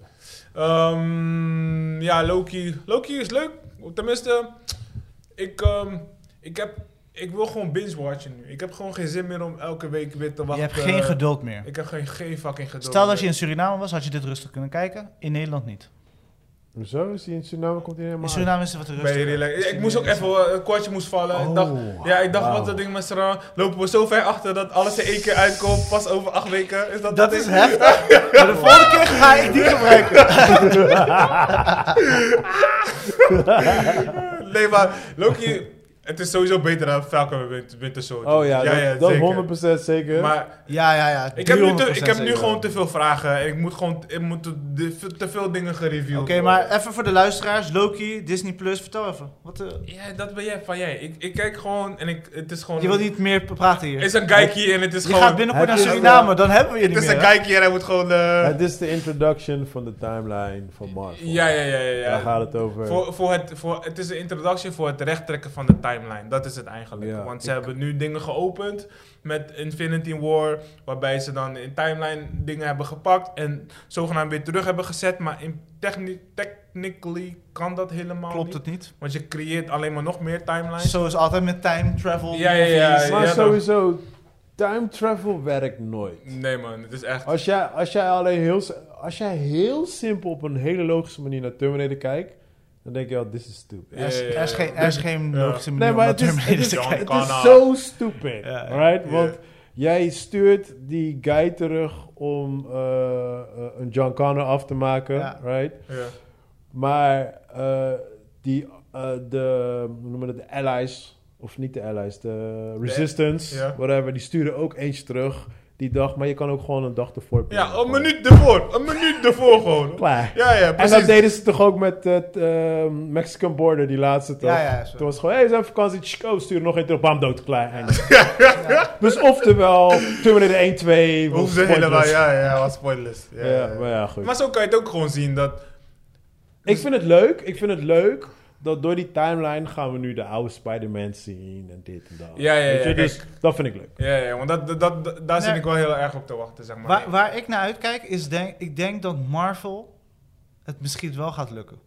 S4: Ehm, ja, Loki. Loki is leuk. Tenminste, ik, ehm, ik, heb, ik wil gewoon binge-watchen nu. Ik heb gewoon geen zin meer om elke week weer te
S3: Je
S4: wachten.
S3: hebt geen geduld meer.
S4: Ik heb geen, geen fucking geduld.
S3: Stel dat je
S4: meer.
S3: in Suriname was, had je dit rustig kunnen kijken. In Nederland niet.
S1: Hoezo? Is hij in Suriname? Komt hij helemaal
S3: In Suriname is het wat
S4: Bij
S3: rustiger.
S4: je relax- Ik
S3: Misschien
S4: moest ook
S3: is het-
S4: even, eh, een kwartje moest vallen.
S1: uit?
S4: Ik dacht,
S1: Oh,
S4: ja, ik dacht,
S1: wauw.
S4: wat dat ding met Sarah. Lopen we zo ver achter dat alles in één keer uitkomt, pas over acht weken. Is dat,
S3: Dat
S4: ding?
S3: is heftig. Maar de volgende keer ga ik die gebruiken.
S4: Nee, maar Loki, het is sowieso beter dan Falcon en Win- Winter Soldier.
S1: Oh ja, dat, dat
S4: zeker.
S1: 100% zeker.
S4: Maar
S3: Ja, ja, ja.
S4: Ik heb, nu te,
S3: 300%
S4: ik heb nu
S3: zeker.
S4: gewoon te veel vragen. en Ik moet gewoon ik moet te, de- te veel dingen gereviewd
S3: Oké, maar eh, even voor de luisteraars. Loki, Disney+, Plus, vertel even. Wat, eh, de-
S4: worden. Ja, dat ben jij van jij. Ik, ik kijk gewoon en ik, het is gewoon...
S3: je wilt niet meer p- praten hier.
S4: Het is een geikie en het is
S3: je
S4: gewoon...
S3: gaat binnenkort
S1: Heb
S3: naar
S1: je-
S3: Suriname, dan hebben we je
S4: het
S3: niet
S4: is
S3: meer.
S4: een
S3: hè?
S4: geikie en hij moet gewoon... eh,
S1: Het is de introduction van de timeline van Marvel.
S4: ja, ja, ja, ja. ja.
S1: Daar gaat het over.
S4: Voor, voor het, voor, het is een introductie voor het rechttrekken van de timeline. Dat is het eigenlijk.
S1: Ja,
S4: Want ze hebben nu dingen geopend met Infinity War. Waarbij ze dan in timeline dingen hebben gepakt. En zogenaamd weer terug hebben gezet. Maar in techni- technically kan dat helemaal
S3: Klopt
S4: niet.
S3: het niet?
S4: Want je creëert alleen maar nog meer timelines.
S3: Zo is altijd met time travel.
S4: Ja, ja, ja,
S3: movies.
S1: maar
S4: ja,
S1: sowieso, time travel werkt nooit.
S4: Nee man, het is echt...
S1: Als jij, als jij alleen heel, s- als jij heel simpel op een hele logische manier naar Terminator kijkt, dan denk je al, this is stupid.
S3: Er is-
S4: Ja, ja,
S3: er is
S4: ja. Dus-
S3: geen, er is geen
S4: Ja.
S3: logische manier
S1: Nee, maar
S3: om
S1: het is,
S3: Terminator
S1: het is,
S3: te
S4: John
S1: het
S4: Connor.
S1: is zo stupid,
S3: Ja,
S1: right? Want jij stuurt die guy terug om eh, eh, een John Connor af te maken,
S3: Ja.
S1: right?
S4: Ja.
S1: Maar eh, die, eh, de, hoe noemen we dat, de allies, of niet de allies, de resistance,
S4: ja.
S1: whatever, die sturen ook eentje terug die dag. Maar je kan ook gewoon een dag ervoor
S4: ja,
S1: plannen.
S4: een minuut ervoor. Een minuut ervoor gewoon.
S1: Klaar.
S4: Ja, ja,
S1: En dat
S4: precies.
S1: deden ze toch ook met het eh, Mexican Border, die laatste toch?
S3: Ja, ja, zo.
S1: Toen was het gewoon, hé, hey, we zijn op vakantie, tsch, oh, stuur er nog één terug, bam, dood, klaar. einde. Dus oftewel, Terminator 1, 2,
S4: Hoef ze
S1: was
S4: helemaal...
S1: pointless.
S4: Ja, ja, was spoilers. Ja, ja, ja.
S1: Ja, maar ja, goed.
S4: Maar zo kan je het ook gewoon zien dat...
S1: Ik vind het leuk, ik vind het leuk dat door die timeline gaan we nu de oude Spider-Man zien en dit en dat.
S4: Ja, ja, ja,
S1: Weet je,
S4: kijk.
S1: dus dat vind ik leuk.
S4: Ja, ja, want dat, dat, dat- daar zit
S3: Nee.
S4: ik wel heel erg op te wachten, zeg maar.
S3: Waar, waar ik naar uitkijk is, denk, ik denk dat Marvel het misschien wel gaat lukken.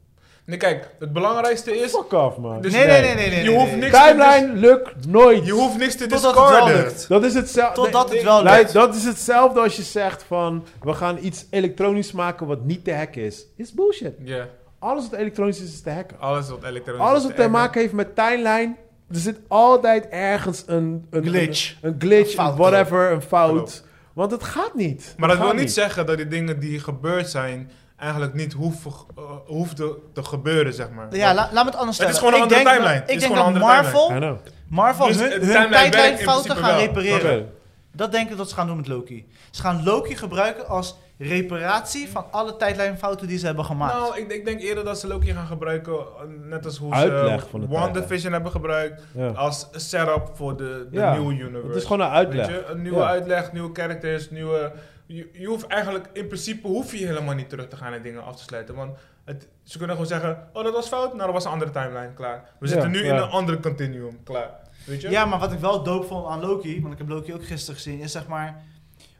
S4: Nee, kijk, het belangrijkste is...
S1: Fuck off, man.
S4: Dus
S3: nee, dus- nee, nee, nee, nee.
S4: je
S3: nee,
S4: hoeft
S3: nee.
S4: niks-
S1: timeline lukt nooit.
S4: Je hoeft niks te
S3: Totdat het wel
S4: discarden.
S3: lukt.
S1: Dat is hetzelfde.
S3: Totdat
S1: Nee,
S3: het wel
S1: nee,
S3: lukt.
S1: Dat is hetzelfde als je zegt van, we gaan iets elektronisch maken wat niet te hacken is. Is bullshit.
S4: Ja,
S1: Alles wat elektronisch is, is te hacken.
S4: alles wat elektronisch
S1: Alles
S4: is
S1: wat te
S4: erger.
S1: maken heeft met timeline, er zit altijd ergens een... een
S3: Glitch.
S1: Een, een glitch,
S3: Een
S1: een
S3: fout.
S1: whatever, een fout.
S4: Klopt.
S1: Want het gaat niet.
S4: Maar
S1: Het
S4: dat wil
S1: gaat
S4: niet, zeggen dat die dingen die gebeurd zijn... eigenlijk niet hoeven, eh, hoefden te gebeuren, zeg maar.
S3: Ja, la- laat me het anders
S4: Het
S3: stellen.
S4: is gewoon een
S3: Ik
S4: andere
S3: denk
S4: timeline.
S3: Dat,
S4: Het
S3: ik
S4: is
S3: denk
S4: gewoon
S3: dat
S4: een andere
S1: I
S3: Marvel,
S1: know.
S3: Marvel
S4: Dus
S3: hun,
S4: het
S3: hun
S4: timeline werkt in
S3: tijdlijnfouten
S4: principe
S3: gaan
S4: wel.
S3: repareren.
S1: Oké.
S3: Dat denk ik dat ze gaan doen met Loki. Ze gaan Loki gebruiken als reparatie van alle tijdlijnfouten die ze hebben gemaakt.
S4: Nou, ik, ik denk eerder dat ze Loki gaan gebruiken, eh, net als hoe
S1: Uitleg
S4: ze
S1: van de
S4: WandaVision hebben gebruikt,
S1: Ja.
S4: als setup voor de, de
S1: Ja,
S4: nieuwe universe.
S1: Het is gewoon een
S4: Weet
S1: uitleg.
S4: je, Een nieuwe
S1: Ja.
S4: uitleg, nieuwe characters, nieuwe... Je, je hoeft eigenlijk, in principe hoef je helemaal niet terug te gaan en dingen af te sluiten, want het, ze kunnen gewoon zeggen, oh dat was fout, nou dat was een andere timeline, klaar. We
S1: Ja,
S4: zitten nu
S1: ja.
S4: in een ander continuum, klaar. Weet je?
S3: Ja, maar wat ik wel dope vond aan Loki, want ik heb Loki ook gisteren gezien, is zeg maar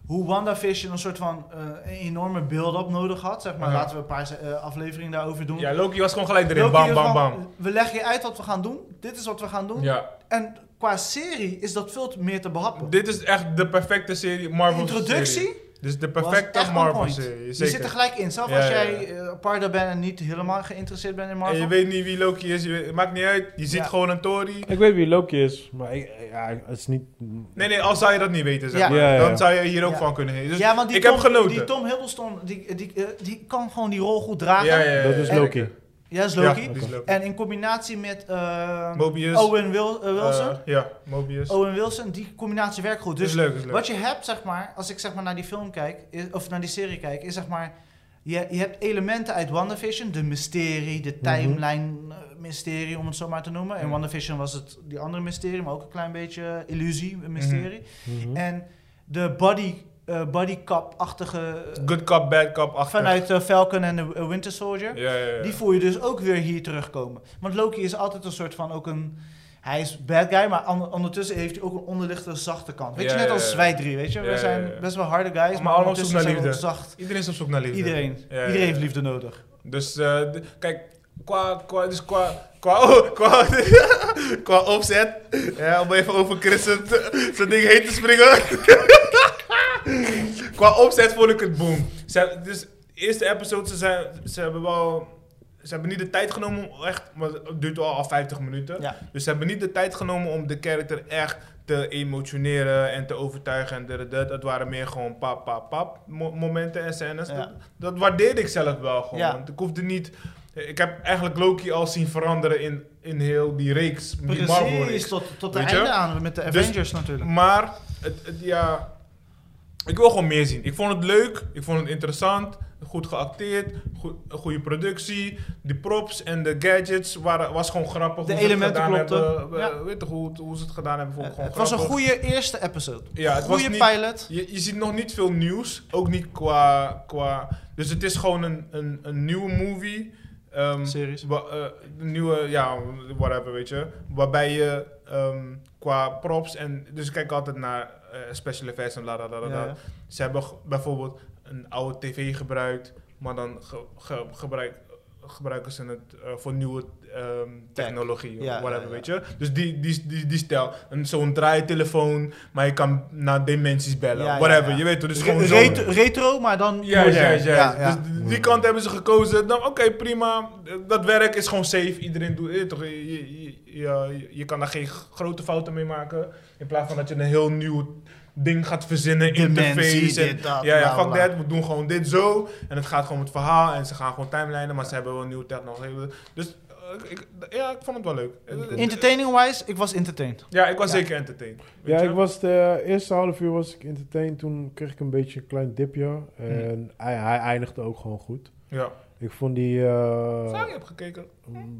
S3: hoe WandaVision een soort van eh, een enorme build-up nodig had. Zeg maar,
S4: Ja.
S3: laten we een paar eh, afleveringen daarover doen.
S4: Ja, Loki was gewoon gelijk erin,
S3: Loki
S4: bam,
S3: is
S4: bam,
S3: gewoon,
S4: bam.
S3: We leggen je uit wat we gaan doen. Dit is wat we gaan doen.
S4: Ja.
S3: En qua serie is dat veel te- meer te behappen.
S4: Dit is echt de perfecte serie, Marvel
S3: introductie
S4: Dus de
S3: Was echt
S4: perfecte
S3: on point.
S4: Marvel-serie.
S3: Je zit er
S4: Zeker.
S3: gelijk in. Zelfs
S4: Ja,
S3: als
S4: ja, ja.
S3: jij eh, Pardo bent en niet helemaal geïnteresseerd bent in
S4: En
S3: Marvel.
S4: je weet niet wie Loki is, je weet- maakt niet uit. Je ziet
S3: Ja.
S4: gewoon een Tory.
S1: Ik weet wie Loki is, maar ik, ja, het is niet...
S4: Nee, nee, al zou je dat niet weten, zeg
S3: Ja.
S4: maar.
S1: Ja, ja, ja.
S4: Dan zou je hier ook
S3: Ja.
S4: van kunnen heen. Dus
S3: ja, want die
S4: ik
S3: Tom,
S4: heb genoten.
S3: Die Tom Hiddleston, die, die, eh, die kan gewoon die rol goed dragen.
S4: ja, ja, ja,
S1: Dat is
S4: ja.
S1: Loki.
S3: Ja, dat is Loki.
S4: Ja, die is Loki.
S3: En in combinatie met eh,
S4: Mobius.
S3: Owen Wil- eh, Wilson.
S4: eh, ja, Mobius.
S3: Owen Wilson, die combinatie werkt goed.
S4: is
S3: Dus
S4: leuk, is leuk.
S3: wat je hebt, zeg maar, als ik zeg maar naar die film kijk, is- of naar die serie kijk, is zeg maar, je, je hebt elementen uit WandaVision, de mysterie, de timeline eh, mysterie, om het zo maar te noemen. In
S4: Mhm.
S3: WandaVision was het die andere mysterie, maar ook een klein beetje illusie,
S4: Mhm.
S3: mysterie.
S1: Mhm.
S3: En de body, eh body achtige
S4: Good cop, bad cop, achter.
S3: vanuit eh, Falcon en de eh, Winter Soldier.
S4: Ja, ja, ja.
S3: Die voel je dus ook weer hier terugkomen. Want Loki is altijd een soort van ook een... Hij is bad guy, maar on- ondertussen heeft hij ook een onderliggende zachte kant. Weet
S4: Ja,
S3: je, net
S4: ja,
S3: als
S4: ja.
S3: wij drie, weet je?
S4: Ja,
S3: We
S4: ja,
S3: zijn
S4: ja.
S3: best wel harde guys, maar,
S4: Maar allemaal op zoek
S3: ondertussen
S4: naar
S3: zijn we ook
S4: liefde.
S3: zacht.
S4: Iedereen is op zoek naar liefde.
S3: Iedereen.
S4: Ja, ja,
S3: Iedereen heeft
S4: ja.
S3: liefde nodig.
S4: Dus, eh, d- kijk, qua, qua, dus qua, qua, qua, qua opzet, ja, om even over Chris zijn zijn ding heen te springen. qua opzet vond ik het boom. Ze, dus, de eerste episode, ze, zijn, ze hebben wel, ze hebben niet de tijd genomen om echt, want het duurt al, al 50 minuten.
S3: Ja.
S4: Dus ze hebben niet de tijd genomen om de character echt te emotioneren en te overtuigen en dat, dat. Dat waren meer gewoon pap, pap, pap mo- momenten en scènes.
S3: Ja.
S4: Dat, dat waardeerde ik zelf wel gewoon.
S3: Ja.
S4: Want ik hoefde niet... Ik heb eigenlijk Loki al zien veranderen in, in heel die reeks. Die
S3: Precies,
S4: Marvel-reeks.
S3: tot, tot de
S4: Weet je?
S3: einde aan met de
S4: Dus-
S3: Avengers natuurlijk.
S4: Maar, het, het- ja... Ik wil gewoon meer zien. Ik vond het leuk. Ik vond het interessant. Goed geacteerd. Goed, een goede productie. De props en de gadgets waren, was gewoon grappig.
S3: De
S4: hoe ze het
S3: elementen
S4: gedaan
S3: klopten.
S4: hebben.
S3: Ja.
S4: Eh, Weet je hoe, het- hoe ze het gedaan hebben? Vond ik
S3: Eh,
S4: gewoon
S3: het was een
S4: grappig.
S3: goede eerste episode.
S4: Ja, het was
S3: goede
S4: niet-
S3: pilot.
S4: Je, je ziet nog niet veel nieuws. Ook niet qua. qua dus het is gewoon een, een, een nieuwe movie. ehm,
S3: Series.
S4: wa- eh, een nieuwe, ja, whatever, weet je. Waarbij je ehm, qua props en. Dus ik kijk altijd naar eh, special effects en la la la la.
S3: Ja,
S4: la.
S3: ja.
S4: Ze hebben g- bijvoorbeeld een oude tv gebruikt, maar dan ge- ge- gebruik, gebruiken ze het eh, voor nieuwe ehm, technologie of
S3: Ja,
S4: whatever,
S3: ja, ja.
S4: weet je. Dus die, die, die, die stijl. Een- Zo'n draaitelefoon, maar je kan naar dimensies bellen,
S3: Ja, ja,
S4: whatever.
S3: ja.
S4: Je weet toch, dus
S3: Re-
S4: gewoon zo.
S3: retro, retro, maar dan
S4: Ja, ja,
S3: modern.
S4: ja,
S3: Ja, ja.
S4: Dus die kant hebben ze gekozen. Dan, Oké, prima. Dat werk is gewoon safe. Iedereen doet het. toch? Je, je, je, je- je kan daar geen g- grote fouten mee maken. In plaats van dat je een heel nieuw ding gaat verzinnen.
S3: Dimensie,
S4: interface. en-
S3: dit, dat,
S4: ja, ja,
S3: bla,
S4: fuck
S3: bla.
S4: that. We doen gewoon dit zo. En het gaat gewoon het verhaal. En ze gaan gewoon timelijnen. Maar ze hebben wel nieuwe technologie. Dus eh, ik, ja, ik vond het wel leuk.
S3: Entertaining-wise, ik was entertained.
S4: Ja, ik was
S3: Ja.
S4: zeker entertained. Weet
S1: Ja,
S4: je?
S1: ik was de eerste half uur was ik entertained. Toen kreeg ik een beetje een klein dipje.
S4: Mhm.
S1: En hij, hij eindigde ook gewoon goed.
S4: Ja.
S1: Ik vond die... eh,
S4: Sorry, ik heb gekeken.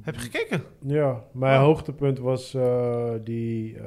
S3: Heb je gekeken?
S1: Ja, mijn
S3: Oh.
S1: hoogtepunt was eh, die eh,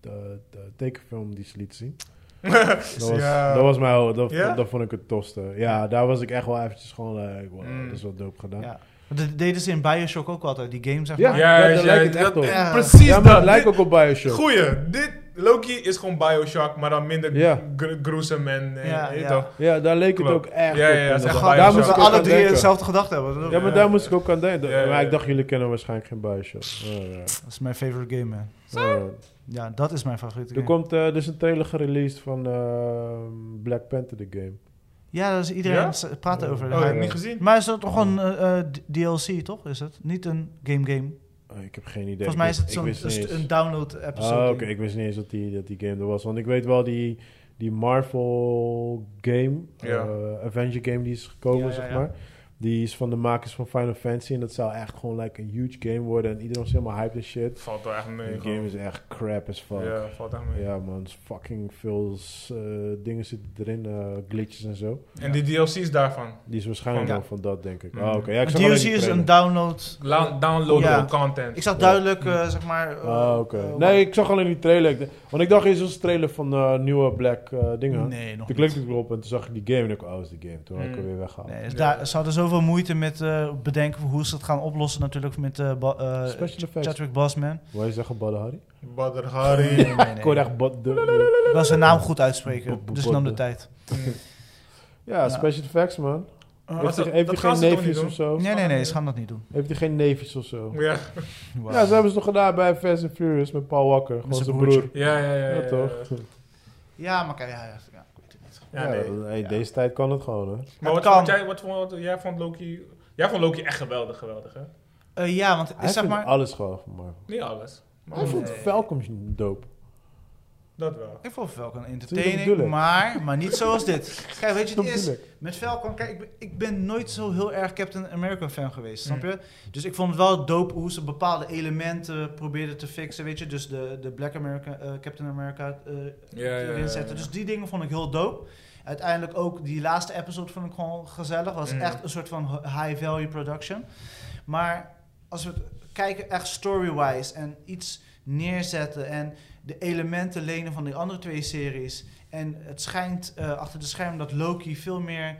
S1: de, de tekenfilm die ze liet zien. Dat was,
S4: Ja.
S1: dat was mijn ho- dat,
S4: Ja?
S1: dat vond ik het tofste. Ja, daar was ik echt wel eventjes gewoon, eh, wow,
S4: Mm.
S1: dat is wel dope gedaan.
S3: Ja. Want Dat deden ze in Bioshock ook altijd, die game zeg
S1: Ja.
S3: maar.
S1: daar lijkt het echt
S4: dat-
S1: op.
S4: eh, Precies
S1: Ja, maar
S4: dat.
S1: het lijkt
S4: Dit-
S1: ook op Bioshock.
S4: Goeie. Dit, Loki is gewoon Bioshock, maar dan minder
S1: Ja.
S4: gr- gruesome en... eh,
S3: Ja,
S4: weet
S3: ja.
S4: toch?
S1: Ja, daar leek het
S4: Klopt.
S1: ook echt
S4: Ja,
S1: op.
S4: ja, ja,
S1: inderdaad.
S4: zeg
S3: Gewoon,
S1: daar
S4: maar Bioshock.
S1: moest
S3: dat
S1: ik
S3: we
S1: ook
S3: alle
S1: aan
S3: drie
S1: denken.
S3: hetzelfde gedacht hebben.
S1: Ja, maar daar moest ik ook aan denken.
S4: Ja, ja,
S1: Maar ik
S4: ja.
S1: dacht, jullie kennen waarschijnlijk geen Bioshock. Alright,
S3: Dat is mijn favorite game, man.
S1: alright.
S3: Ja, dat is mijn favoriete
S1: Er
S3: game.
S1: komt eh, dus een trailer gereleased van eh, Black Panther, de game.
S3: Ja, dat is iedereen
S4: Ja?
S3: aan het praten over.
S4: Oh, ik heb
S1: Ja.
S4: niet gezien.
S3: Maar is dat toch gewoon eh, eh, d- DLC, toch? Is het? Niet een game-game.
S1: Oh, ik heb geen idee.
S3: Volgens
S1: Ik
S3: mij is
S1: wist-
S3: het
S1: ik
S3: zo'n
S1: wist niet
S3: een,
S1: eens.
S3: een download-episode.
S1: Ah, oké. Ik wist niet eens dat die, dat die game er was. Want ik weet wel die, die Marvel game,
S4: Ja.
S1: eh, Avenger game die is gekomen,
S3: Ja, ja,
S1: zeg
S3: ja.
S1: maar. Die is van de makers van Final Fantasy. En dat zou echt gewoon like, een huge game worden. En iedereen was helemaal hyped en shit.
S4: Valt wel echt mee.
S1: Die
S4: gewoon.
S1: game is echt crap as fuck.
S4: Ja, valt echt mee.
S1: Ja man, is fucking veel eh, dingen zitten erin, eh, glitches en zo.
S4: En die DLC's daarvan.
S1: Die is waarschijnlijk
S4: Ja.
S1: wel van dat, denk ik.
S4: Mm.
S1: Oh, oké. Ja, ik
S3: Een
S1: zag alleen
S3: DLC
S1: die
S3: is
S1: trailer.
S3: een download.
S4: La- downloadable
S3: Ja.
S4: content.
S3: Ik zag
S1: Ja.
S3: duidelijk, eh, zeg maar... eh,
S1: Ah, oké.
S3: eh,
S1: nee, ik zag alleen die trailer. Ik d- Want ik dacht eerst dat was een trailer van eh, nieuwe Black eh, dingen.
S3: Nee,
S1: Toen
S3: nog niet.
S1: klikte ik erop en toen zag ik die game en ik oh, is die game. Toen had ik hem
S4: Mm.
S1: weer weggehaald.
S3: Nee, dus
S4: Ja.
S3: daar, ze hadden zoveel moeite met eh, bedenken hoe ze het gaan oplossen natuurlijk met eh ba- eh,
S1: Special effects.
S3: Chadwick Boseman.
S1: Wou je zeggen Badden Harry?
S4: Badr Hari.
S3: Nee, nee,
S1: Ik
S3: nee.
S1: hoorde echt Bad... de- de-
S3: Ik wil zijn naam goed
S1: Bo- bo-
S3: uitspreken, dus ik nam de
S1: bo-
S3: tijd.
S1: Ja, special effects man.
S4: dat-
S1: Heeft hij
S4: Ah, dat
S1: heeft hij
S4: gaan
S1: geen
S4: ze toch
S1: neefjes
S4: niet
S1: of zo?
S3: Nee, nee, nee, ze gaan dat niet doen.
S1: Heeft hij geen neefjes of zo?
S4: ja.
S1: Ja, ze hebben ze toch gedaan bij Fast and Furious met Paul Walker. Gewoon
S3: zijn
S1: zijn
S3: broertje.
S1: broer.
S4: Ja, ja, ja. ja,
S1: Ja,
S4: ja.
S1: toch?
S3: Ja, maar kijk, ja, ja, ja, ik weet het niet.
S1: Ja, hey, Deze tijd kan het gewoon, hè?
S4: Maar
S3: Het
S4: wat
S3: kan.
S4: vond jij, wat vond, jij vond Loki... Jij vond Loki echt geweldig, geweldig, hè?
S3: Eh, ja, want
S1: Hij
S3: zeg
S1: vindt
S3: maar...
S1: alles gewoon van Marvel.
S4: Niet alles. Maar
S1: Hij vond Falcons dope.
S4: dat wel.
S3: Ik vond Falcon
S1: Tuurlijk, bedoel
S3: entertaining,
S1: ik.
S3: maar, maar niet zoals dit. Kijk, weet je,
S1: Dat
S3: het is...
S1: bedoel ik.
S3: Met Falcon, kijk, ik ben, ik ben nooit zo heel erg Captain America fan geweest,
S1: Mm.
S3: snap je? Dus ik vond het wel dope hoe ze bepaalde elementen probeerden te fixen, weet je? Dus de, de Black America, eh, Captain America eh
S4: Ja, ja,
S3: erin
S4: ja,
S3: zetten.
S4: ja.
S3: Dus die dingen vond ik heel dope. Uiteindelijk ook die laatste episode vond ik gewoon gezellig. Was
S4: Mm.
S3: echt een soort van high value production. Maar als we het kijken echt story-wise en iets neerzetten en de elementen lenen van die andere twee series. En het schijnt eh, achter de schermen dat Loki veel meer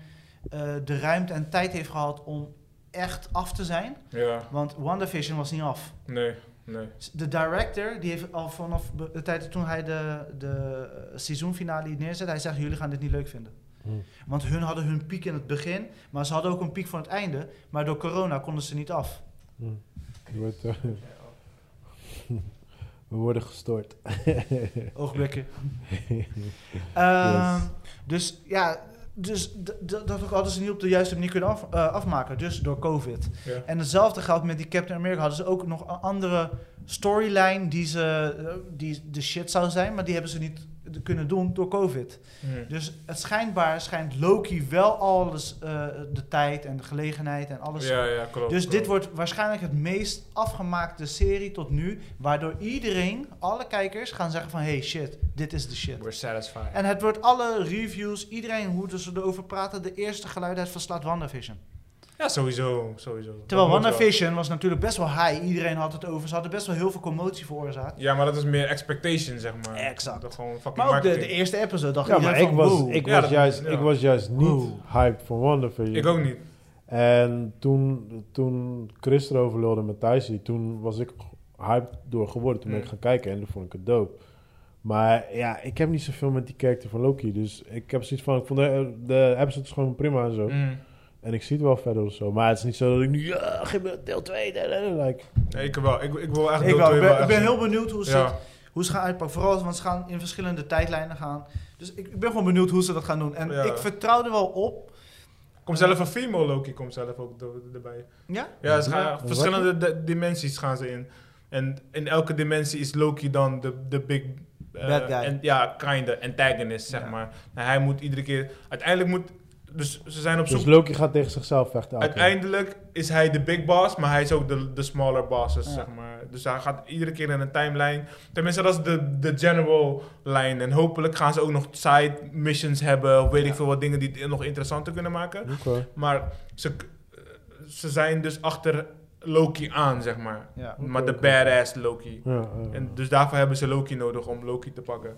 S3: eh, de ruimte en tijd heeft gehad om echt af te zijn.
S4: Ja,
S3: Want WandaVision was niet af.
S4: nee, nee.
S3: De director, die heeft al vanaf be- de tijd toen hij de, de eh, seizoenfinale neerzet, hij zegt, jullie gaan dit niet leuk vinden.
S1: Hmm.
S3: Want hun hadden hun piek in het begin, maar ze hadden ook een piek van het einde. Maar door corona konden ze niet af.
S1: Hm. Je wordt, eh, we worden gestoord.
S3: Oogblikken.
S1: Yes.
S3: Ehm, Dus ja, dus d- d- dat ook hadden ze niet op de juiste manier kunnen af- eh, afmaken. Dus door COVID.
S4: Ja.
S3: En hetzelfde geldt met die Captain America. Hadden ze ook nog een andere storyline die, ze, eh, die de shit zou zijn, maar die hebben ze niet d- kunnen doen door COVID.
S4: Hm.
S3: Dus het schijnbaar schijnt Loki wel alles, eh, de tijd en de gelegenheid en alles.
S4: Ja, ja, klopt.
S3: Dus dit
S4: klopt.
S3: wordt waarschijnlijk het meest afgemaakte serie tot nu, waardoor iedereen, alle kijkers, gaan zeggen van hey shit, dit is de shit.
S2: We're satisfied.
S3: En het wordt alle reviews, iedereen hoe ze erover praten, de eerste geluid het verslaat WandaVision.
S4: Ja, sowieso, sowieso.
S3: Terwijl
S4: Dat moet wel.
S3: WandaVision was natuurlijk best wel high, iedereen had het over, ze hadden best wel heel veel commotie veroorzaakt.
S4: Ja, maar dat is meer expectation, zeg maar.
S3: Exact.
S4: Dat gewoon fucking
S3: Maar ook de, de
S4: marketing.
S3: eerste episode dacht
S1: Ja, maar
S3: iedereen
S1: ik
S3: van
S1: was,
S3: wow.
S1: ik,
S4: Ja,
S1: was
S4: dat-
S1: juist,
S4: ja.
S1: ik was juist niet
S3: Wow.
S1: hyped voor WandaVision.
S4: Ik ook niet.
S1: En toen, toen Chris erover lulde met Thijsie, toen was ik hyped door geworden. Toen ben ik
S4: Mm.
S1: gaan kijken en toen vond ik het dope. Maar ja, ik heb niet zoveel met die character van Loki. Dus ik heb zoiets van, ik vond de, de episode is gewoon prima en zo.
S4: Hm.
S1: En ik zie het wel verder of zo. Maar het is niet zo dat ik nu, ja, geef me deel 2. Like,
S4: Nee, ik wel. Ik, ik wil echt
S3: Ik
S4: deel
S3: wel.
S4: twee
S3: Ik ben, ik
S4: echt
S3: ben
S4: zien.
S3: heel benieuwd hoe ze,
S4: Ja.
S3: hoe ze gaan uitpakken. Vooral, want ze gaan in verschillende tijdlijnen gaan. Dus ik, ik ben gewoon benieuwd hoe ze dat gaan doen. En
S4: Ja.
S3: ik vertrouw er wel op.
S4: Komt zelf een female Loki, komt zelf ook door- erbij.
S3: Ja?
S4: Ja, ze gaan,
S1: Wat?
S4: verschillende de- dimensies gaan ze in. En in elke dimensie is Loki dan de, de big... eh,
S3: Bad guy.
S4: En, ja, kinda, antagonist, zeg
S3: Ja.
S4: maar. En hij moet iedere keer... Uiteindelijk moet... Dus ze zijn op zoek...
S1: dus Loki gaat tegen zichzelf vechten. elke keer.
S4: Uiteindelijk is hij de big boss, maar hij is ook de, de smaller bosses,
S3: Ja.
S4: zeg maar. Dus hij gaat iedere keer in een timeline. Tenminste, dat is de, de general lijn. En hopelijk gaan ze ook nog side missions hebben. Of weet ik veel wat dingen die het nog interessanter kunnen maken.
S1: Oké.
S4: Maar ze, eh, ze zijn dus achter Loki aan, zeg maar.
S3: Ja.
S4: maar de
S1: oké.
S4: badass Loki.
S1: Ja, ja.
S4: En dus daarvoor hebben ze Loki nodig om Loki te pakken.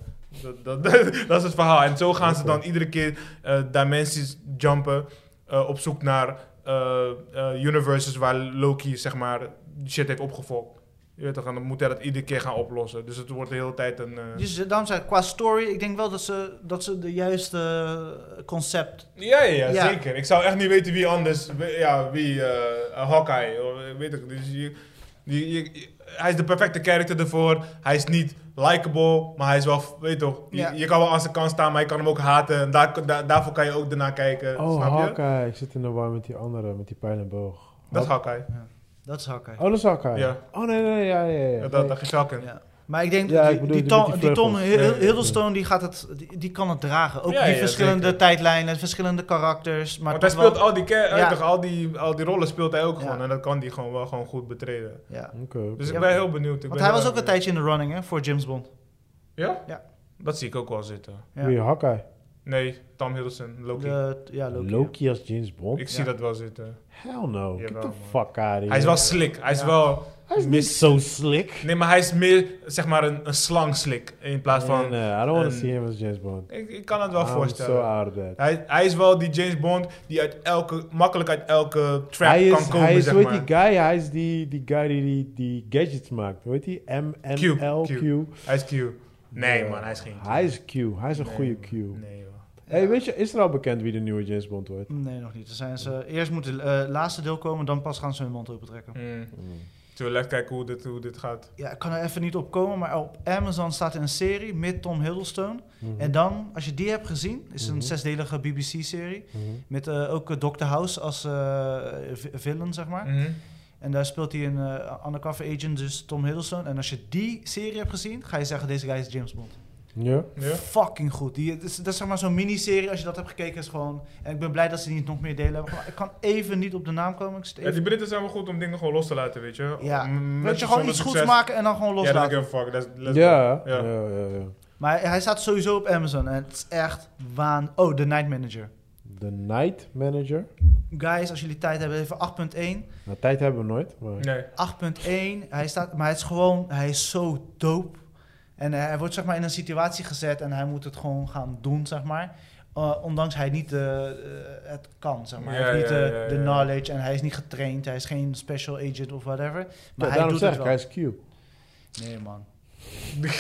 S4: Dat, dat, dat is het verhaal. En zo gaan ze dan iedere keer eh, dimensies jumpen eh, op zoek naar eh, eh, universes waar Loki zeg maar shit heeft opgevolgd. Je weet toch, en dan moet hij dat iedere keer gaan oplossen. Dus het wordt de hele tijd een... eh,
S3: Dus eh, daarom zei ik, qua story, ik denk wel dat ze, dat ze de juiste eh, concept...
S4: Ja, ja, ja,
S3: Ja.
S4: zeker. Ik zou echt niet weten wie anders. wie- Ja, wie. eh, eh, Hawkeye. of, eh, Weet ik. Dus je, je- je- hij is de perfecte character ervoor. Hij is niet likable, maar hij is wel. f- Weet toch? Je,
S3: Ja.
S4: je kan wel aan zijn kant staan, maar je kan hem ook haten. En daar, daar- daarvoor kan je ook ernaar kijken.
S1: Oh,
S4: eh, snap je?
S1: Hawkeye. Ik zit in de war met die andere, met die pijl en boog.
S4: Dat is Hawkeye.
S3: Dat is hakken.
S1: Oh, dat is Hawkeye.
S4: Ja.
S1: Oh, nee, nee, nee, ja, ja, ja.
S4: Ja, dat, dat is Falcon.
S3: Ja. Maar ik denk,
S1: Ja, ik
S3: die,
S1: bedoel,
S3: die,
S1: die
S3: Tom,
S1: met die
S3: die Tom
S1: vleugels.
S3: Hid-
S1: Ja, ja, ja.
S3: Hiddleston, die, gaat het, die, die kan het dragen. Ook
S4: Ja,
S3: die
S4: ja,
S3: verschillende
S4: zeker.
S3: tijdlijnen, verschillende karakters. Maar
S4: Want hij
S3: toch wel-
S4: speelt al die, ca-
S3: Ja.
S4: toch, al, die, al die rollen speelt hij ook
S3: Ja.
S4: gewoon. En dat kan hij gewoon wel gewoon goed betreden.
S3: ja.
S1: Oké.
S4: Dus
S3: Ja.
S4: ik ben heel benieuwd. Ik
S3: Want
S4: ben eh, heel
S3: hij was ook een
S4: erg
S3: tijdje in de running hè, voor James Bond.
S4: benieuwd. Ja?
S3: Ja.
S4: Dat zie ik ook wel zitten.
S3: Ja.
S1: Wie, Hawkeye?
S4: Nee, Tom Hiddleston, Loki.
S3: De- ja, Loki. ja.
S1: Loki als James Bond?
S4: Ik zie
S3: Ja.
S4: dat wel zitten.
S1: Hell no. Get
S4: Jawel,
S1: the
S4: man.
S1: fuck out of here.
S4: Hij is wel slik. Hij is
S3: Ja.
S4: wel...
S1: Hij is niet zo slick.
S4: Nee, maar hij is meer, zeg maar, een, een slangslik. In plaats van...
S1: Nee, nee, I don't want
S4: een-
S1: to see him as James Bond.
S4: Ik, ik kan het wel
S1: I'm
S4: voorstellen.
S1: so out of that.
S4: hij, hij is wel die James Bond die uit elke, makkelijk uit elke trap
S1: Hij
S4: kan
S1: is,
S4: komen,
S1: hij is,
S4: zeg
S1: hoe
S4: maar.
S1: heet die guy? Hij is die, die guy die, die, die gadgets maakt. Weet die?
S4: Q,
S1: MNLQ.
S4: Hij is Q. Nee,
S1: Ja.
S4: man, hij is geen Q.
S1: Hij is Q. Hij is een
S4: Nee,
S1: goede
S4: man.
S1: Q.
S4: Nee, joh.
S1: Hey, weet je, is er al bekend wie de nieuwe James Bond wordt?
S3: Nee, nog niet. Er zijn ze, eerst moet het eh, laatste deel komen, dan pas gaan ze hun mond open trekken.
S4: Mm. Zullen we even kijken hoe dit, hoe dit gaat?
S3: Ja, ik kan er even niet op komen, maar op Amazon staat een serie met Tom Hiddleston.
S1: Mhm.
S3: En dan, als je die hebt gezien, is een
S1: Mhm.
S3: zesdelige BBC-serie.
S1: Mhm.
S3: Met eh, ook eh, Dr. House als eh, vi- villain, zeg maar.
S4: Mhm.
S3: En daar speelt hij een eh, undercover agent, dus Tom Hiddleston. En als je die serie hebt gezien, ga je zeggen, deze guy is James Bond.
S1: Ja.
S4: Ja.
S3: Fucking goed. Die, dat, is, dat is zeg maar zo'n miniserie, als je dat hebt gekeken, is gewoon... En ik ben blij dat ze niet nog meer delen hebben. Maar ik kan even niet op de naam komen. Ik zit
S4: Ja,
S3: even...
S4: die Britten zijn wel goed om dingen gewoon los te laten, weet je.
S3: Ja.
S4: M- met
S3: Weet je,
S4: of
S3: gewoon
S4: zonder
S3: iets goeds
S4: succes.
S3: maken en dan
S4: Ja,
S3: gewoon
S4: dat
S3: loslaten.
S4: ik een fuck. Let's, let's
S1: Ja.
S4: go.
S1: Ja,
S4: ja.
S1: ja, ja.
S3: Maar hij staat sowieso op Amazon en het is echt waan... Oh, The Night Manager.
S1: The Night Manager.
S3: Guys, als jullie tijd hebben, even 8.1.
S1: Nou, tijd hebben we nooit. Maar...
S4: Nee.
S3: 8.1, hij staat... Maar het is gewoon... Hij is zo dope. En eh, hij wordt zeg maar in een situatie gezet en hij moet het gewoon gaan doen, zeg maar. Eh, ondanks hij niet eh, eh, het kan, zeg maar.
S4: Ja,
S3: hij heeft niet
S4: ja,
S3: eh,
S4: ja,
S3: de
S4: ja.
S3: knowledge en hij is niet getraind. Hij is geen special agent of whatever. Maar
S1: Ja,
S3: hij
S1: daarom
S3: doet
S1: zeg
S3: het
S1: ik, hij
S3: wel.
S1: is cube.
S3: Nee, man. Nee,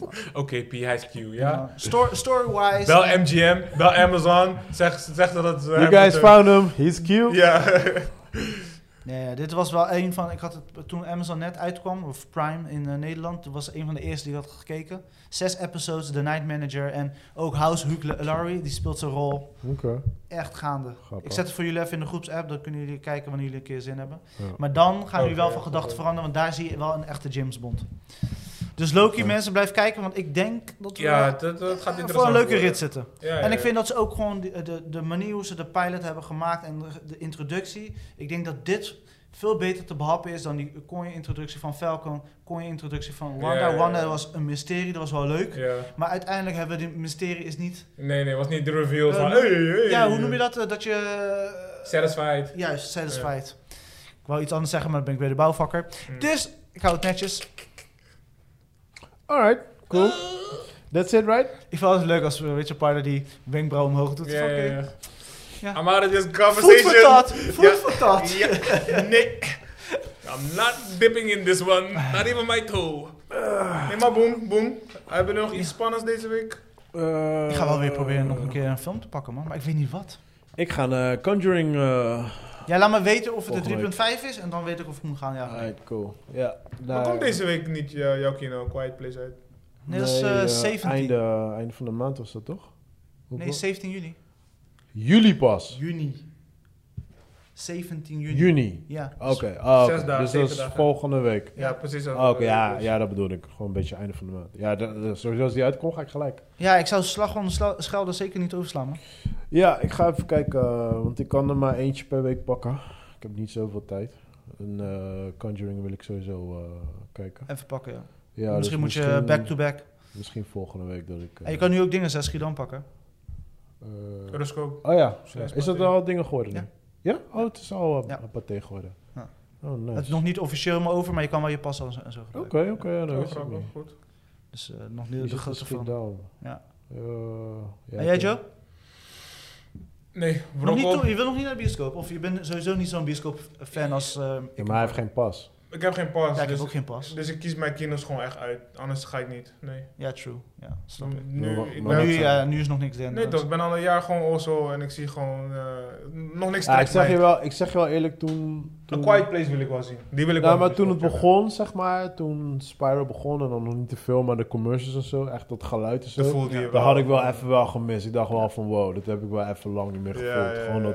S3: man.
S4: Oké, P, hij is Q, ja.
S3: Sto- Story-wise...
S4: Bel MGM, bel Amazon. Zeg, zeg dat het... eh,
S1: You
S4: hem
S1: guys
S4: het, eh,
S1: found him, he's cube.
S4: Ja.
S3: Nee, dit was wel een van. Ik had het toen Amazon net uitkwam, of Prime in eh, Nederland. Toen was een van de eerste die ik had gekeken. Zes episodes, The Night Manager en ook House Hugh Laurie, die speelt zijn rol.
S1: Oké,
S3: Echt gaande.
S1: grappig.
S3: Ik zet het voor jullie even in de groepsapp, dan kunnen jullie kijken wanneer jullie een keer zin hebben.
S1: Ja.
S3: Maar dan gaan jullie
S4: Oké,
S3: wel van
S4: ja,
S3: gedachten
S4: oké.
S3: veranderen, want daar zie je wel een echte James Bond. Dus Loki,
S1: Oké.
S3: mensen, blijf kijken, want ik denk dat we
S4: Ja, dat, dat gaat
S3: eh,
S4: interessant
S3: voor een leuke
S4: worden.
S3: rit zitten.
S4: Ja, ja,
S3: En ik
S4: ja.
S3: vind dat ze ook gewoon de, de, de manier hoe ze de pilot hebben gemaakt en de, de introductie. Ik denk dat dit veel beter te behappen is dan die Konya-introductie van Falcon, Konya-introductie van Wanda.
S4: Ja, ja, ja.
S3: Wanda was een mysterie, dat was wel leuk.
S4: Ja.
S3: Maar uiteindelijk hebben we die mysterie is niet.
S4: Nee, nee, was niet de reveal
S3: Eh,
S4: van...
S3: noem-
S4: hey, hey,
S3: Ja, hoe noem je dat? eh, Dat je. eh,
S4: Satisfied.
S3: Juist, satisfied. Ik wou iets anders zeggen, maar dan ben ik weer de bouwvakker.
S4: Mm.
S3: Dus ik hou het netjes.
S1: Alright, cool. That's it, right?
S3: Ik vond het leuk als eh, Richard Parler die wenkbrauw omhoog doet.
S4: Ja,
S3: Van,
S4: ja,
S3: oké.
S4: ja.
S3: Ja.
S4: I'm out of this
S3: Voet voor
S4: conversation.
S3: tat, voet voor tat.
S4: Ja, nee. I'm not dipping in this one. Not even my toe. Nee, maar boom, boom. Hebben we nog iets spannends deze week?
S1: Eh,
S3: Ik ga wel weer proberen nog een keer een film te pakken, man. Maar ik weet niet wat.
S1: Ik ga een Conjuring...
S3: Ah,
S1: eh,
S3: Ja, laat me weten of het
S1: Volgende
S3: een
S1: week.
S3: 3.5 is en dan weet ik of ik moet gaan. Ja.
S1: Alright, cool. Ja.
S4: Maar
S1: daar-
S4: komt deze week niet jou- jouw kino Quiet Place uit?
S3: Nee, dat is
S1: Nee,
S3: eh,
S1: eh,
S3: 17.
S1: Einde, einde van de maand was dat toch?
S3: Nee,
S1: Hoeveel?
S3: 17 juni.
S1: Juli pas.
S3: Juni. 17 juni.
S1: Juni.
S3: Ja.
S1: Oké, ah, oké.
S4: Zes dagen,
S1: dus dat
S4: zeven
S1: is
S4: dagen.
S1: volgende week.
S4: Ja, precies.
S1: Ah, Oké, ja, ja, dat bedoel ik. Gewoon een beetje einde van de maand. Ja, dat, dat- sowieso als die uitkomt, ga ik gelijk.
S3: Ja, ik zou Slag om de Sla- Schelde zeker niet overslaan, man.
S1: Ja, ik ga even kijken, eh, want ik kan er maar eentje per week pakken. Ik heb niet zoveel tijd. En eh, Conjuring wil ik sowieso eh, kijken.
S3: Even pakken, ja.
S1: Ja, dus
S3: misschien moet je back-to-back.
S1: Misschien volgende week dat ik... eh,
S3: En je kan nu ook dingen als Schiedam pakken.
S1: eh,
S4: Horoscoop.
S1: oh ja,
S4: Zes
S1: is dat
S4: partijen.
S1: al dingen geworden nu?
S3: Ja.
S1: Ja? Oh, het is al eh,
S3: Ja.
S1: een paté geworden.
S3: Ja.
S1: Oh,
S3: Het is
S1: nice.
S3: nog niet officieel maar over, maar je kan wel je pas en zo en zo
S1: Oké,
S3: gebruiken.
S1: oké, ja, dat
S4: Oh,
S1: wist ik
S4: grappig,
S1: niet.
S4: goed.
S3: Dus eh, nog
S1: Die
S3: niet de
S1: zit
S3: grote
S1: misschien
S3: film.
S1: down.
S3: Ja.
S1: Eh, ja,
S3: En jij,
S1: ik-
S3: Joe?
S4: Nee,
S3: Nog niet
S4: brokkel.
S3: toe, je wil nog niet naar de bioscoop? Of je bent sowieso niet zo'n bioscoop-fan als... eh,
S1: Ja, maar hij heeft geen pas.
S4: Ik heb geen pas.
S3: Ja, ik heb
S4: dus,
S3: ook geen pas.
S4: dus ik kies mijn kino's gewoon echt uit. Anders ga ik niet. Nee.
S3: Ja, true. Ja, snap ik.
S4: Nu,
S1: Maar-
S4: ik
S1: maar
S3: Maar
S4: ben,
S3: nu,
S1: dat-
S3: ja, nu is nog niks dus. denderen.
S4: nee toch, ik ben al een jaar gewoon also en ik zie gewoon eh, nog niks
S1: Ja, Ah, ik,
S4: trekt
S1: zeg
S4: mij.
S1: je wel, ik zeg je wel eerlijk, toen...
S4: Een
S1: toen
S4: Quiet Place wil ik wel zien. Die wil ik
S1: Nou,
S4: wel
S1: maar
S4: zien.
S1: toen het begon, zeg maar, toen Spyro begon en dan nog niet te veel, maar de commercials en zo, echt dat geluid en
S4: Dat
S1: zo,
S4: voelde je
S1: dat had ik wel even wel gemist. Ik dacht wel van, wow, dat heb ik wel even lang niet meer gevoeld. Gewoon dat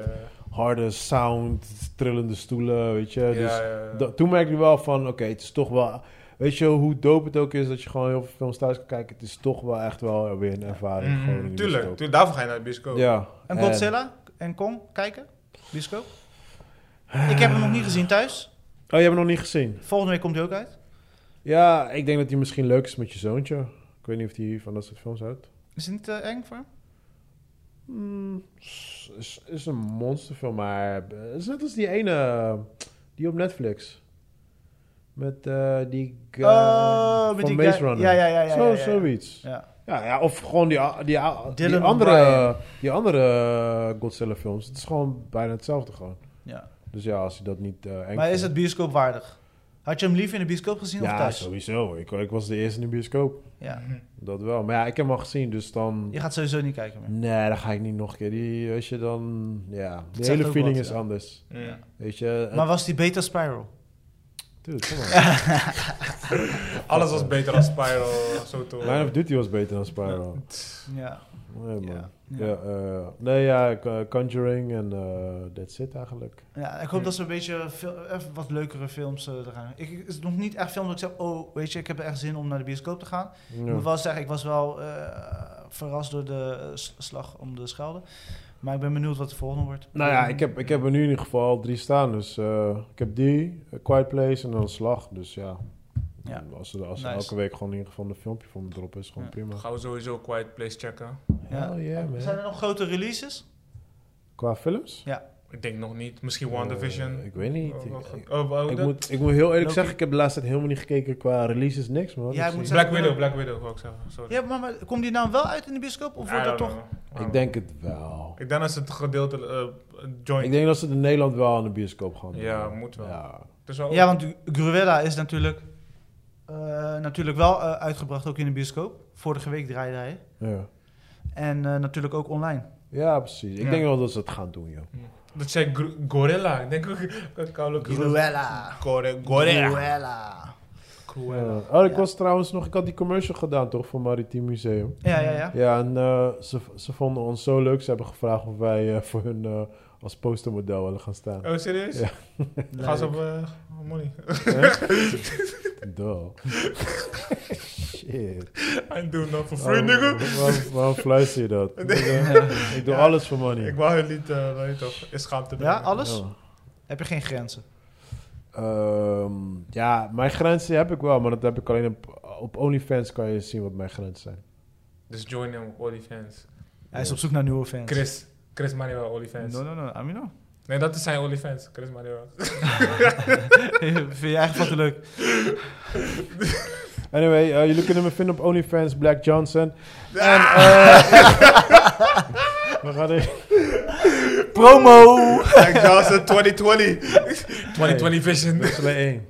S1: harde sound, trillende stoelen, weet je. dus da- toen merkte ik wel van, oké, het is toch wel... Weet je hoe dope het ook is dat je gewoon heel veel films thuis kan kijken? Het is toch wel echt wel weer een ervaring. gewoon in de
S4: Mhm, tuurlijk,
S1: bioscoop.
S4: tuurlijk, daarvoor ga je naar de bioscoop.
S1: Ja.
S3: En Godzilla en Kong kijken? Bioscoop? Ik heb hem nog niet gezien thuis.
S1: Oh, je hebt hem nog niet gezien?
S3: Volgende week komt hij ook uit.
S1: Ja, ik denk dat die misschien leuk is met je zoontje. Ik weet niet of die van dat soort films houdt.
S3: Is het niet eh, eng voor hem? Mm,
S1: Hmm, is, is een monsterfilm, maar eh, het is net als die ene eh, die op Netflix. Met eh, die guy
S3: Oh, met
S1: van
S3: die
S1: Maze
S3: guy-
S1: Runner.
S3: Ja, ja, ja, ja,
S1: Zo,
S3: ja, ja.
S1: Zoiets.
S3: Ja.
S1: Ja, ja, of gewoon die, a- die, a- die
S3: Dylan
S1: andere,
S3: O'Brien.
S1: die andere eh, Godzilla films. Het is gewoon bijna hetzelfde gewoon.
S3: ja.
S1: Dus ja, als je dat niet eh eng
S3: Maar is het
S1: vindt-
S3: bioscoop waardig? Had je hem liever in de bioscoop gezien of
S1: Ja,
S3: thuis?
S1: sowieso. Ik, ik was de eerste in de bioscoop.
S3: Ja.
S1: Dat wel. Maar ja, ik heb hem al gezien, dus dan...
S3: Je gaat sowieso niet kijken meer.
S1: Nee, dat ga ik niet nog een keer. Die, als je dan... Ja, de
S3: zegt
S1: hele
S3: ook
S1: feeling
S3: wat,
S1: is
S3: ja.
S1: anders.
S4: Mm.
S1: Weet je...
S3: Maar was die beter Spiral?
S1: Dude, come on.
S4: Alles was beter dan Spiral. Zo toch.
S1: Line of Duty was beter dan Spiral.
S3: Ja.
S1: Nee, man.
S3: Ja.
S1: Ja, eh, nee, ja, ik, eh, Conjuring en eh that's it eigenlijk.
S3: Ja, ik hoop dat ze een beetje veel, even wat leukere films eh, er gaan. Ik, het is nog niet echt film dat ik zeg, oh, weet je, ik heb er echt zin om naar de bioscoop te gaan. Ik moet
S1: Ja.
S3: wel zeggen, ik was wel eh, verrast door de eh, s- slag om de Schelde. Maar ik ben benieuwd wat de volgende wordt.
S1: Nou ja, ik heb, ik heb er nu in ieder geval drie staan. Dus eh, ik heb die, eh, Quiet Place en dan Slag. Dus ja,
S3: Ja.
S1: als er, als er
S3: Nice.
S1: elke week gewoon in ieder geval een filmpje voor me droppen is, gewoon
S3: Ja.
S1: prima.
S4: Gaan we sowieso Quiet Place checken?
S3: Ja.
S1: Oh yeah,
S3: Zijn
S1: man.
S3: er nog grote releases?
S1: Qua films?
S4: Ik denk nog niet. Misschien
S1: Eh,
S4: WandaVision.
S1: ik weet niet.
S4: Oh,
S1: Ik-
S4: wacht.
S1: ik-
S4: Oh, wou
S1: ik,
S4: dat-
S1: moet, ik moet heel eerlijk
S4: Loki.
S1: zeggen, ik heb de laatste tijd helemaal niet gekeken qua releases, niks man.
S3: Ja,
S1: Dus
S3: ik moet
S1: ik-
S4: Black Widow, Black Widow wou ik zeggen. Sorry.
S3: Ja, maar, maar komt die nou wel uit in de bioscoop? Of wordt
S4: I
S3: dat
S4: don't
S3: toch...
S4: know.
S1: ik denk het wel.
S4: Ik denk dat ze het gedeelte eh, joint.
S1: Ik denk dat ze het in Nederland wel aan de bioscoop gaan. doen.
S4: Ja, moet wel.
S1: Ja.
S4: Het is wel-
S3: Ja, want Gruella is natuurlijk, eh, natuurlijk wel eh, uitgebracht, ook in de bioscoop. Vorige week draaide hij.
S1: Ja.
S3: En eh, natuurlijk ook online.
S1: ja, precies. Ik
S4: Ja.
S1: denk wel dat ze het gaan doen, joh.
S4: Dat zei gr- Gorilla. Ik denk ook dat Carlo
S3: Gruella.
S4: Gore- Gorilla.
S3: Gruella.
S1: Ja. Oh, ik
S3: Ja.
S1: was trouwens nog... Ik had die commercial gedaan, toch? Voor Maritiem Museum.
S3: Ja, ja, ja.
S1: Ja, en eh, ze, ze vonden ons zo leuk. Ze hebben gevraagd of wij eh, voor hun eh, als postermodel willen gaan staan.
S4: Oh, serieus?
S1: Ja.
S4: Ga ze op eh, money.
S1: Duh. Shit.
S4: I do not for
S1: Oh,
S4: free, nigga.
S1: Waarom- Waarom, waarom fluister je dat? Ik, eh, ik doe
S4: Ja.
S1: alles voor money.
S4: Ik wou het niet, eh, weet je toch, is schaamte.
S3: Ja,
S4: brengen.
S3: alles?
S1: Ja.
S3: Heb je geen grenzen?
S1: Ehm, ja, mijn grenzen heb ik wel, maar dat heb ik alleen op, op OnlyFans kan je zien wat mijn grenzen zijn.
S4: Dus join hem, OnlyFans.
S3: Hij is op zoek naar nieuwe fans.
S4: Chris. Chris Manuel, OnlyFans.
S3: No, no, no. Amino.
S4: Nee, dat is zijn OnlyFans. Chris Manuel.
S3: Vind je eigenlijk wat te leuk?
S1: Anyway, eh, jullie kunnen me vinden op OnlyFans, Black Johnson. En, eh, we gaan even-
S3: Promo!
S2: Jack Johnson 2020.
S4: 2020 vision.
S1: Dat is alleen één.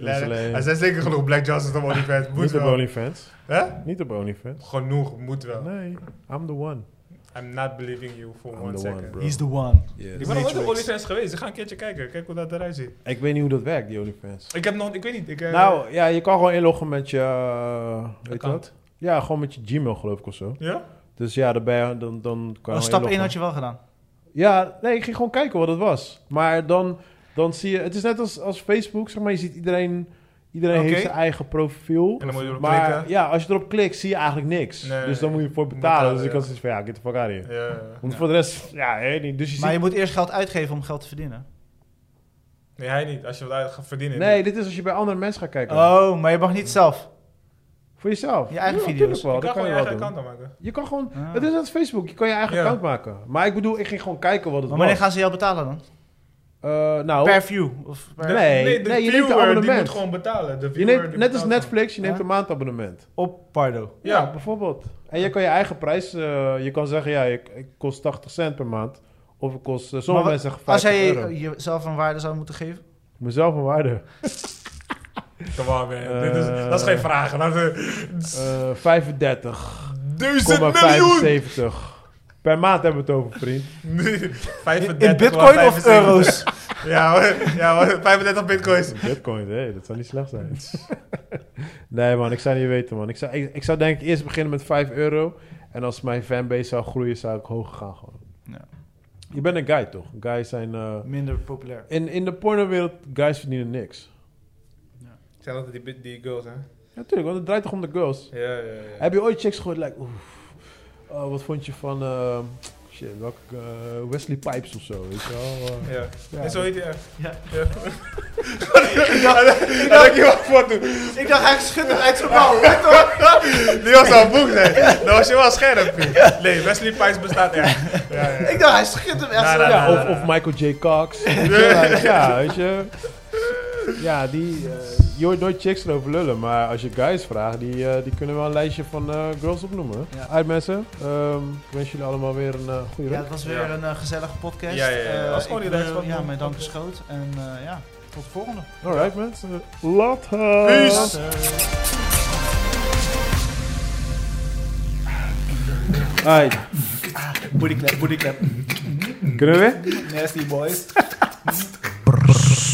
S1: Dat is alleen
S2: Er
S1: één.
S2: zijn zeker genoeg Black Johnsons op OnlyFans. Moet
S1: Niet op
S2: wel.
S1: OnlyFans.
S2: Hè?
S1: Niet op OnlyFans.
S4: Genoeg, moet wel.
S1: Nee, I'm the one.
S4: I'm not believing you for
S1: I'm
S4: one
S1: the
S4: second.
S1: one, bro.
S3: He's the one.
S4: Ik ben nog nooit op OnlyFans geweest. Ik ga een keertje kijken. Kijk hoe dat eruit ziet.
S1: Ik weet niet hoe dat werkt, die OnlyFans.
S4: Ik heb nog... Ik weet niet. Ik, eh,
S1: Nou, ja, je kan gewoon inloggen met je... eh, weet je
S4: Account.
S1: dat? Ja, gewoon met je Gmail geloof ik of zo.
S4: Ja?
S1: Dus ja, daarbij, dan, dan kan
S3: Oh,
S1: je
S3: stap 1
S1: inloggen.
S3: had je wel gedaan.
S1: Ja, nee, ik ging gewoon kijken wat het was. Maar dan, dan zie je... Het is net als, als Facebook, zeg maar. Je ziet iedereen... Iedereen
S4: Oké.
S1: heeft zijn eigen profiel.
S4: En dan moet je erop
S1: maar
S4: klikken.
S1: ja, als je erop klikt, zie je eigenlijk niks.
S4: Nee.
S1: dus dan moet je ervoor betalen.
S4: Betalen,
S1: dus ik
S4: ja.
S1: had zoiets van, ja, get the fuck out of here.
S4: Ja.
S1: Want voor de rest, ja, hè, niet. Dus je
S3: Maar je
S1: ziet...
S3: moet eerst geld uitgeven om geld te verdienen.
S4: Nee, hij niet. Als je wat uit gaat verdienen.
S1: Nee, dit is als je bij andere mensen gaat kijken.
S3: Oh, maar je mag niet zelf.
S1: Voor jezelf.
S3: Je eigen
S1: Ja,
S3: video's.
S1: natuurlijk wel,
S4: Je
S1: dat
S4: kan gewoon
S1: je
S4: je
S1: wel
S4: eigen
S1: doen.
S4: account aanmaken.
S1: Je kan gewoon...
S3: Ah.
S1: Het is net Facebook. Je kan je eigen
S4: Ja.
S1: account maken. Maar ik bedoel, ik ging gewoon kijken wat het
S3: Maar wanneer
S1: was.
S3: gaan ze jou betalen dan?
S1: Eh, nou,
S3: Per view? Of per-
S1: Nee,
S4: de
S1: nee, je neemt een
S4: viewer die
S1: abonnement.
S4: moet gewoon betalen. De
S1: je
S4: viewer,
S1: neemt,
S4: die
S1: net als
S4: betaalt
S1: Netflix, je neemt
S3: Ja.
S1: een maandabonnement.
S3: Op Pardo.
S4: gewoon. Ja,
S1: bijvoorbeeld. En je kan je eigen prijs... eh, je kan zeggen, ja, ik, ik kost 80 cent per maand. Of ik kost... eh, sommige
S3: Maar
S1: mensen zeggen
S3: Als
S1: 50
S3: jij
S1: euro.
S3: je- jezelf een waarde zou moeten geven?
S1: Mezelf een waarde.
S4: Come on, man.
S1: Eh.
S4: Dit is, dat is geen vraag. Dat is,
S1: Eh 35,75.
S4: duizend miljoen!
S1: Per maand hebben we het over, vriend.
S4: 35,
S3: In bitcoin of
S4: 75.
S3: euro's?
S4: Ja, hoor. ja hoor. 35 bitcoins.
S1: Bitcoin, hé, dat zou niet slecht zijn. nee, man, ik zou niet weten, man. Ik zou, ik, ik zou denk ik eerst beginnen met 5 euro. En als mijn fanbase zou groeien, zou ik hoger gaan gewoon.
S3: Ja.
S1: Je bent een guy, toch? Guys zijn... eh,
S3: Minder populair.
S1: in, in de pornowereld, guys verdienen niks.
S4: Ik zeg altijd die, bit- die girls, hè.
S1: Natuurlijk, want het draait toch om de girls.
S4: Ja, ja, ja.
S1: Heb je ooit chicks gehoord, like... Oef, oh, wat vond je van... eh, shit, welke... eh, Wesley Pipes of zo, weet je wel? eh.
S4: Ja.
S1: Ja.
S4: En zo heet hij echt.
S3: Ja.
S4: ja. ik dacht, ik dacht, je wat voor doen.
S3: Ik dacht, hij schudt het uit zijn mouw.
S4: Die was al boek, hè. Dan was je wel scherp. joh. Nee, Wesley Pipes bestaat echt. Ja, ja.
S3: Ik dacht, hij schudt hem echt
S4: Nou,
S3: zo.
S4: nou,
S1: Ja,
S4: nou,
S3: Ja,
S1: of, of Michael J. Cox. Weet je, like, ja, weet je. Ja, die... eh, je hoort nooit chicks erover lullen, maar als je guys vraagt, die, eh, die kunnen wel een lijstje van eh, girls opnoemen.
S3: Ja.
S1: Uit mensen, ehm, ik wens jullie allemaal weer een eh, goede
S3: Ja,
S1: rit.
S3: het was weer
S4: Ja.
S3: een eh, gezellige podcast.
S4: Ja, ja, ja.
S3: Eh,
S4: Was gewoon
S3: ik
S4: die
S3: wil-
S4: dag van-
S3: Ja, mijn dank is groot. En eh, ja, tot de volgende. eh,
S1: Alright mensen, later!
S4: Peace.
S1: Alright,
S3: Booty clap, booty clap.
S1: kunnen we weer?
S3: Nasty boys.